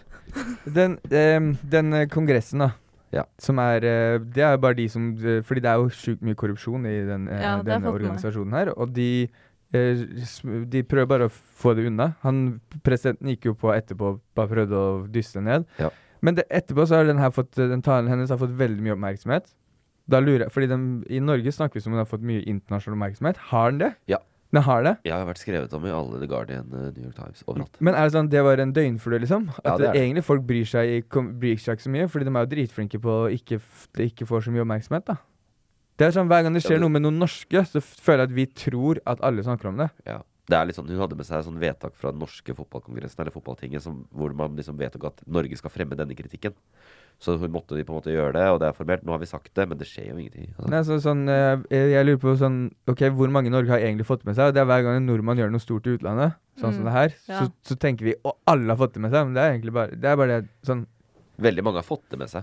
[SPEAKER 2] Den, ehm, den eh, kongressen, da.
[SPEAKER 1] Ja.
[SPEAKER 2] Som er eh, Det er jo bare de som eh, Fordi det er jo sjukt mye korrupsjon i den, eh,
[SPEAKER 4] Ja,
[SPEAKER 2] denne
[SPEAKER 4] det har jeg fått med meg.
[SPEAKER 2] organisasjonen her. Og de eh, sm- De prøver bare å få det unna. Han, presidenten gikk jo på etterpå og bare prøvde å dysse det ned.
[SPEAKER 1] Ja.
[SPEAKER 2] Men det, etterpå så har den, her fått, den talen hennes har fått veldig mye oppmerksomhet. Da lurer jeg, fordi den, I Norge snakker vi som om den har fått mye internasjonal oppmerksomhet. Har den det?
[SPEAKER 1] Ja.
[SPEAKER 2] Den har det?
[SPEAKER 1] Jeg har vært skrevet om i alle The Guardian, eh, New York Times, overalt.
[SPEAKER 2] Men er det sånn det var en døgnflue, liksom?
[SPEAKER 1] Ja,
[SPEAKER 2] At
[SPEAKER 1] det er det.
[SPEAKER 2] egentlig folk bryr seg, i- kom- bryr seg ikke så mye, fordi de er jo dritflinke på å ikke, f- de ikke får så mye oppmerksomhet, da. Det er sånn, Hver gang det
[SPEAKER 1] Ja,
[SPEAKER 2] skjer
[SPEAKER 1] det-
[SPEAKER 2] noe med noen norske, så f- føler jeg at vi tror at alle snakker om det.
[SPEAKER 1] Ja. Det er litt sånn, Hun hadde med seg sånn vedtak fra den norske fotballkongressen Eller fotballtinget som, hvor man liksom vedtok at Norge skal fremme denne kritikken. Så hun måtte de på en måte gjøre det, og det er formelt. Nå har vi sagt det, men det skjer jo ingenting. Altså.
[SPEAKER 2] Nei, så, sånn, eh, jeg lurer på sånn, ok, hvor mange i Norge har egentlig fått det med seg? Og det er hver gang en nordmann gjør noe stort i utlandet, sånn som
[SPEAKER 4] Mm,
[SPEAKER 2] det her,
[SPEAKER 4] ja.
[SPEAKER 2] så, så tenker vi å, alle har fått det med seg. Men det er egentlig bare det. Er bare det sånn,
[SPEAKER 1] Veldig mange har fått det med seg.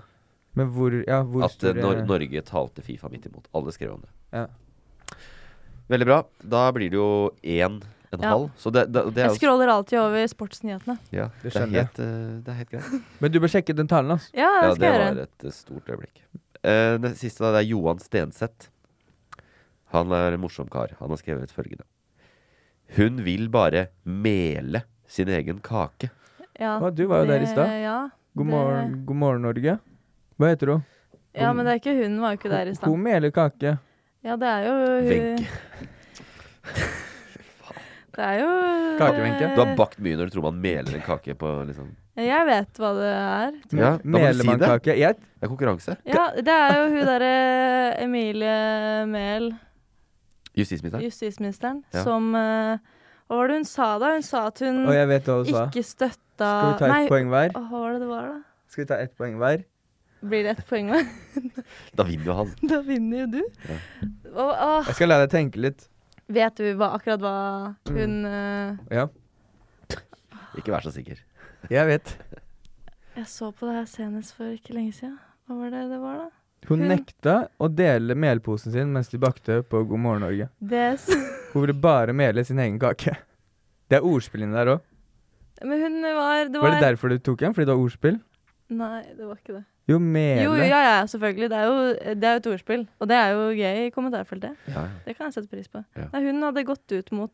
[SPEAKER 2] men hvor, ja, hvor
[SPEAKER 1] At eh,
[SPEAKER 2] stor er-
[SPEAKER 1] Nor Norge talte Fifa midt imot. Alle skrev om det.
[SPEAKER 2] Ja.
[SPEAKER 1] Veldig bra. Da blir det jo én en
[SPEAKER 4] Ja.
[SPEAKER 1] halv. Så det, det, det er
[SPEAKER 2] altså-
[SPEAKER 4] Jeg
[SPEAKER 1] jo
[SPEAKER 4] scroller alltid over sportsnyhetene.
[SPEAKER 1] ja,
[SPEAKER 2] Det
[SPEAKER 1] det, er
[SPEAKER 2] skjønner jeg.
[SPEAKER 1] helt, eh, det er helt greit.
[SPEAKER 2] Men du bør sjekke den talen, altså.
[SPEAKER 4] Ja,
[SPEAKER 1] Ja,
[SPEAKER 4] det
[SPEAKER 1] det
[SPEAKER 4] skal jeg
[SPEAKER 1] var
[SPEAKER 4] gjøre.
[SPEAKER 1] et eh, stort øyeblikk. Eh, det siste da, det er Johan Stenseth. Han er en morsom kar. Han har skrevet følgende. Hun vil bare mele sin egen kake.
[SPEAKER 4] Ja,
[SPEAKER 2] Å, du var jo der i
[SPEAKER 4] det-
[SPEAKER 2] stad.
[SPEAKER 4] Ja.
[SPEAKER 2] God
[SPEAKER 4] det-
[SPEAKER 2] morgen, god morgen, Norge. Hva heter hun?
[SPEAKER 4] ja, men det er ikke hun var jo ikke der i
[SPEAKER 2] Hun
[SPEAKER 4] stad.
[SPEAKER 2] meler kake.
[SPEAKER 4] Ja, det er jo hun
[SPEAKER 1] Wenche.
[SPEAKER 4] Det er jo
[SPEAKER 2] Kakevenke.
[SPEAKER 4] Eh.
[SPEAKER 1] Du har bakt mye når du tror man meler en kake på liksom
[SPEAKER 4] Jeg vet hva det er.
[SPEAKER 1] Ja, da må du si det.
[SPEAKER 2] Melemannskake. Jeg,
[SPEAKER 1] Det er konkurranse.
[SPEAKER 4] Ja, det er jo hun derre Emilie Mehl,
[SPEAKER 1] Justisministeren.
[SPEAKER 4] justisministeren,
[SPEAKER 1] Ja.
[SPEAKER 4] som eh, Hva var det hun sa da? Hun sa at hun
[SPEAKER 2] og jeg vet hva hun sa.
[SPEAKER 4] Mm, ikke støtta
[SPEAKER 2] Skal vi ta
[SPEAKER 4] Nei,
[SPEAKER 2] ett poeng hver?
[SPEAKER 4] Åh, hva var det det var, da?
[SPEAKER 2] Skal vi ta ett poeng hver?
[SPEAKER 4] Blir det ett poeng med?
[SPEAKER 1] Da vinner jo han.
[SPEAKER 4] da vinner jo du. Og, åh,
[SPEAKER 2] Jeg skal la deg tenke litt.
[SPEAKER 4] vet du hva, akkurat hva
[SPEAKER 2] Mm.
[SPEAKER 4] hun eh,
[SPEAKER 2] Ja,
[SPEAKER 1] Ikke vær så sikker.
[SPEAKER 2] jeg vet.
[SPEAKER 4] Jeg så på det her senest for ikke lenge siden. Hva var det det var, da?
[SPEAKER 2] Hun
[SPEAKER 4] Hun-
[SPEAKER 2] nekta å dele melposen sin mens de bakte på God morgen Norge.
[SPEAKER 4] Det s-
[SPEAKER 2] Hun ville bare mele sin egen kake. Det er ordspillene der òg.
[SPEAKER 4] Men hun var Det var,
[SPEAKER 2] Var det derfor du tok en? Fordi det var ordspill?
[SPEAKER 4] Nei, det var ikke det.
[SPEAKER 2] Jo,
[SPEAKER 4] Jo, jo,
[SPEAKER 2] mele.
[SPEAKER 4] ja, ja, selvfølgelig. Det er jo det er jo et ordspill. Og det er jo gøy i kommentarfeltet.
[SPEAKER 1] Ja, ja.
[SPEAKER 4] Det kan jeg sette pris på.
[SPEAKER 1] Ja.
[SPEAKER 4] Nei, hun hadde gått ut mot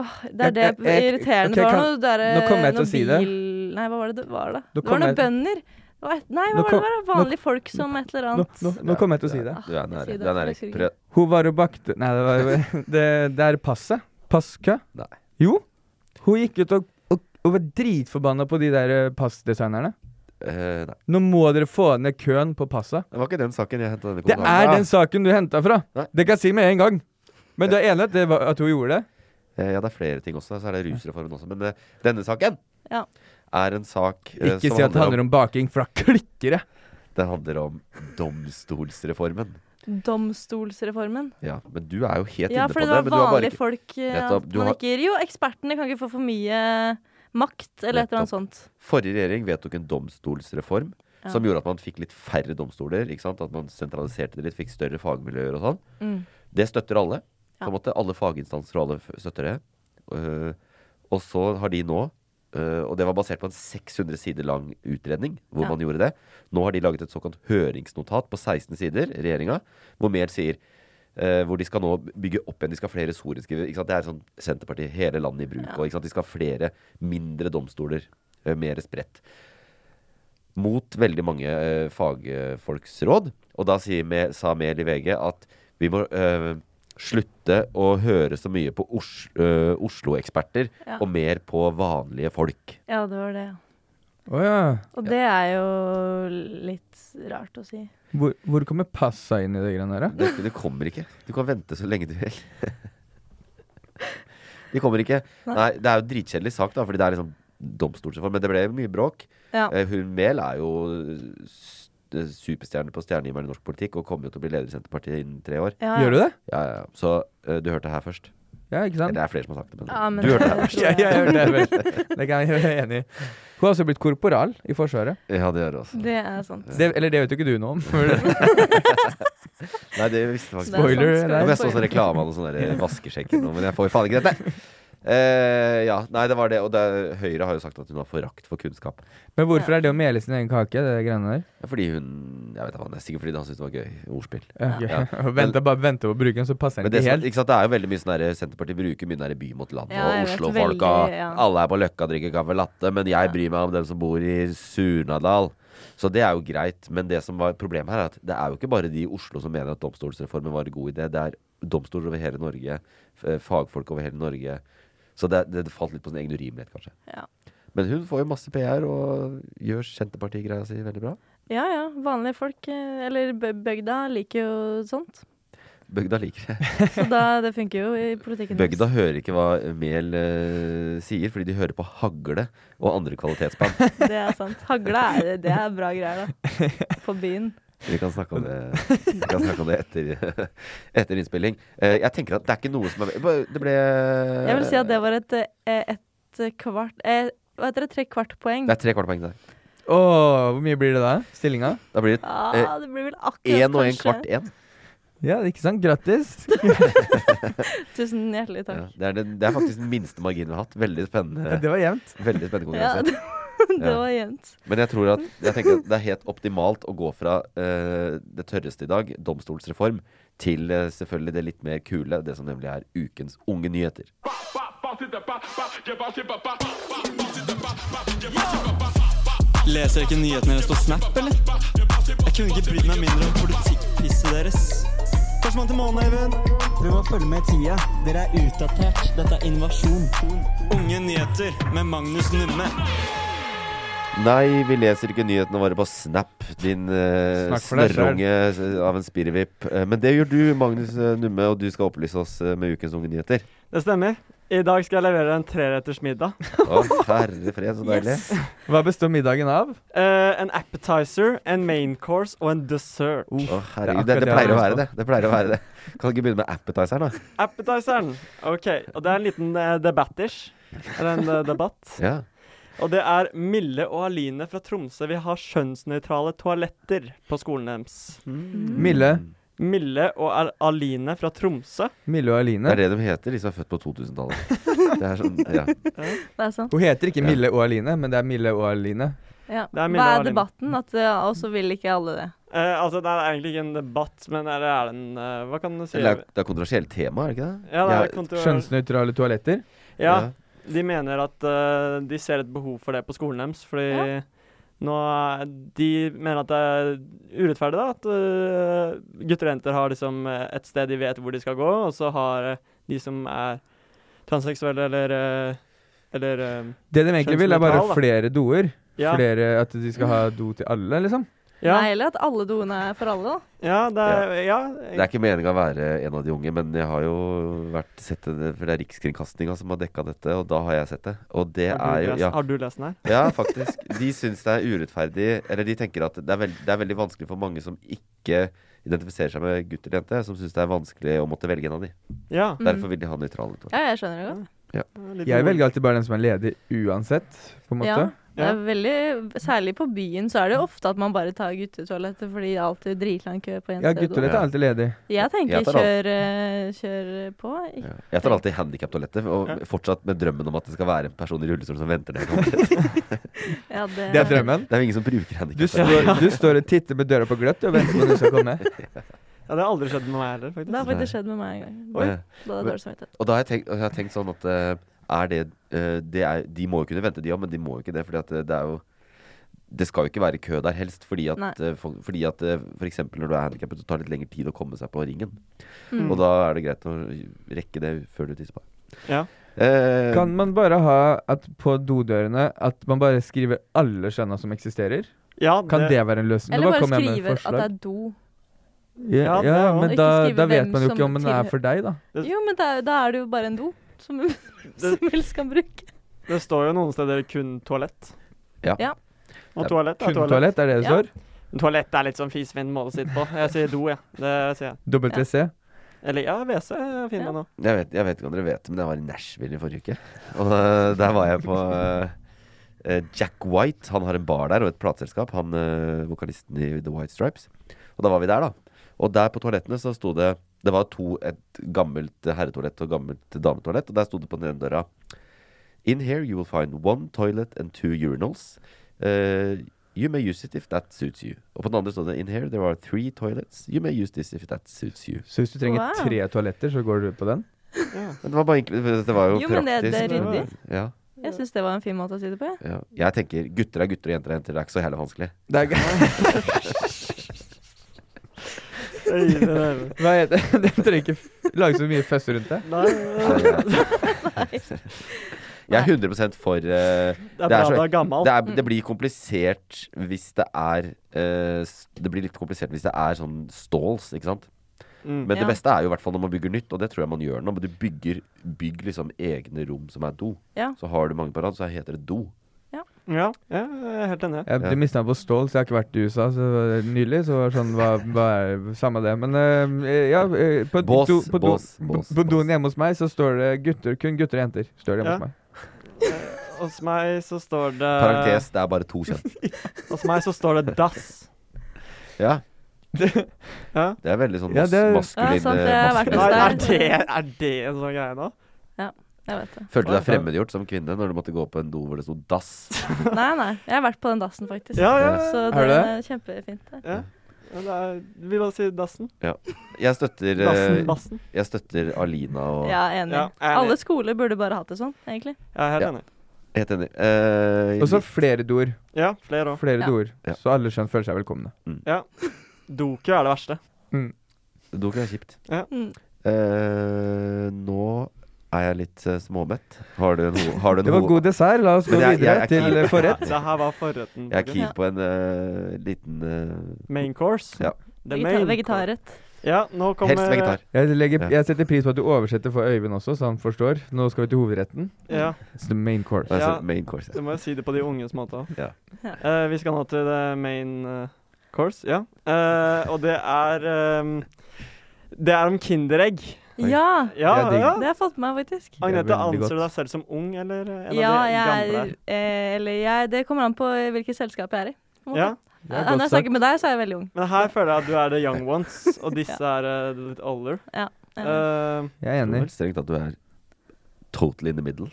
[SPEAKER 4] Åh, Det er
[SPEAKER 2] Jeg-
[SPEAKER 4] det
[SPEAKER 2] jeg-
[SPEAKER 4] irriterende.
[SPEAKER 2] ok,
[SPEAKER 4] det var
[SPEAKER 2] kan-
[SPEAKER 4] noe derre
[SPEAKER 2] nå kommer jeg til
[SPEAKER 4] noe
[SPEAKER 2] å si det.
[SPEAKER 4] bil- Nei, hva var det det var, da?
[SPEAKER 2] Nå
[SPEAKER 4] Det var
[SPEAKER 2] kommer
[SPEAKER 4] noen
[SPEAKER 2] jeg-
[SPEAKER 4] bønder. Det var et- Nei, hva
[SPEAKER 2] Nå
[SPEAKER 4] var det
[SPEAKER 2] kom-
[SPEAKER 4] det var? Vanlige folk som et eller
[SPEAKER 2] Nå,
[SPEAKER 4] annet.
[SPEAKER 2] nå, nå kommer jeg til å si det.
[SPEAKER 1] Du er
[SPEAKER 4] Ah, Si
[SPEAKER 1] nære.
[SPEAKER 4] det,
[SPEAKER 1] Du er nære.
[SPEAKER 4] jeg husker ikke.
[SPEAKER 1] Prøv.
[SPEAKER 2] Hun var og bakte Nei, det, var, det, det er passet. Passkø.
[SPEAKER 1] Nei.
[SPEAKER 2] Jo. Hun gikk ut og, og, og var dritforbanna på de der eh, passdesignerne.
[SPEAKER 1] Eh, nei.
[SPEAKER 2] Nå må dere få ned køen på passet.
[SPEAKER 1] Det var ikke den saken jeg henta denne
[SPEAKER 2] Det er den saken du henta fra!
[SPEAKER 1] Nei.
[SPEAKER 2] Det kan jeg si med en gang. Men du er enig at, det var, at hun gjorde det?
[SPEAKER 1] Eh, ja, det er flere ting også. Så er det rusreformen også. Men eh, denne saken
[SPEAKER 4] Ja.
[SPEAKER 1] er en sak eh,
[SPEAKER 2] Ikke si at det handler om baking, for da klikker det!
[SPEAKER 1] Det handler om domstolsreformen.
[SPEAKER 4] Domstolsreformen.
[SPEAKER 1] Ja, men du er jo helt
[SPEAKER 4] Ja,
[SPEAKER 1] inne på
[SPEAKER 4] for det
[SPEAKER 1] det.
[SPEAKER 4] var
[SPEAKER 1] men du har bare
[SPEAKER 4] vanlige
[SPEAKER 1] ikke-
[SPEAKER 4] folk eh,
[SPEAKER 1] Nettopp,
[SPEAKER 4] at
[SPEAKER 1] du
[SPEAKER 4] man
[SPEAKER 1] har-
[SPEAKER 4] ikke Jo, ekspertene kan ikke få for mye makt, eller et eller annet sånt.
[SPEAKER 1] Forrige regjering vedtok en domstolsreform
[SPEAKER 4] Ja.
[SPEAKER 1] som gjorde at man fikk litt færre domstoler. ikke sant? At man sentraliserte det litt, fikk større fagmiljøer og sånn.
[SPEAKER 4] Mm.
[SPEAKER 1] Det støtter alle. på
[SPEAKER 4] Ja.
[SPEAKER 1] en måte. Alle faginstanser og alle f- støtter det. Eh, og så har de nå eh, og det var basert på en 600 sider lang utredning. hvor
[SPEAKER 4] Ja.
[SPEAKER 1] man gjorde det. Nå har de laget et såkalt høringsnotat på 16 sider, regjeringa, hvor mer sier eh, hvor de skal nå bygge opp igjen. De skal ha flere sorenskrivere. ikke sant? Det er sånn Senterpartiet, hele landet i bruk.
[SPEAKER 4] Ja.
[SPEAKER 1] Og, ikke sant? De skal ha flere mindre domstoler. eh, mer spredt. Mot veldig mange eh, fagfolks råd. Og da sier me, sa Mehl i VG at vi må eh, slutte å høre så mye på Os eh, Oslo-eksperter,
[SPEAKER 4] Ja.
[SPEAKER 1] og mer på vanlige folk.
[SPEAKER 4] Ja, det var det. ja.
[SPEAKER 2] Å ja.
[SPEAKER 4] Og det er jo litt rart å si.
[SPEAKER 2] Hvor, hvor kommer passa inn i det greiene der? da?
[SPEAKER 1] Det, det kommer ikke. Du kan vente så lenge du vil. De kommer ikke. Nei. det er jo dritkjedelig sak, da, fordi det er liksom domstolsreform. Men det ble mye bråk.
[SPEAKER 4] Ja.
[SPEAKER 1] Eh, Hun Mehl er jo eh, s- superstjerne på stjernehimmelen i norsk politikk og kommer jo til å bli leder i Senterpartiet innen tre år.
[SPEAKER 4] Ja,
[SPEAKER 2] Gjør du det?
[SPEAKER 1] Ja, ja, ja. Så eh, du hørte det her først.
[SPEAKER 2] Ja, ikke
[SPEAKER 1] Eller
[SPEAKER 2] sant?
[SPEAKER 1] det er flere som har sagt det, men,
[SPEAKER 4] Ja, men
[SPEAKER 1] du hørte det her
[SPEAKER 4] det-
[SPEAKER 1] først.
[SPEAKER 2] Ja, jeg hørte det vel. Det kan jeg være enig i. Hun har også blitt korporal i Forsvaret.
[SPEAKER 1] Ja, det gjør det også.
[SPEAKER 4] Det er sant.
[SPEAKER 2] Det, eller det vet jo ikke du noe om. for det-
[SPEAKER 1] Nei, det visste jeg faktisk
[SPEAKER 4] Det er sant,
[SPEAKER 2] Spoiler,
[SPEAKER 4] skal
[SPEAKER 2] det er-
[SPEAKER 1] Jeg
[SPEAKER 4] jeg
[SPEAKER 1] så også
[SPEAKER 4] spoile.
[SPEAKER 1] reklame av noen sånne vaskesjekker nå, men jeg får faen ikke dette. Eh, ja, nei, det var det. Og det, Høyre har jo sagt at hun har forakt for kunnskap.
[SPEAKER 2] Men hvorfor er det å mele sin egen kake, det greiene der?
[SPEAKER 1] Det er Fordi hun Jeg vet ikke, det er sikkert fordi han syntes det var gøy ordspill.
[SPEAKER 2] Ja, gøy.
[SPEAKER 1] Ja.
[SPEAKER 2] Og venter- bare venter på bruken, så
[SPEAKER 1] Men
[SPEAKER 2] passer den
[SPEAKER 1] det,
[SPEAKER 2] ikke
[SPEAKER 1] som,
[SPEAKER 2] helt.
[SPEAKER 1] ikke sant, det er jo veldig mye sånn der Senterpartiet bruker mye den der by mot land
[SPEAKER 4] Ja,
[SPEAKER 1] og
[SPEAKER 4] jeg vet,
[SPEAKER 1] Oslo-folka.
[SPEAKER 4] veldig, ja.
[SPEAKER 1] Alle er på Løkka og drikker kaffe latte, men jeg bryr meg om dem som bor i Surnadal. Så det er jo greit, men det som var problemet her, er at det er jo ikke bare de i Oslo som mener at domstolsreformen var en god idé. Det er domstoler over hele Norge, f- eh, fagfolk over hele Norge. Så det, det falt litt på sin egen urimelighet, kanskje.
[SPEAKER 4] Ja.
[SPEAKER 1] Men hun får jo masse PR og gjør Senterparti-greia si veldig bra.
[SPEAKER 4] Ja ja, vanlige folk, eh, eller bø- bygda, liker jo sånt.
[SPEAKER 1] Bygda liker det.
[SPEAKER 4] Så da, det funker jo i politikken. hennes.
[SPEAKER 1] Bøgda hører ikke hva Mehl eh, sier, fordi de hører på Hagle og andre kvalitetsband.
[SPEAKER 4] Det er sant. Hagle er, det er bra greier, da. På byen.
[SPEAKER 1] Vi kan snakke om det, vi kan snakke om det etter, etter innspilling. Eh, jeg tenker at det er ikke noe som er Det ble
[SPEAKER 4] Jeg vil si at det var et, eh, et kvart eh, Hva heter det? Tre kvart poeng?
[SPEAKER 1] Det er tre kvart poeng der.
[SPEAKER 2] Å, hvor mye blir det da? Stillinga?
[SPEAKER 1] Da blir det
[SPEAKER 4] Ah,
[SPEAKER 1] eh,
[SPEAKER 4] det blir vel akkurat
[SPEAKER 1] én og én
[SPEAKER 4] kanskje.
[SPEAKER 1] kvart én.
[SPEAKER 2] Ja, det er ikke sant? Grattis!
[SPEAKER 4] Tusen
[SPEAKER 1] Ja,
[SPEAKER 4] hjertelig takk.
[SPEAKER 1] det, er den- det er faktisk den minste marginen vi har hatt. Veldig
[SPEAKER 2] Ja,
[SPEAKER 1] spennende.
[SPEAKER 2] det var jevnt.
[SPEAKER 1] Veldig spennende
[SPEAKER 4] Ja,
[SPEAKER 1] konkurranse.
[SPEAKER 4] det, det var jevnt.
[SPEAKER 1] Men jeg tror at, jeg tenker at det er helt optimalt å gå fra eh, det tørreste i dag, domstolsreform, til eh, selvfølgelig det litt mer kule, det som nemlig er ukens unge nyheter.
[SPEAKER 6] Leser ikke nyhetene deres på Snap, eller? Jeg kunne ikke brydd meg mindre om politikkpisset deres. Førstemann til månen, Eivind. Prøv å følge med i tida. Dere er utdatert. Dette er invasjon. Unge nyheter med Magnus Numme.
[SPEAKER 1] Nei, vi leser ikke nyhetene våre på Snap, din eh,
[SPEAKER 2] Snakk for deg
[SPEAKER 1] snørrunge eh, av en spirrevipp. Eh, men det gjør du, Magnus eh, Numme, og du skal opplyse oss eh, med ukens unge nyheter.
[SPEAKER 6] Det stemmer. I dag skal jeg levere en treretters middag.
[SPEAKER 1] Å, herre fred, så deilig.
[SPEAKER 2] Hva består middagen av?
[SPEAKER 6] Eh, en appetizer, en main course og en dessert.
[SPEAKER 1] Å, herregud,
[SPEAKER 2] akkurat
[SPEAKER 1] det,
[SPEAKER 2] det
[SPEAKER 1] det
[SPEAKER 2] jeg
[SPEAKER 1] pleier å
[SPEAKER 2] har
[SPEAKER 1] være
[SPEAKER 2] lyst
[SPEAKER 1] det. Det pleier å være det. Kan du ikke begynne med appetizeren, da?
[SPEAKER 6] Appetizeren. OK. Og det er en liten uh, debattish. Eller en eh, debatt.
[SPEAKER 1] Ja.
[SPEAKER 6] Og det er Mille og Aline fra Tromsø vil ha kjønnsnøytrale toaletter på skolen deres. Mm.
[SPEAKER 2] Mille,
[SPEAKER 6] Mille og Al Aline fra Tromsø.
[SPEAKER 2] Mille og
[SPEAKER 1] Det
[SPEAKER 2] Aline.
[SPEAKER 1] er det de heter, de som er født på 2000-tallet. Det er sånn, ja.
[SPEAKER 4] Det er sant.
[SPEAKER 2] Hun heter ikke
[SPEAKER 1] Ja.
[SPEAKER 2] Mille og Aline, men det er Mille og Aline.
[SPEAKER 4] Ja.
[SPEAKER 6] Det er Mille
[SPEAKER 4] Hva
[SPEAKER 6] og
[SPEAKER 4] er
[SPEAKER 6] Aline.
[SPEAKER 4] debatten? At, eh, og så vil ikke alle det.
[SPEAKER 6] Eh, altså, det er egentlig ikke en debatt, men er det er en eh, Hva kan du si?
[SPEAKER 1] Det er, det er kontroversielt tema, er det ikke det?
[SPEAKER 6] Ja, det er
[SPEAKER 1] Jeg-
[SPEAKER 6] kontro-
[SPEAKER 2] Kjønnsnøytrale toaletter.
[SPEAKER 6] ja, de mener at eh, de ser et behov for det på skolen deres, fordi nå er- De mener at det er urettferdig, da. At eh, gutter og jenter har liksom eh, et sted de vet hvor de skal gå, og så har eh, de som er transseksuelle eller eh, Eller eh,
[SPEAKER 2] Det de egentlig vil, er bare
[SPEAKER 6] Kjønnsnøytral, da.
[SPEAKER 2] flere doer.
[SPEAKER 6] ja.
[SPEAKER 2] Flere, At de skal ha do til alle, liksom.
[SPEAKER 6] Ja,
[SPEAKER 4] Nei, eller at alle doene er for alle, da.
[SPEAKER 6] ja, det er, ja.
[SPEAKER 1] Det er ikke meninga å være en av de unge, men jeg har jo vært sett det, for det er Rikskringkastinga som har dekka dette, og da har jeg sett det. Og det er
[SPEAKER 6] har, du
[SPEAKER 1] jo
[SPEAKER 6] lest,
[SPEAKER 1] ja,
[SPEAKER 6] har du lest den her?
[SPEAKER 1] ja, faktisk. De syns det er urettferdig, eller de tenker at det er, veld, det er veldig vanskelig for mange som ikke identifiserer seg med gutt eller jente, som syns det er vanskelig å måtte velge en av de.
[SPEAKER 6] Ja.
[SPEAKER 1] Derfor vil de ha nøytrale to.
[SPEAKER 4] Ja, jeg skjønner det godt.
[SPEAKER 6] litt
[SPEAKER 2] Jeg
[SPEAKER 6] moro.
[SPEAKER 2] velger alltid bare den som er ledig, uansett. På en måte.
[SPEAKER 4] Ja. Det er veldig, særlig på byen så er det jo ofte at man bare tar guttetoalettet fordi det er alltid dritlang kø på
[SPEAKER 2] Ja,
[SPEAKER 4] jentedo.
[SPEAKER 2] guttetoalett er alltid ledig.
[SPEAKER 4] Jeg tenker
[SPEAKER 1] Jeg tar alt.
[SPEAKER 4] kjør, eh, kjør på. Ikke-
[SPEAKER 1] Ja. Jeg tar alltid handikaptoalettet, og
[SPEAKER 6] Ja.
[SPEAKER 1] fortsatt med drømmen om at det skal være en person i rullestol som venter der.
[SPEAKER 4] Ja, det,
[SPEAKER 2] Det er drømmen.
[SPEAKER 1] Det er jo ingen som bruker
[SPEAKER 2] Du
[SPEAKER 1] handikaptoalett.
[SPEAKER 2] står, du står og titter med døra på gløtt og venter på at du skal komme.
[SPEAKER 6] Ja, det har aldri skjedd med meg heller, faktisk.
[SPEAKER 4] Det har faktisk skjedd med meg en gang.
[SPEAKER 1] Oi.
[SPEAKER 4] Da hadde jeg dårlig samvittighet.
[SPEAKER 1] Og da har jeg tenkt, og jeg har tenkt sånn at eh, er det, eh, det er, De må jo kunne vente, de òg, men de må jo ikke det. Fordi at eh, det er jo Det skal jo ikke være kø der helst. Fordi at,
[SPEAKER 4] Nei.
[SPEAKER 1] eh, for, fordi at eh, for eksempel når du er handikappet, så tar det litt lengre tid å komme seg på ringen. Og da er det greit å rekke det før du tisser på.
[SPEAKER 6] Ja.
[SPEAKER 1] Eh,
[SPEAKER 2] Kan man bare ha at på dodørene at man bare skriver alle kjønna som eksisterer?
[SPEAKER 6] Ja,
[SPEAKER 2] Kan
[SPEAKER 6] det-
[SPEAKER 2] det være en løsning?
[SPEAKER 4] Eller
[SPEAKER 2] Nå
[SPEAKER 4] bare
[SPEAKER 2] kom jeg med et
[SPEAKER 4] skrive at det
[SPEAKER 2] forslag.
[SPEAKER 4] er do.
[SPEAKER 2] Ja,
[SPEAKER 6] Ja, det
[SPEAKER 2] ja,
[SPEAKER 6] er jo-
[SPEAKER 2] men
[SPEAKER 4] Ikke
[SPEAKER 2] da,
[SPEAKER 4] skrive
[SPEAKER 2] da vet
[SPEAKER 4] hvem
[SPEAKER 2] man jo ikke
[SPEAKER 4] som
[SPEAKER 2] om den er
[SPEAKER 4] tilhører.
[SPEAKER 2] for deg, da.
[SPEAKER 6] Det-
[SPEAKER 4] Jo, men det er, da er det jo bare en do som hvem som helst kan bruke.
[SPEAKER 6] Det står jo noen steder kun toalett.
[SPEAKER 1] Ja.
[SPEAKER 4] Ja.
[SPEAKER 6] Og toalett er
[SPEAKER 2] Kun
[SPEAKER 6] toalett.
[SPEAKER 2] toalett, er det det
[SPEAKER 4] Ja.
[SPEAKER 2] står?
[SPEAKER 6] Toalett er litt sånn fisefin måte å sitte på. Jeg sier do, jeg. Ja. Det sier jeg.
[SPEAKER 2] WC.
[SPEAKER 6] Eller ja, WC finner man nå.
[SPEAKER 1] Jeg vet, jeg vet ikke om dere vet det, men jeg var i Nashville i forrige uke. Og eh, der var jeg på eh, eh, Jack White. Han har en bar der og et plateselskap. Han eh, vokalisten i The White Stripes. Og da var vi der, da. Og der på toalettene så sto det Det var to, et gammelt herretoalett og gammelt dametoalett, og der sto det på den ene døra In here you will find one toilet and two urinals. Eh, You may use it if that suits you. Og på den andre står det In here there are three toilets. You may use this if that suits you.
[SPEAKER 2] Så hvis du trenger
[SPEAKER 4] Wow.
[SPEAKER 2] tre toaletter, så går du på den?
[SPEAKER 1] Men Det var bare egentlig Det var jo,
[SPEAKER 4] Jo, men
[SPEAKER 1] praktisk.
[SPEAKER 4] det- det er ryddig.
[SPEAKER 1] Ja,
[SPEAKER 4] Jeg syns det var en fin måte å si det på. jeg.
[SPEAKER 1] ja. Jeg tenker gutter er gutter og jenter er jenter. Det er ikke så heller vanskelig.
[SPEAKER 2] Det er
[SPEAKER 6] Øyvind,
[SPEAKER 2] Hva heter det? Den trenger ikke f- lage så mye føss rundt det.
[SPEAKER 6] Nei.
[SPEAKER 1] Jeg er 100 for eh,
[SPEAKER 6] bra du er gammel.
[SPEAKER 1] det, er, det blir komplisert hvis det er eh, s- Det blir litt komplisert hvis det er sånn stalls, ikke sant?
[SPEAKER 6] Mm.
[SPEAKER 1] Men
[SPEAKER 6] Ja.
[SPEAKER 1] det beste er jo i hvert fall når man bygger nytt, og det tror jeg man gjør nå. Men du bygger bygg liksom egne rom som er do.
[SPEAKER 4] Ja.
[SPEAKER 1] Så har du mange på rad, så heter det do.
[SPEAKER 6] Ja, ja, jeg er helt enig.
[SPEAKER 2] Jeg ja. mista meg på stål, så jeg har ikke vært i USA så nylig. Så var det sånn, hva, hva er samme det. Men eh, ja eh, på,
[SPEAKER 1] Bås,
[SPEAKER 2] do, på, do,
[SPEAKER 1] bås, bås,
[SPEAKER 2] på doen hjemme hos meg så står det gutter, kun gutter og jenter. Står det hjemme
[SPEAKER 6] Ja.
[SPEAKER 2] hos meg.
[SPEAKER 6] Hos meg så står det
[SPEAKER 1] Parentes, det er bare to kjønn.
[SPEAKER 6] Hos meg så står det dass.
[SPEAKER 1] Ja.
[SPEAKER 6] Ja.
[SPEAKER 1] Det er veldig sånn
[SPEAKER 2] Ja,
[SPEAKER 1] mas
[SPEAKER 2] det er-
[SPEAKER 4] Ja, sant,
[SPEAKER 1] maskulin eh,
[SPEAKER 4] det har vært
[SPEAKER 1] maskulin-
[SPEAKER 6] Nei, er
[SPEAKER 4] Der.
[SPEAKER 6] det, er det en sånn greie nå?
[SPEAKER 4] Jeg vet det.
[SPEAKER 1] Følte du deg fremmedgjort som kvinne når du måtte gå på en do hvor det sto dass?
[SPEAKER 4] Nei, nei. Jeg har vært på den dassen, faktisk.
[SPEAKER 6] Ja, ja. ja.
[SPEAKER 4] Så det
[SPEAKER 2] Har du
[SPEAKER 4] er kjempefint. Det.
[SPEAKER 6] ja. ja det er, vi bare sier dassen.
[SPEAKER 1] Jeg støtter, eh,
[SPEAKER 6] Dassen, dassen.
[SPEAKER 1] jeg støtter Alina og
[SPEAKER 4] Ja, enig.
[SPEAKER 6] Ja, jeg er enig.
[SPEAKER 4] Alle skoler burde bare hatt det sånn, egentlig.
[SPEAKER 6] Jeg er helt
[SPEAKER 1] Ja.
[SPEAKER 6] enig.
[SPEAKER 1] Helt enig. Eh,
[SPEAKER 2] Og så flere doer.
[SPEAKER 6] Ja, flere òg.
[SPEAKER 2] Flere
[SPEAKER 4] Ja.
[SPEAKER 2] doer.
[SPEAKER 1] Ja.
[SPEAKER 2] Så alle skjønn føler seg velkomne.
[SPEAKER 6] Doku er det verste.
[SPEAKER 1] Doku er kjipt.
[SPEAKER 4] Mm.
[SPEAKER 1] Eh, nå er jeg litt eh, småmett. Har du en ho... Har du en
[SPEAKER 2] Det var
[SPEAKER 1] ho-
[SPEAKER 2] god dessert. La oss gå
[SPEAKER 1] Men jeg-
[SPEAKER 2] videre
[SPEAKER 1] jeg er
[SPEAKER 2] til
[SPEAKER 1] keen.
[SPEAKER 2] eh, forrett.
[SPEAKER 6] Det her var forretten.
[SPEAKER 1] Jeg er
[SPEAKER 6] Doku.
[SPEAKER 1] keen
[SPEAKER 4] Ja.
[SPEAKER 1] på en eh, liten eh,
[SPEAKER 6] Main course.
[SPEAKER 1] Ja.
[SPEAKER 6] The
[SPEAKER 4] Vegeta-
[SPEAKER 6] main
[SPEAKER 4] Vegetarrett.
[SPEAKER 6] course. Ja, nå kommer
[SPEAKER 1] Helst vegetar.
[SPEAKER 2] Jeg, legger,
[SPEAKER 1] Ja.
[SPEAKER 2] jeg setter pris på at du oversetter for Øyvind også, så han forstår. Nå skal vi til hovedretten.
[SPEAKER 6] Ja,
[SPEAKER 2] It's the main course.
[SPEAKER 1] Altså,
[SPEAKER 6] Ja.
[SPEAKER 1] Main course.
[SPEAKER 6] du må jo si det på de unges måte òg.
[SPEAKER 1] Ja.
[SPEAKER 6] vi skal nå til the main eh, course, ja. Eh, og det er ehm, Det er om Kinderegg.
[SPEAKER 1] Oi.
[SPEAKER 4] Ja!
[SPEAKER 6] Ja,
[SPEAKER 2] Det er digg.
[SPEAKER 6] ja.
[SPEAKER 4] Det har fått meg, faktisk.
[SPEAKER 2] er
[SPEAKER 6] Agnete, altså.
[SPEAKER 2] veldig
[SPEAKER 6] anser du
[SPEAKER 2] godt.
[SPEAKER 6] deg selv som ung, eller eh, en
[SPEAKER 4] Ja,
[SPEAKER 6] av de
[SPEAKER 4] jeg
[SPEAKER 6] gamle?
[SPEAKER 4] er eh, Eller jeg Det kommer an på hvilket selskap jeg er i. på en måte.
[SPEAKER 6] Ja,
[SPEAKER 2] Det er
[SPEAKER 4] Eh, Når
[SPEAKER 2] godt
[SPEAKER 4] jeg
[SPEAKER 2] sagt.
[SPEAKER 4] snakker med deg, så er jeg veldig ung.
[SPEAKER 6] men her føler jeg at du er the young ones, og disse er eh, litt older.
[SPEAKER 4] Eh,
[SPEAKER 6] Eh,
[SPEAKER 2] Jeg er
[SPEAKER 1] Jeg tror
[SPEAKER 2] enig.
[SPEAKER 1] vel strengt at du er totally in the middle.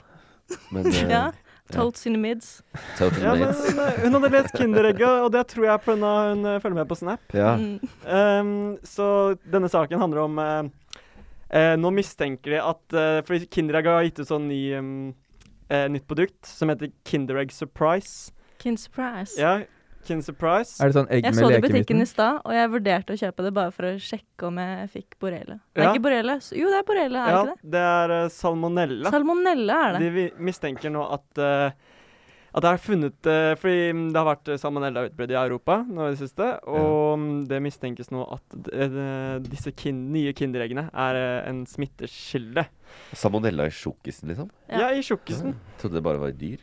[SPEAKER 1] Men eh,
[SPEAKER 4] ja. Totes in the mids.
[SPEAKER 1] totally
[SPEAKER 6] ja, men,
[SPEAKER 1] mates.
[SPEAKER 6] eh, hun hadde lest Kinderegget, og det tror jeg på grunn av hun eh, følger med på Snap.
[SPEAKER 1] Ja.
[SPEAKER 4] Mm.
[SPEAKER 6] Ehm, så denne saken handler om eh, eh, Nå mistenker de at eh, Fordi Kinderegg har gitt ut sånn ny ehm, eh, nytt produkt som heter Kinderegg Surprise.
[SPEAKER 4] Kin surprise.
[SPEAKER 6] Ja, Kind Surprise.
[SPEAKER 2] Er det sånn egg
[SPEAKER 4] Jeg
[SPEAKER 2] med
[SPEAKER 4] så det i
[SPEAKER 2] leke i
[SPEAKER 4] butikken i
[SPEAKER 2] midten?
[SPEAKER 4] stad, og jeg vurderte å kjøpe det bare for å sjekke om jeg fikk borrelia. Det er
[SPEAKER 6] Ja.
[SPEAKER 4] ikke borrelia. s- Jo, det er borrelia, er
[SPEAKER 6] ja,
[SPEAKER 4] det ikke det?
[SPEAKER 6] det er eh, salmonella.
[SPEAKER 4] Salmonella er
[SPEAKER 6] De
[SPEAKER 4] det.
[SPEAKER 6] vi- mistenker nå at eh, at det er funnet eh, Fordi mm, det har vært eh, salmonella-utbrudd i Europa nå i det siste. Og mm, det mistenkes nå at d- eh, disse kin nye Kindereggene er eh, en smittekilde.
[SPEAKER 1] Salmonella i sjokkisen, liksom?
[SPEAKER 4] Ja.
[SPEAKER 6] Ja, i tjukkisen.
[SPEAKER 1] Trodde det bare var i dyr.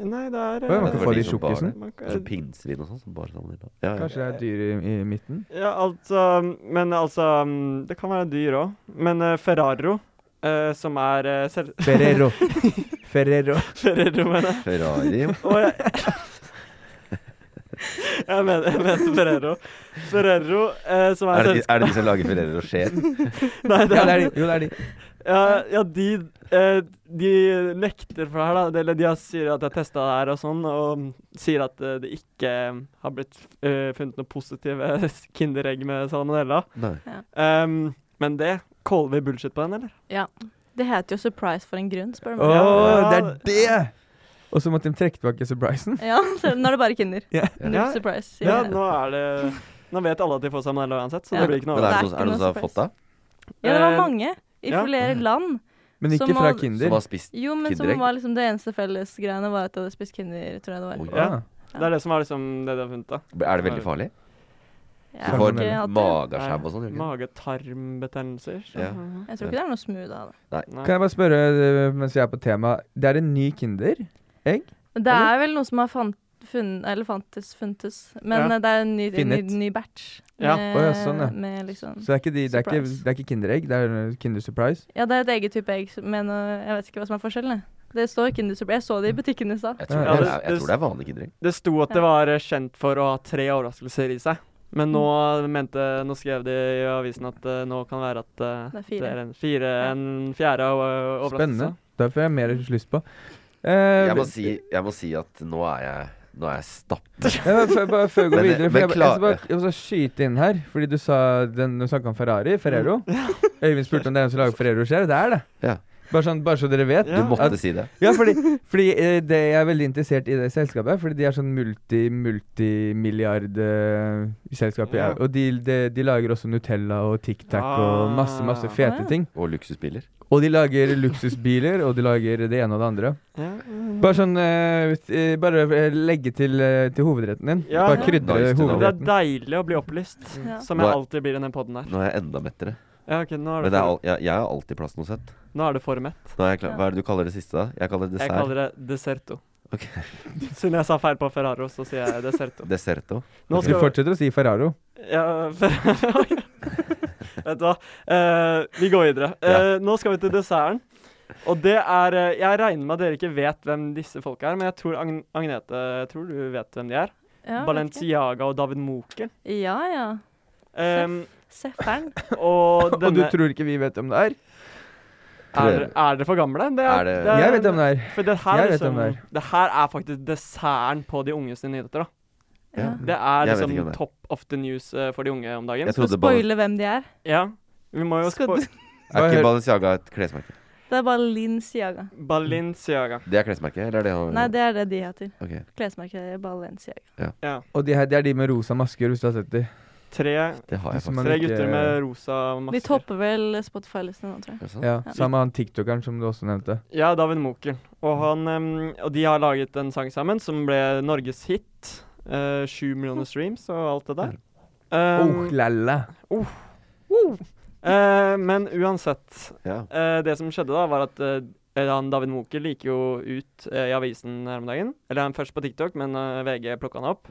[SPEAKER 6] Nei, det er
[SPEAKER 2] Å, ja, man
[SPEAKER 6] eh,
[SPEAKER 2] kan
[SPEAKER 1] for
[SPEAKER 2] få
[SPEAKER 1] de
[SPEAKER 2] det i
[SPEAKER 1] som bar
[SPEAKER 2] sjokkisen.
[SPEAKER 6] man kan-
[SPEAKER 1] Altså pinnsvin og sånn som bare salmonella. Ja, ja.
[SPEAKER 2] Kanskje det er dyr i, i midten?
[SPEAKER 6] Ja, altså Men altså mm, Det kan være dyr òg. Men eh, Ferraro, eh, som er eh, selv...
[SPEAKER 2] Ferrero. Ferrero.
[SPEAKER 6] Ferraro, mener jeg.
[SPEAKER 1] Ferrari
[SPEAKER 6] Og jeg jeg mener, jeg mente Ferrero. Ferrero, eh, som er,
[SPEAKER 1] er det, de,
[SPEAKER 6] selskap...
[SPEAKER 1] er det de som lager Ferrero Rocher?
[SPEAKER 6] Nei, det
[SPEAKER 2] Ja, det er
[SPEAKER 6] er,
[SPEAKER 2] de. Jo, det er de.
[SPEAKER 6] ja, ja, de eh, De nekter for det her, da. Eller de har, sier at de har testa det her og sånn, og sier at eh, det ikke har blitt eh, funnet noen positive kinderegg med salmonella.
[SPEAKER 1] Nei.
[SPEAKER 6] Ehm, men det Caller vi bullshit på den, eller?
[SPEAKER 4] Det heter jo surprise for en grunn, spør
[SPEAKER 2] Å,
[SPEAKER 4] du meg.
[SPEAKER 2] det er det! Og så måtte de trekke tilbake surprisen.
[SPEAKER 4] Ja, så nå er det bare Kinder.
[SPEAKER 2] Ja.
[SPEAKER 6] Ja.
[SPEAKER 4] Null surprise.
[SPEAKER 6] Ja, nå er det Nå vet alle at de får salmonella uansett, så
[SPEAKER 4] Ja.
[SPEAKER 6] det blir ikke
[SPEAKER 1] Men er
[SPEAKER 6] noe
[SPEAKER 1] det
[SPEAKER 6] over.
[SPEAKER 1] noen, er
[SPEAKER 4] Nei.
[SPEAKER 1] det noen som har fått det?
[SPEAKER 4] Ja, det var
[SPEAKER 6] Eh,
[SPEAKER 4] mange. I
[SPEAKER 6] ja.
[SPEAKER 4] flere land.
[SPEAKER 2] Men ikke
[SPEAKER 4] Som
[SPEAKER 2] fra
[SPEAKER 4] all-
[SPEAKER 1] Som
[SPEAKER 2] Kinder.
[SPEAKER 1] har spist
[SPEAKER 4] Jo, men som
[SPEAKER 1] Kinderegg?
[SPEAKER 4] var liksom det eneste fellesgreiene var at jeg hadde spist Kinder, tror jeg det var.
[SPEAKER 1] Oi.
[SPEAKER 2] Ja.
[SPEAKER 6] Det er det som er liksom det de har funnet, da.
[SPEAKER 1] Er det veldig farlig?
[SPEAKER 4] Jeg,
[SPEAKER 1] Du
[SPEAKER 4] har
[SPEAKER 1] får
[SPEAKER 4] ikke hatt det.
[SPEAKER 1] magasjau og sånn, gjør du ikke?
[SPEAKER 6] Mage-tarmbetennelser. så-
[SPEAKER 1] Ja.
[SPEAKER 4] jeg tror ikke det er noe smooth av det.
[SPEAKER 6] Nei.
[SPEAKER 2] Kan jeg bare spørre eh, mens vi er på tema Det er en ny Kinder?
[SPEAKER 4] Det er vel noe som har fant, funn- eller fantes, funtes. Men
[SPEAKER 6] Ja.
[SPEAKER 4] eh, det er en ny, en ny,
[SPEAKER 2] Finnet.
[SPEAKER 4] ny batch.
[SPEAKER 6] Ja.
[SPEAKER 4] Med,
[SPEAKER 2] Å, ja, sånn, ja.
[SPEAKER 4] med liksom
[SPEAKER 2] Så det er ikke, de, det er ikke,
[SPEAKER 4] Surprise.
[SPEAKER 2] det er ikke Kinderegg, det er eh, Kinder Surprise.
[SPEAKER 4] Ja, det er et eget type egg, men eh, jeg vet ikke hva som er forskjellen. jeg. Det står Kinder Surprise. Jeg så det i butikken i stad.
[SPEAKER 1] Jeg tror,
[SPEAKER 2] Ja,
[SPEAKER 1] det,
[SPEAKER 6] det-
[SPEAKER 1] er- jeg tror det er vanlig kinderegg.
[SPEAKER 6] Det sto at det var eh, kjent for å ha tre overraskelser i seg. Men nå, mente, Eh, nå skrev de i avisen at eh, nå kan det være at eh,
[SPEAKER 4] Det er fire.
[SPEAKER 6] det er en, fire, en fjerde o- overraskelse.
[SPEAKER 2] Spennende. Derfor har jeg mer lyst på. Eh,
[SPEAKER 1] Jeg må si, jeg må si at nå er jeg Nå er jeg stapper.
[SPEAKER 2] Ja, men før- bare før vi går
[SPEAKER 1] Men-
[SPEAKER 2] videre, for
[SPEAKER 1] men
[SPEAKER 2] jeg, bare- jeg, skal
[SPEAKER 1] klar-
[SPEAKER 2] bare, jeg skal bare skyte inn her. Fordi du sa den, du snakka om Ferrari, Ferrero. Øyvind spurte om det er hvem som lager Ferrero-skjær. Det er det.
[SPEAKER 1] Ja.
[SPEAKER 2] Bare, sånn, bare så dere vet.
[SPEAKER 1] Du måtte si det.
[SPEAKER 2] Ja, fordi, fordi eh, det, jeg er veldig interessert i det selskapet. Fordi de er sånn multi-multimilliard-selskap.
[SPEAKER 1] Ja.
[SPEAKER 2] eh, Og de, de, de lager også Nutella og Tic Tac og masse, masse fete
[SPEAKER 1] Ah.
[SPEAKER 2] ting.
[SPEAKER 1] Og luksusbiler.
[SPEAKER 2] Og de lager luksusbiler, og de lager det ene og det andre. Bare sånn eh, hvis- eh, Bare eh, legge til, eh, til hovedretten din. Bare krydre
[SPEAKER 6] Det er
[SPEAKER 2] hovedretten.
[SPEAKER 6] deilig å bli opplyst, som
[SPEAKER 1] Nå
[SPEAKER 6] jeg
[SPEAKER 1] er-
[SPEAKER 6] alltid blir i den poden her.
[SPEAKER 1] Nå er jeg enda mettere.
[SPEAKER 6] Ja, ok, nå er
[SPEAKER 1] Men
[SPEAKER 6] det
[SPEAKER 1] det er, al
[SPEAKER 6] for-
[SPEAKER 1] jeg, jeg har alltid plass noe sett.
[SPEAKER 6] Nå er det for mett.
[SPEAKER 1] Nå er jeg klar. Hva er det du kaller det siste, da? Jeg kaller det
[SPEAKER 6] Jeg
[SPEAKER 1] dessert.
[SPEAKER 6] kaller det deserto.
[SPEAKER 1] Ok.
[SPEAKER 6] Siden jeg sa feil på Ferraro, så sier jeg deserto.
[SPEAKER 1] Deserto.
[SPEAKER 6] Nå
[SPEAKER 2] Du
[SPEAKER 6] skal vi
[SPEAKER 2] fortsetter å si Ferraro.
[SPEAKER 6] ja, Ferraro Vet du hva, Eh, vi går videre. Eh, Nå skal vi til desserten. Og det er eh, Jeg regner med at dere ikke vet hvem disse folka er, men jeg tror Agn Agnete jeg tror du vet hvem de er.
[SPEAKER 4] Ja, vet
[SPEAKER 6] Balenciaga og David Moker.
[SPEAKER 4] Ja, ja.
[SPEAKER 6] Um,
[SPEAKER 4] Sefferen.
[SPEAKER 6] og
[SPEAKER 2] Og du
[SPEAKER 6] denne
[SPEAKER 2] tror ikke vi vet hvem det er?
[SPEAKER 6] Er, er dere for gamle? Det
[SPEAKER 1] Er det-
[SPEAKER 2] Jeg vet hvem det er.
[SPEAKER 6] For det her,
[SPEAKER 2] Jeg
[SPEAKER 6] er
[SPEAKER 2] vet
[SPEAKER 6] liksom,
[SPEAKER 2] hvem det
[SPEAKER 6] det, her er faktisk desserten på de unge sine nyheter. da.
[SPEAKER 1] Ja.
[SPEAKER 6] Det er
[SPEAKER 1] Jeg vet ikke
[SPEAKER 6] liksom
[SPEAKER 1] hvem det er.
[SPEAKER 6] top of the news eh, for de unge om dagen.
[SPEAKER 1] Jeg trodde Skal vi spoile
[SPEAKER 4] hvem de er?
[SPEAKER 6] Ja. Vi må jo
[SPEAKER 4] Skal
[SPEAKER 6] spoile
[SPEAKER 4] du-
[SPEAKER 1] Er ikke Balenciaga et klesmerke?
[SPEAKER 4] Det er Balenciaga.
[SPEAKER 6] Balenciaga.
[SPEAKER 1] Det er klesmerke, eller er det han
[SPEAKER 4] Nei, det er det de heter.
[SPEAKER 1] Ok.
[SPEAKER 4] Klesmerket Balenciaga.
[SPEAKER 2] Og de, her, det er de med rosa masker, hvis du har sett de.
[SPEAKER 6] Tre,
[SPEAKER 1] Det har jeg
[SPEAKER 2] Som
[SPEAKER 1] faktisk.
[SPEAKER 2] man
[SPEAKER 6] tre
[SPEAKER 2] ikke-
[SPEAKER 6] gutter med rosa
[SPEAKER 4] De
[SPEAKER 6] masker.
[SPEAKER 4] topper vel Spotify-listen nå, tror jeg.
[SPEAKER 1] sant?
[SPEAKER 2] Ja, Sammen med han tiktokeren som du også nevnte.
[SPEAKER 6] Ja, David Moker. Og, han, em, og de har laget en sang sammen som ble Norges hit. Eh, Sju millioner streams og alt det der.
[SPEAKER 2] Oh,
[SPEAKER 6] Um,
[SPEAKER 2] lalla.
[SPEAKER 6] Eh, men uansett.
[SPEAKER 1] Ja.
[SPEAKER 6] eh, det som skjedde da, var at eh, han David Moker gikk jo ut eh, i avisen her om dagen. Eller han først på TikTok, men eh, VG plukka han opp.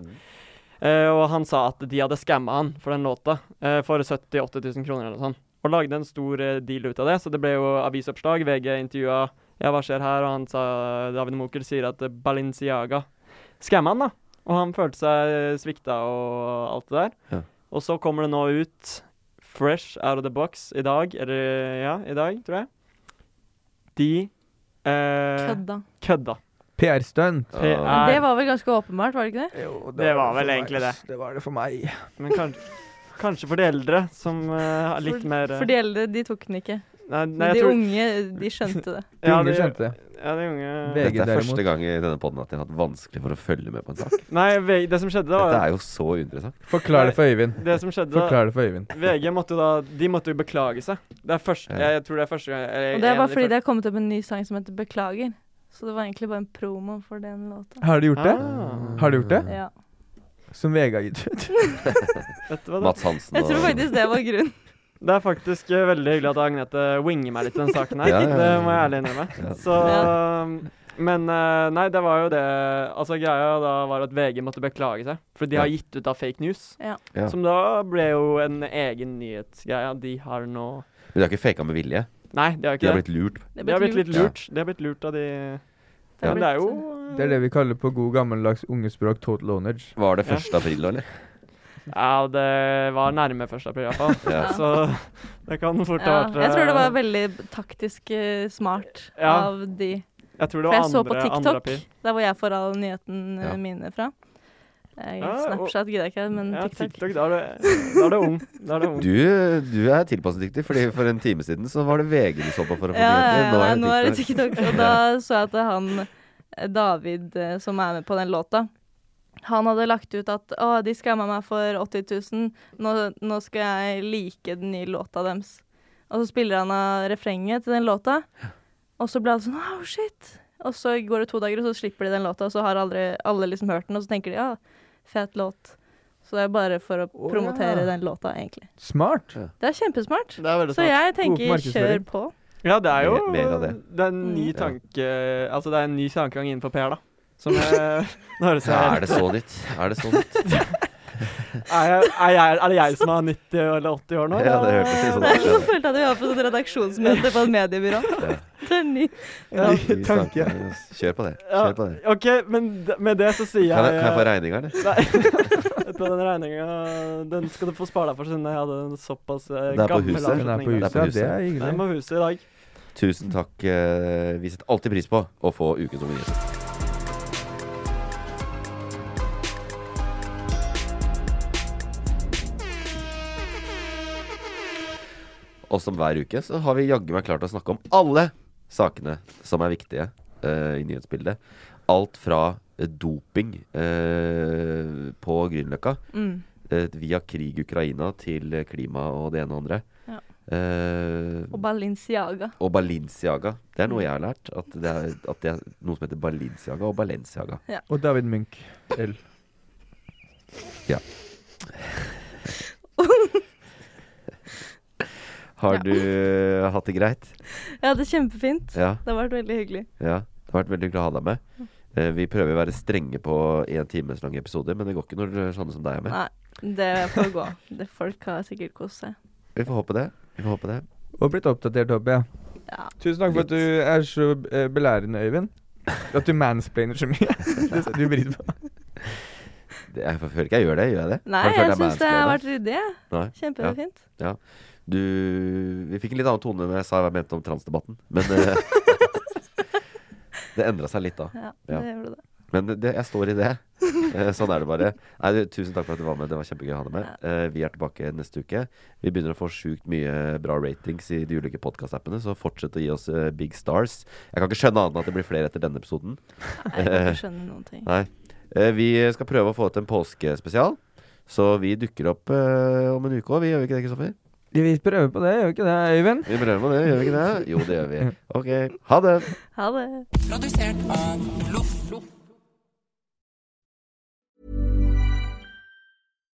[SPEAKER 6] Eh, og han sa at de hadde skamma han for den låta eh, for 70 000-80 000 kroner eller noe sånt. Og lagde en stor eh, deal ut av det, så det ble jo avisoppslag. VG intervjua ja, hva skjer her, og han sa David Moker sier at eh, Balenciaga skamma han, da. Og han følte seg eh, svikta og alt det der.
[SPEAKER 1] Ja.
[SPEAKER 6] Og så kommer det nå ut Fresh Out of the Box i dag, eller ja, i dag, tror jeg. De eh,
[SPEAKER 4] Kødda.
[SPEAKER 6] kødda.
[SPEAKER 2] PR-stunt.
[SPEAKER 6] Det
[SPEAKER 1] Ah.
[SPEAKER 4] Det
[SPEAKER 6] er
[SPEAKER 4] var vel ganske åpenbart, var det ikke det?
[SPEAKER 6] Det var vel egentlig det.
[SPEAKER 2] Det var det for meg.
[SPEAKER 6] Men kanskje, kanskje for de eldre, som eh, har litt mer eh,
[SPEAKER 4] For de eldre, de tok den ikke.
[SPEAKER 6] Nei,
[SPEAKER 4] Men
[SPEAKER 6] nei, jeg
[SPEAKER 4] de
[SPEAKER 6] tror
[SPEAKER 4] unge, de skjønte det.
[SPEAKER 2] De
[SPEAKER 6] Ja,
[SPEAKER 2] unge
[SPEAKER 6] de-
[SPEAKER 2] skjønte det.
[SPEAKER 6] Ja, de unge
[SPEAKER 2] VG
[SPEAKER 1] Dette er
[SPEAKER 2] derimot.
[SPEAKER 1] første gang i denne podden at jeg har hatt vanskelig for å følge med på en sak.
[SPEAKER 6] Nei, ve- det som skjedde, da
[SPEAKER 1] Dette
[SPEAKER 6] var
[SPEAKER 1] er jo så uinteressant.
[SPEAKER 2] Forklar det for Øyvind.
[SPEAKER 6] Det som skjedde da
[SPEAKER 2] Forklar det for Øyvind.
[SPEAKER 6] VG måtte jo da De måtte jo beklage seg. Det er første
[SPEAKER 1] Ja.
[SPEAKER 6] Jeg tror det er første gang eller
[SPEAKER 4] Og det
[SPEAKER 6] en av
[SPEAKER 4] var fordi
[SPEAKER 6] de første-
[SPEAKER 4] det har kommet opp en ny sang som heter Beklager. Så det var egentlig bare en promo for den låta.
[SPEAKER 2] Har du gjort det?
[SPEAKER 6] Ah,
[SPEAKER 2] Har du gjort det?
[SPEAKER 4] Ja.
[SPEAKER 2] Som VG har gitt ut.
[SPEAKER 6] vet du hva da?
[SPEAKER 1] Mats Hansen
[SPEAKER 4] Jeg tror faktisk det var grunnen.
[SPEAKER 6] Det er faktisk eh, veldig hyggelig at Agnete winger meg litt i denne saken her.
[SPEAKER 1] Ja, ja, ja.
[SPEAKER 6] Det må jeg ærlig innrømme. Så Men eh, nei, det var jo det Altså Greia da var at VG måtte beklage seg, for de har
[SPEAKER 1] Ja.
[SPEAKER 6] gitt ut av fake news.
[SPEAKER 4] Ja.
[SPEAKER 1] Ja.
[SPEAKER 6] Som da ble jo en egen nyhetsgreie. De har nå
[SPEAKER 1] Men de har ikke faka med vilje.
[SPEAKER 6] Nei, de har
[SPEAKER 1] De
[SPEAKER 6] ikke
[SPEAKER 1] har
[SPEAKER 6] det.
[SPEAKER 1] blitt lurt.
[SPEAKER 4] Det
[SPEAKER 6] De har blitt litt
[SPEAKER 1] lurt.
[SPEAKER 6] lurt. De har blitt lurt av de
[SPEAKER 4] Det
[SPEAKER 6] Men det er jo
[SPEAKER 2] Det er det vi kaller på god gammeldags ungespråk total ownage.
[SPEAKER 1] Var det
[SPEAKER 6] Ja.
[SPEAKER 1] 1. april, da, eller?
[SPEAKER 6] Ja, det var nærme 1. april i hvert fall.
[SPEAKER 1] Ja.
[SPEAKER 6] Så det kan fort
[SPEAKER 4] Ja,
[SPEAKER 6] ha vært
[SPEAKER 4] jeg tror det var
[SPEAKER 6] eh,
[SPEAKER 4] veldig taktisk eh, smart
[SPEAKER 6] Ja.
[SPEAKER 4] av de.
[SPEAKER 6] Jeg tror det
[SPEAKER 4] For
[SPEAKER 6] var
[SPEAKER 4] jeg så på
[SPEAKER 6] andre, andre
[SPEAKER 4] TikTok,
[SPEAKER 6] april.
[SPEAKER 4] der hvor jeg får all nyheten eh,
[SPEAKER 1] Ja.
[SPEAKER 4] mine fra. Eh,
[SPEAKER 6] Ja, og-
[SPEAKER 4] Snapchat gidder jeg ikke, men
[SPEAKER 6] Ja,
[SPEAKER 4] TikTok.
[SPEAKER 6] TikTok, da er det, da er det ung. Da er det ung.
[SPEAKER 1] Du, du er tilpasningsdyktig, Fordi for en time siden så var det VG du så på for å få
[SPEAKER 4] Ja, ja,
[SPEAKER 1] nyheter.
[SPEAKER 4] ja, nei, nå er det
[SPEAKER 1] TikTok.
[SPEAKER 4] TikTok. Og da så jeg at han eh, David, eh, som er med på den låta, han hadde lagt ut at å, de skamma meg for 80 000, nå, nå skal jeg like den nye låta deres. Og så spiller han av refrenget til den låta, og så ble alle sånn oh shit. Og så går det to dager, og så slipper de den låta, og så har aldri, alle liksom hørt den, og så tenker de ja, fet låt. Så det er bare for å promotere den låta, egentlig.
[SPEAKER 2] Smart.
[SPEAKER 4] Det er kjempesmart.
[SPEAKER 6] Det er veldig
[SPEAKER 4] Så
[SPEAKER 6] smart.
[SPEAKER 4] jeg
[SPEAKER 2] God
[SPEAKER 4] tenker
[SPEAKER 2] markedsføring.
[SPEAKER 4] kjør på.
[SPEAKER 6] Ja, det er jo
[SPEAKER 1] Mer- mer av det.
[SPEAKER 6] det er en ny
[SPEAKER 1] Ja.
[SPEAKER 6] tanke Altså, det er en ny tankegang innenfor PR, da. Som jeg Nå høres
[SPEAKER 1] Ja,
[SPEAKER 6] jeg
[SPEAKER 1] er det så nytt? Er det så nytt?
[SPEAKER 6] er, jeg, er, jeg, er det jeg som er 90 eller 80 år nå?
[SPEAKER 1] Ja, det hørtes litt sånn
[SPEAKER 4] Nei,
[SPEAKER 1] ut.
[SPEAKER 4] Nå følte jeg at vi var på sånn redaksjonsmøte på et mediebyrå. Det er ny.
[SPEAKER 6] Ja,
[SPEAKER 1] Fy
[SPEAKER 6] tanke.
[SPEAKER 1] søren. Kjør på det.
[SPEAKER 6] Ja,
[SPEAKER 1] Kjør på det.
[SPEAKER 6] OK, men d- med det så sier jeg eh,
[SPEAKER 1] Kan jeg, kan jeg få regninga, eller?
[SPEAKER 6] Vet du, den regninga Den skal du få spare deg for, siden jeg hadde en såpass
[SPEAKER 1] Det
[SPEAKER 6] eh,
[SPEAKER 1] er på
[SPEAKER 6] gammel
[SPEAKER 1] huset.
[SPEAKER 2] Den er på
[SPEAKER 6] avslutning.
[SPEAKER 1] Det er på huset.
[SPEAKER 2] huset. Ja, det er
[SPEAKER 6] Den er
[SPEAKER 2] hyggelig.
[SPEAKER 6] på huset i dag.
[SPEAKER 1] Tusen takk. eh, Vi setter alltid pris på å få ukens unge nyheter. Og som hver uke så har vi jaggu meg klart å snakke om alle sakene som er viktige eh, i nyhetsbildet. Alt fra eh, doping eh, på Grünerløkka
[SPEAKER 4] Mm.
[SPEAKER 1] eh, via krig i Ukraina til eh, klima og det ene og andre.
[SPEAKER 4] Ja.
[SPEAKER 1] Eh,
[SPEAKER 4] Og Balinciaga.
[SPEAKER 1] og Balinciaga. Det
[SPEAKER 4] Mm.
[SPEAKER 1] er noe jeg har lært. At det er, at det er noe som heter Balinciaga og Balenciaga.
[SPEAKER 4] Ja.
[SPEAKER 2] Og David Munch. L.
[SPEAKER 1] Ja. Har du eh, hatt det greit?
[SPEAKER 4] Ja, det er kjempefint.
[SPEAKER 1] Ja.
[SPEAKER 4] Det har vært veldig hyggelig.
[SPEAKER 1] Ja, det har vært veldig hyggelig å ha deg med.
[SPEAKER 4] Mm.
[SPEAKER 1] Eh, vi prøver å være strenge på én times lange episoder, men det går ikke når eh, sånne som deg er med.
[SPEAKER 4] Nei, det får gå. Det folk har sikkert kost seg.
[SPEAKER 1] Vi får håpe det. Vi får håpe det.
[SPEAKER 2] Og blitt oppdatert, håper jeg. Tusen takk for at du er så eh, belærende, Øyvind. At du mansplainer så mye. det setter vi pris på.
[SPEAKER 1] det jeg føler ikke jeg gjør det. Gjør jeg det?
[SPEAKER 4] Nei,
[SPEAKER 1] Har du følt
[SPEAKER 4] jeg
[SPEAKER 1] deg
[SPEAKER 4] syns det har
[SPEAKER 1] mansplainet?
[SPEAKER 4] vært ryddig. jeg.
[SPEAKER 1] Nei?
[SPEAKER 4] Kjempefint.
[SPEAKER 1] Ja. ja. Du Vi fikk en litt annen tone når jeg sa hva jeg mente om transdebatten, men eh, Det endra seg litt da.
[SPEAKER 4] Ja, det gjorde det.
[SPEAKER 1] Men det, det, jeg står i det. Eh, sånn er det bare. Nei, du, tusen takk for at du var med. Det var kjempegøy å ha deg med. Eh, vi er tilbake neste uke. Vi begynner å få sjukt mye bra ratings i de ulike podkastappene, så fortsett å gi oss eh, big stars. Jeg kan ikke skjønne annet enn at det blir flere etter denne episoden.
[SPEAKER 4] Nei, jeg kan ikke skjønne noen ting.
[SPEAKER 1] Nei. Eh, vi skal prøve å få til en påskespesial, så vi dukker opp eh, om en uke òg. Vi gjør vi ikke det, Kristoffer?
[SPEAKER 2] Vi prøver på det, gjør vi ikke det, Øyvind?
[SPEAKER 1] Vi prøver på det, gjør vi ikke det? Jo, det gjør vi. OK. Ha det.
[SPEAKER 4] Ha det.
[SPEAKER 7] Produsert av Loff.